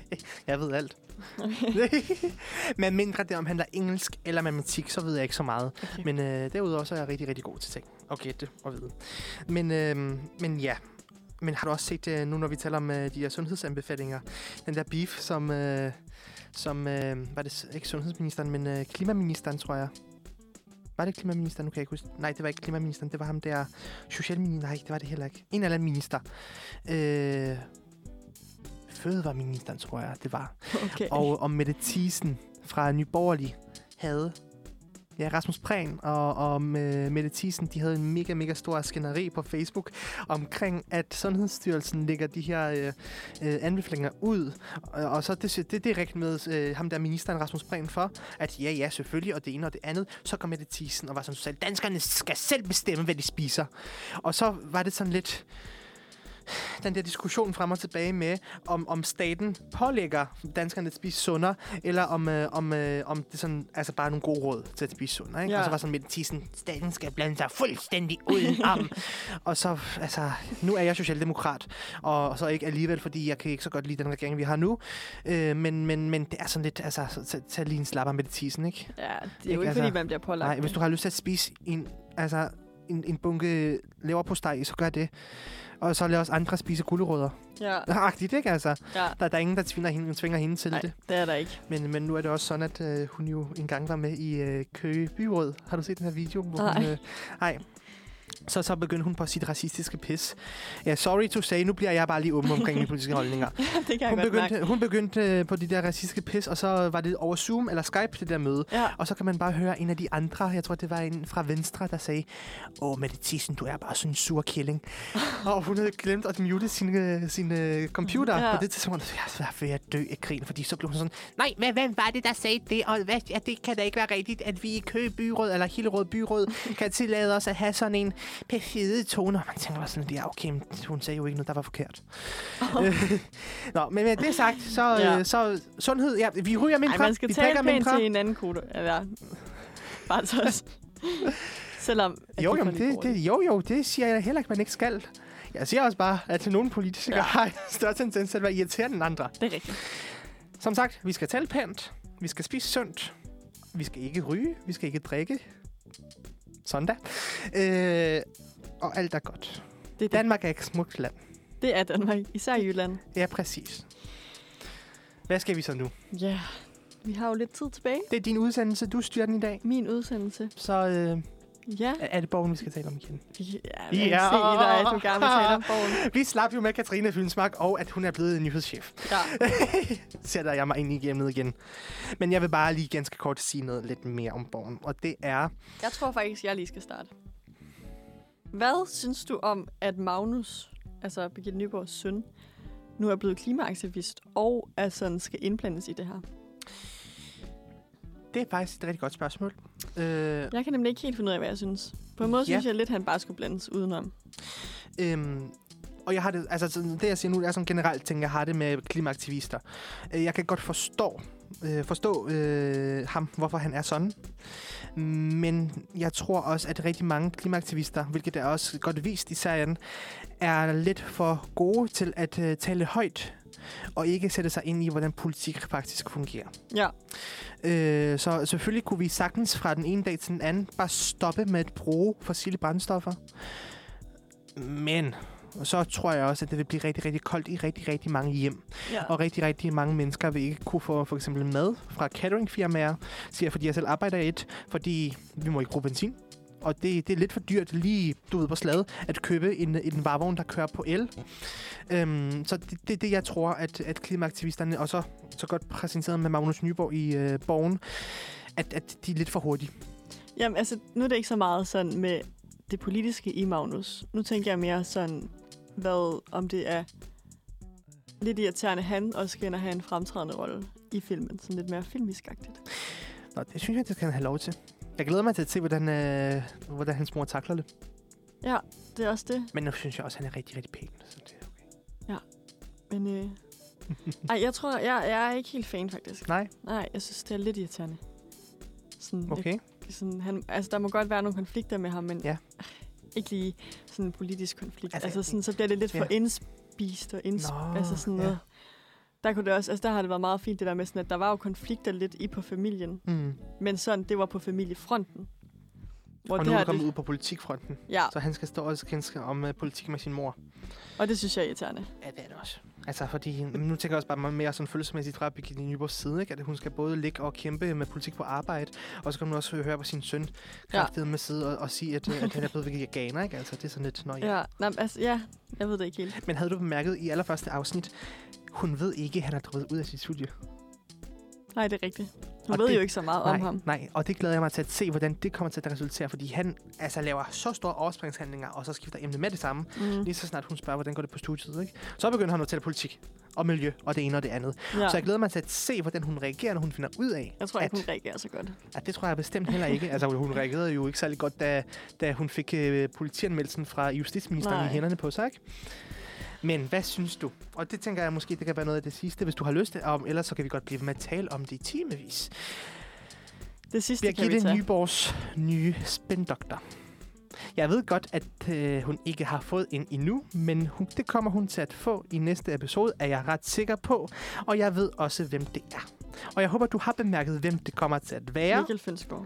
A: Jeg ved alt.
B: Okay.
A: Men mindre det omhandler engelsk eller matematik, så ved jeg ikke så meget. Men øh, derudover så er jeg rigtig, rigtig god til ting. Og gætte og vide. Men, øh, men ja. Men har du også set, øh, nu når vi taler om øh, de her sundhedsanbefalinger, den der beef, som, øh, som øh, var det s- ikke sundhedsministeren, men øh, klimaministeren, tror jeg. Var det klimaministeren? Nu kan jeg ikke huske. Nej, det var ikke klimaministeren. Det var ham der socialminister. Nej, det var det heller ikke. En eller anden minister. Øh, fødevareministeren, tror jeg, det var.
B: okay.
A: Og om Mette Thiesen fra Nye Borgerlige havde... Ja, Rasmus Prehn og, og øh, Mette Thiesen, de havde en mega, mega stor skænderi på Facebook omkring, at Sundhedsstyrelsen lægger de her øh, øh, anbefalinger ud. Og, og så det, det, det er direkte med øh, ham der ministeren Rasmus Prehn for, at ja, ja, selvfølgelig, og det ene og det andet. Så kom Mette Thiesen og var sådan, så danskerne skal selv bestemme, hvad de spiser. Og så var det sådan lidt... den der diskussion frem og tilbage med, om, om staten pålægger danskerne at spise sundere, eller om, øh, om, øh, om det sådan, altså bare nogle gode råd til at spise sundere. Ikke?
B: Ja.
A: Og så var sådan med tisen, staten skal blande sig fuldstændig udenom. og så, altså, nu er jeg socialdemokrat, og, og så ikke alligevel, fordi jeg kan ikke så godt lide den regering, vi har nu. Øh, men, men, men det er sådan lidt, altså, så- så tag lige en slapper med tisen, ikke?
B: Ja, det er
A: Ikke,
B: jo ikke,
A: altså-
B: fordi man bliver pålagt.
A: Nej,
B: det.
A: hvis du har lyst til at spise en, altså, en, en bunke leverpostej, så gør det. Og så lad os andre spise gulerødder.
B: Ja,
A: Agtigt, ikke altså?
B: ja.
A: Der, der er ingen, der tvinger hende, tvinger hende til
B: Nej,
A: det.
B: det er der ikke.
A: Men, men nu er det også sådan, at øh, hun jo engang var med i øh, Køge Byråd. Har du set den her video? Hvor Hun,
B: Nej.
A: øh, nej. Så, så begyndte hun på sit racistiske pis. Ja, sorry to say, nu bliver jeg bare lige åben omkring mine politiske holdninger.
B: det kan jeg
A: Hun
B: godt mærke.
A: begyndte, hun begyndte øh, på de der racistiske pis, og så var det over Zoom eller Skype, det der møde.
B: Ja,
A: Og så kan man bare høre en af de andre, jeg tror det var en fra Venstre, der sagde, åh Mette Thyssen, du er bare sådan en sur killing. og hun havde glemt at mute sin, øh, sin øh, computer ja.
B: Ja.
A: på det tidspunkt. Så jeg var ved at dø af krigen, fordi så blev hun sådan, nej, men hvem var det, der sagde det? Og hvad, ja, det kan da ikke være rigtigt, at vi i Køge Byråd eller Hillerød Byråd kan tillade os at have sådan en perfide tone. Og man tænker bare sådan, ja okay, men hun sagde jo ikke noget, der var forkert. Øh, Nå, men med det sagt, så,
B: Ja.
A: ja. så sundhed, ja, vi ryger mindre,
B: Ej, man skal
A: vi
B: tale
A: drikker
B: pænt
A: mindre.
B: til hinanden, kode. Eller, bare så også. Selvom... at
A: Jo,
B: de får
A: jamen,
B: lidt
A: det,
B: dårligt.
A: det, jo, jo, det siger jeg heller ikke, man ikke skal. Jeg siger også bare, at nogle politikere ja.
B: Ja.
A: har en større tendens til at være irriterende end andre.
B: det er rigtigt.
A: Som sagt, vi skal tale pænt, vi skal spise sundt, vi skal ikke ryge, vi skal ikke drikke. Sådan da. Øh, og alt er godt.
B: Det, er det,
A: Danmark er et smukt land.
B: det er Danmark, især i Jylland.
A: Ja, præcis. Hvad skal vi så nu?
B: Ja, yeah. vi har jo lidt tid tilbage.
A: Det er din udsendelse, du styrer den i dag.
B: Min udsendelse.
A: Så øh,
B: Ja.
A: er det borgen, vi skal tale om igen.
B: Ja,
A: Ja.
B: man ja. se i dig, at du gerne vil tale om bogen.
A: Vi slap jo med Katrine Fynsmark, og at hun er blevet nyhedschef.
B: Ja.
A: sætter jeg mig ind i emnet igen. Men jeg vil bare lige ganske kort sige noget lidt mere om borgen. Og det er...
B: Jeg tror faktisk, jeg lige skal starte. Hvad synes du om, at Magnus, altså Birgitte Nyborgs søn, nu er blevet klimaaktivist og er sådan skal indblandes i det her?
A: Det er faktisk et rigtig godt spørgsmål. Øh,
B: Jeg kan nemlig ikke helt finde ud af, hvad jeg synes. På en måde
A: Ja.
B: ja. synes jeg lidt, at han bare skulle blandes udenom.
A: øhm, og jeg har det, altså sådan, det jeg siger nu, er sådan generelt ting, jeg har det med klimaaktivister. Øh, jeg kan godt forstå, øh, forstå øh, ham, hvorfor han er sådan. Men jeg tror også, at rigtig mange klimaaktivister, hvilket er også godt vist i serien, er lidt for gode til at øh, tale højt og ikke sætte sig ind i, hvordan politik faktisk fungerer.
B: Ja,
A: Øh, så selvfølgelig kunne vi sagtens fra den ene dag til den anden bare stoppe med at bruge fossile brændstoffer. Men så tror jeg også, at det vil blive rigtig, rigtig koldt i rigtig, rigtig mange hjem.
B: ja.
A: Og rigtig, rigtig mange mennesker vil ikke kunne få for eksempel mad fra cateringfirmaer, siger jeg, fordi jeg selv arbejder i et, fordi vi må ikke bruge benzin. Og det, det er lidt for dyrt lige, du ved, på slaget, at købe en, en varevogn, der kører på el. Øhm, så det er det, det, jeg tror, at, at klimaaktivisterne, og så, så godt præsenteret med Magnus Nyborg i øh, Borgen, at, at de er lidt for hurtige.
B: Jamen, altså, nu er det ikke så meget sådan med det politiske i Magnus. Nu tænker jeg mere sådan, hvad om det er lidt irriterende, at han også skal ind og have en fremtrædende rolle i filmen. Sådan lidt mere filmiskagtigt.
A: Nå, det synes jeg, det kan han have lov til. Jeg glæder mig til at se, hvordan, øh, hvordan hans mor takler det.
B: Det er også det.
A: Men nu synes jeg også, han er rigtig, rigtig pæn. Så det er okay.
B: Men øh... Ej, jeg tror, jeg, jeg er ikke helt fan, faktisk.
A: Nej,
B: Nej, jeg synes, det er lidt irriterende. Sådan, okay.
A: okay.
B: lidt, sådan, han, altså, der må godt være nogle konflikter med ham, men
A: Ja.
B: ikke lige sådan en politisk konflikt.
A: Altså,
B: Altså, altså sådan, så bliver det lidt for
A: ja.
B: ja. indspist og indspist.
A: Nå,
B: altså sådan
A: ja.
B: noget. Der, kunne det også, altså der har det været meget fint det der med, sådan, at der var jo konflikter lidt i på familien,
A: Mm.
B: men sådan, det var på familiefronten. Hvor
A: Og
B: det
A: nu er Ah.
B: her,
A: han kommet
B: det,
A: ud på politikfronten.
B: ja,
A: Så han skal stå og skændes om uh, politik med sin mor.
B: og det synes jeg er irriterende.
A: Ja, det er det også. Altså, fordi men nu tænker jeg også bare meget mere sådan følelsesmæssigt fra Birgitte Nyborgs side, ikke? at hun skal både ligge og kæmpe med politik på arbejde, og så kan hun også høre på sin søn kraftedet med sidde og, og sige, at, øh, at han er blevet veganer, ikke? Altså, det er sådan lidt, nå ja.
B: Ja, nej, men altså, ja, jeg ved det ikke helt.
A: Men havde du bemærket i allerførste afsnit, hun ved ikke, at han er droppet ud af sit studie.
B: Nej, det er rigtigt. Hun
A: Og
B: ved
A: det-
B: jo ikke så meget
A: nej,
B: om ham.
A: nej, og det glæder jeg mig til at se, hvordan det kommer til at resultere, fordi han altså laver så store overspringshandlinger, og så skifter emne med det samme,
B: Mm.
A: Lige så snart hun spørger, hvordan går det på studiet, ikke? Så begynder han at tale politik og miljø og det ene og det andet. Ja.
B: Ja.
A: Så jeg glæder mig til at se, hvordan hun reagerer, når hun finder ud af,
B: Jeg tror ikke, hun
A: at,
B: reagerer så godt.
A: at det tror jeg bestemt heller ikke. altså, hun reagerede jo ikke særlig godt, da, da hun fik øh, politianmeldelsen fra justitsministeren Nej.
B: Nej.
A: i hænderne på sig, ikke? Men hvad synes du? Og det tænker jeg måske, det kan være noget af det sidste, hvis du har lyst. Om, ellers så kan vi godt blive ved med at tale om det i timevis.
B: Det sidste kan vi
A: Birgitte
B: tage.
A: Nyborgs nye spindoktor. Jeg ved godt, at øh, hun ikke har fået en endnu, men hun, det kommer hun til at få i næste episode, er jeg ret sikker på. Og jeg ved også, hvem det er. Og jeg håber, du har bemærket, hvem det kommer til at være.
B: Mikkel Finsgaard.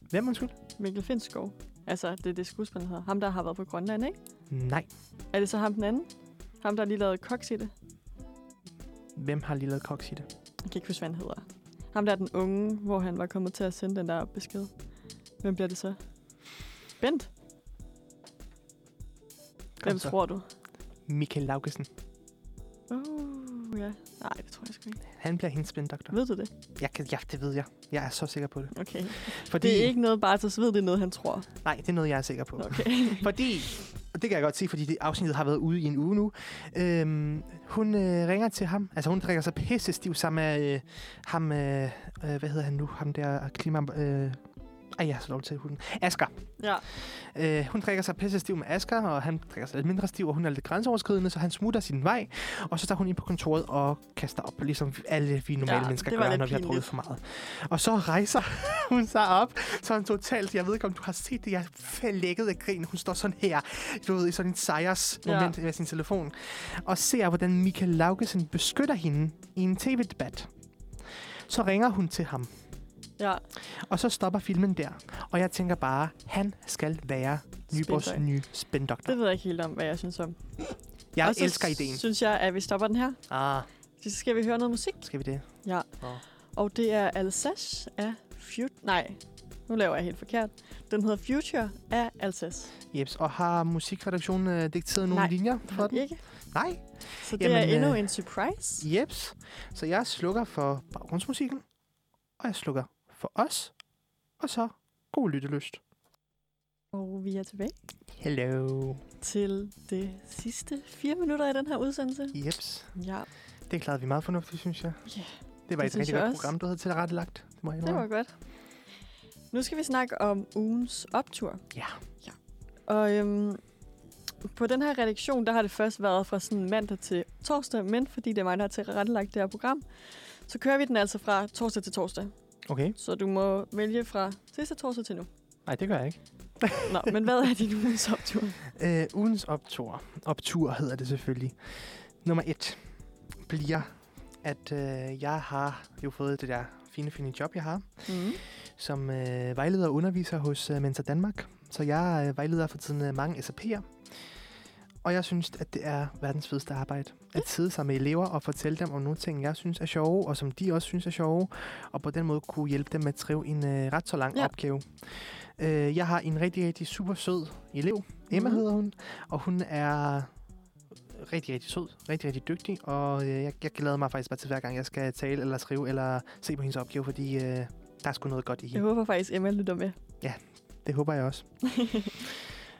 A: Hvem, undskyld?
B: Mikkel Finsgaard. Altså, det er det skuespiller, hedder. Ham, der har været på Grønland, ikke?
A: Nej.
B: Er det så ham den anden? Ham, der lige lavede koks i det?
A: Hvem har lige lavet koks i det?
B: Jeg kan ikke huske, hvad han hedder. Ham, der er den unge, hvor han var kommet til at sende den der besked. Hvem bliver det så? Bent?
A: Kom
B: Hvem
A: så.
B: tror du?
A: Michael Laugesen.
B: Uh, ja. Nej, det tror jeg sgu ikke.
A: Han bliver hendes spindoktor.
B: Ved du det?
A: Jeg kan, ja, det ved jeg. Jeg er så sikker på det.
B: Okay.
A: Fordi,
B: Det er ikke noget bare, så ved det er noget, han tror.
A: Nej, det er noget, jeg er sikker på.
B: Okay.
A: Fordi, og det kan jeg godt se, fordi det afsnittet har været ude i en uge nu. Øhm, hun øh, ringer til ham. Altså, hun drikker sig pisse stiv sammen med øh, ham, øh, øh, hvad hedder han nu? Ham der klima... Øh, ej, jeg har så lov til hunden. Asger.
B: Ja.
A: Øh, hun drikker sig pisse stiv med Asger, og han drikker sig lidt mindre stiv, og hun er lidt grænseoverskridende, så han smutter sin vej. Og så tager hun ind på kontoret og kaster op, ligesom alle vi normale
B: Ja,
A: ja, mennesker
B: det var
A: gør,
B: lidt
A: når vi har drukket
B: pinligt.
A: for meget. Og så rejser hun sig op, sådan totalt. Jeg ved ikke, om du har set det. Jeg er lækket af grin. Hun står sådan her, du ved, i sådan en sejrsmoment ja. med sin telefon. Og ser, hvordan Michael Laugesen beskytter hende i en tv-debat. Så ringer hun til ham,
B: ja.
A: og så stopper filmen der. Og jeg tænker bare, han skal være Nyborgs
B: Spindoktor.
A: nye spindoktor.
B: Det ved jeg ikke helt om, hvad jeg synes om.
A: Jeg
B: Og så
A: elsker ideen.
B: synes jeg, at vi stopper den her.
A: Ah,
B: Så skal vi høre noget musik.
A: skal vi det?
B: Ja.
A: Nå.
B: Og det er Alsace af Future... Nej, nu laver jeg helt forkert. Den hedder Future af Alsace.
A: Jeps. Og har musikredaktionen øh, dikteret nogle
B: Nej.
A: linjer for den?
B: Ikke?
A: Nej.
B: Så det
A: Jamen,
B: er endnu
A: øh,
B: en surprise.
A: Jeps. Så jeg slukker for baggrundsmusikken, og jeg slukker for os, og så god lyttelyst.
B: Og vi er tilbage
A: Hello.
B: til det sidste fire minutter i den her udsendelse.
A: Jeps.
B: Ja,
A: Det klarede vi meget fornuftigt, synes jeg.
B: Ja,
A: Det var
B: det
A: et
B: synes
A: rigtig
B: jeg
A: godt
B: også.
A: program, du havde tilrettelagt. Det må jeg
B: det
A: indrømme.
B: var godt. Nu skal vi snakke om ugens optur.
A: Ja.
B: ja. Og øhm, på den her redaktion, der har det først været fra sådan mandag til torsdag, men fordi det er mig, der har tilrettelagt det her program, så kører vi den altså fra torsdag til torsdag.
A: Okay.
B: Så du må vælge fra sidste torsdag til nu.
A: Nej, det gør jeg ikke.
B: Nå, men hvad er din ugens optur?
A: Øh, ugens optur. Optur hedder det selvfølgelig. Nummer et bliver, at øh, jeg har jo fået det der fine, fine job, jeg har.
B: Mm.
A: som øh, vejleder og underviser hos øh, Mensa Danmark. Så jeg er øh, vejleder for tiden øh, mange SAP'er. Og jeg synes, at det er verdens fedeste arbejde. At sidde sammen med elever og fortælle dem om nogle ting, jeg synes er sjove, og som de også synes er sjove. Og på den måde kunne hjælpe dem med at trive en øh, ret så lang
B: Ja.
A: ja. opgave. Øh, jeg har en rigtig, rigtig super sød elev. Emma
B: Mhm.
A: mm. hedder hun. Og hun er rigtig, rigtig sød. Rigtig, rigtig dygtig. Og øh, jeg, jeg glæder mig faktisk bare til hver gang, jeg skal tale eller skrive eller se på hendes opgave, fordi... Øh, der er sgu noget godt i hende.
B: Jeg håber faktisk, Emma lytter med.
A: Det håber jeg også.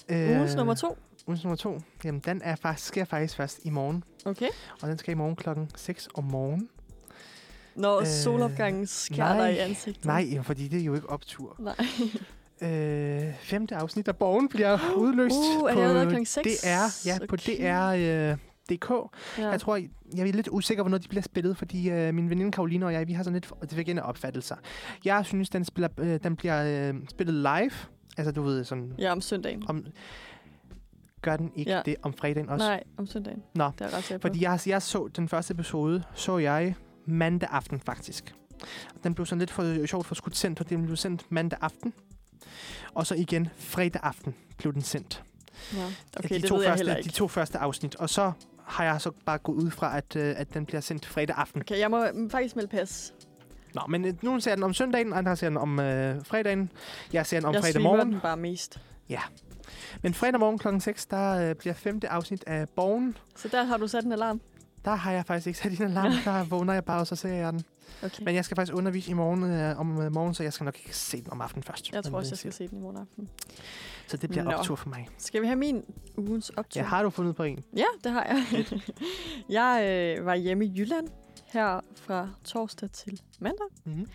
A: Øh.
B: Ugens nummer to.
A: Ugens nummer to. Jamen, den er faktisk, sker faktisk først i morgen.
B: Okay.
A: Og den skal i morgen klokken 6 om morgenen.
B: Når øh,
A: Øh,
B: solopgangen skærer
A: nej,
B: dig i ansigtet.
A: Nej, jamen, fordi det er jo ikke optur.
B: Nej.
A: Øh, femte afsnit af Borgen bliver udløst
B: Uh, er det allerede klokken seks?
A: DR. Ja, på
B: Okay.
A: DR. Øh, DK.
B: Ja.
A: Jeg tror, jeg, jeg er lidt usikker, hvornår de bliver spillet, fordi øh, min veninde Karoline og jeg, vi har sådan lidt for- divergerende opfattelser. Jeg synes, den, spiller, øh, den bliver øh, spillet live. Altså, du ved, sådan...
B: ja, om søndagen.
A: Om, gør den ikke
B: Ja.
A: det om fredagen også?
B: Nej, om søndagen.
A: Nå,
B: Det er jeg ret sikker på.
A: Fordi jeg, altså, jeg så den første episode, så jeg mandag aften faktisk. Den blev sådan lidt for øh, sjovt for skudt sendt, for den blev sendt mandag aften. Og så igen fredag aften blev den sendt.
B: Nå, okay,
A: de,
B: det
A: to
B: ved jeg
A: første,
B: heller
A: de
B: ikke.
A: to første afsnit. Og så har jeg så bare gået ud fra, at, øh, at den bliver sendt fredag aften.
B: Okay, jeg må mm, faktisk melde pas.
A: Nå, men øh, nogen ser den om søndagen, andre ser den om øh, fredagen. Jeg ser den om
B: jeg
A: fredag
B: streamer
A: morgen.
B: den bare mest.
A: Men fredag morgen kl. 6, der øh, bliver femte afsnit af Borgen.
B: Så der har du sat en alarm.
A: Der har jeg faktisk ikke sat en alarm. Der vågner jeg bare, og så ser jeg den.
B: Okay. Men
A: Men jeg skal faktisk undervise i morgen øh, om øh, morgenen, så jeg skal nok ikke se den om aftenen først.
B: jeg tror
A: Men,
B: også,
A: øh,
B: jeg skal se den i morgen aften.
A: Så det bliver
B: Nå.
A: optur for mig.
B: Skal vi have min ugens optur?
A: Ja, har du fundet på en?
B: Ja, det har jeg. jeg øh, var hjemme i Jylland her fra torsdag til mandag.
A: Mhm.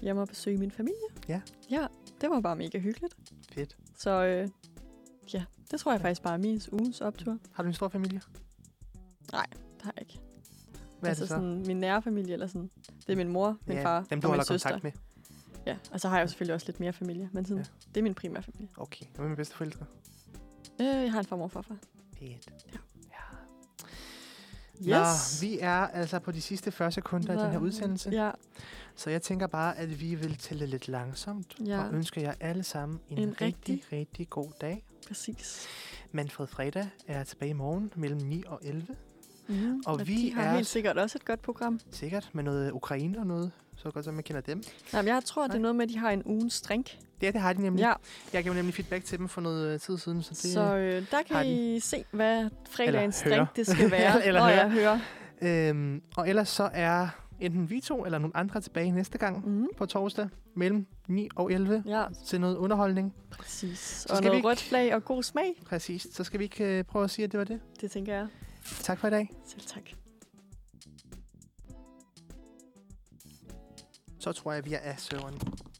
B: Hjemme og besøge min familie.
A: Ja.
B: Ja, det var bare mega hyggeligt.
A: Fedt.
B: Så øh, ja, det tror jeg faktisk bare er min ugens optur.
A: Har du en stor familie?
B: Det har jeg ikke.
A: Hvad er
B: altså
A: det så?
B: sådan min nære familie, eller sådan. Det er min mor, min
A: Ja,
B: far
A: dem, du
B: og
A: holder
B: min søster.
A: kontakt med.
B: Ja, og så har jeg jo selvfølgelig også lidt mere familie, men sådan,
A: Ja.
B: ja. det er min primære familie.
A: Okay, hvad med mine bedste forældre?
B: Øh, jeg har en farmor og farfar.
A: Fedt.
B: Ja.
A: Ja.
B: Yes!
A: Nå, vi er altså på de sidste 40 sekunder af den her
B: Nå,
A: udsendelse, ja.
B: Ja,
A: så jeg tænker bare, at vi vil tælle lidt langsomt, ja.
B: Ja.
A: og ønsker jer alle sammen en, en
B: En
A: rigtig, rigtig, rigtig god dag.
B: præcis.
A: Manfred Fredag er tilbage i morgen mellem 9 og 11,
B: Mm,
A: Og vi
B: de har
A: er-
B: helt sikkert også et godt program.
A: sikkert med noget ukraine og noget, så godt som man kender dem.
B: Nej, men jeg tror, det er noget med, at de har en ugens drink.
A: Ja, det har de nemlig.
B: Ja,
A: Jeg gav nemlig feedback til dem for noget øh, tid siden, så det...
B: så øh, der
A: har
B: kan
A: de.
B: I se, hvad fredagens
A: Eller høre.
B: drink det skal være.
A: Eller
B: Nå,
A: høre.
B: ja, høre.
A: Øhm, og ellers så er enten vi to eller nogle andre tilbage næste gang
B: Mm,
A: på torsdag mellem 9 og 11
B: ja,
A: til noget underholdning.
B: præcis.
A: skal
B: og
A: vi
B: noget
A: ikke-
B: rødt flag og god smag,
A: Præcis. Så skal vi ikke øh, prøve at sige, at det var det.
B: det tænker jeg.
A: Tak for i dag.
B: Selv tak.
A: Så tror jeg, vi er af serveren.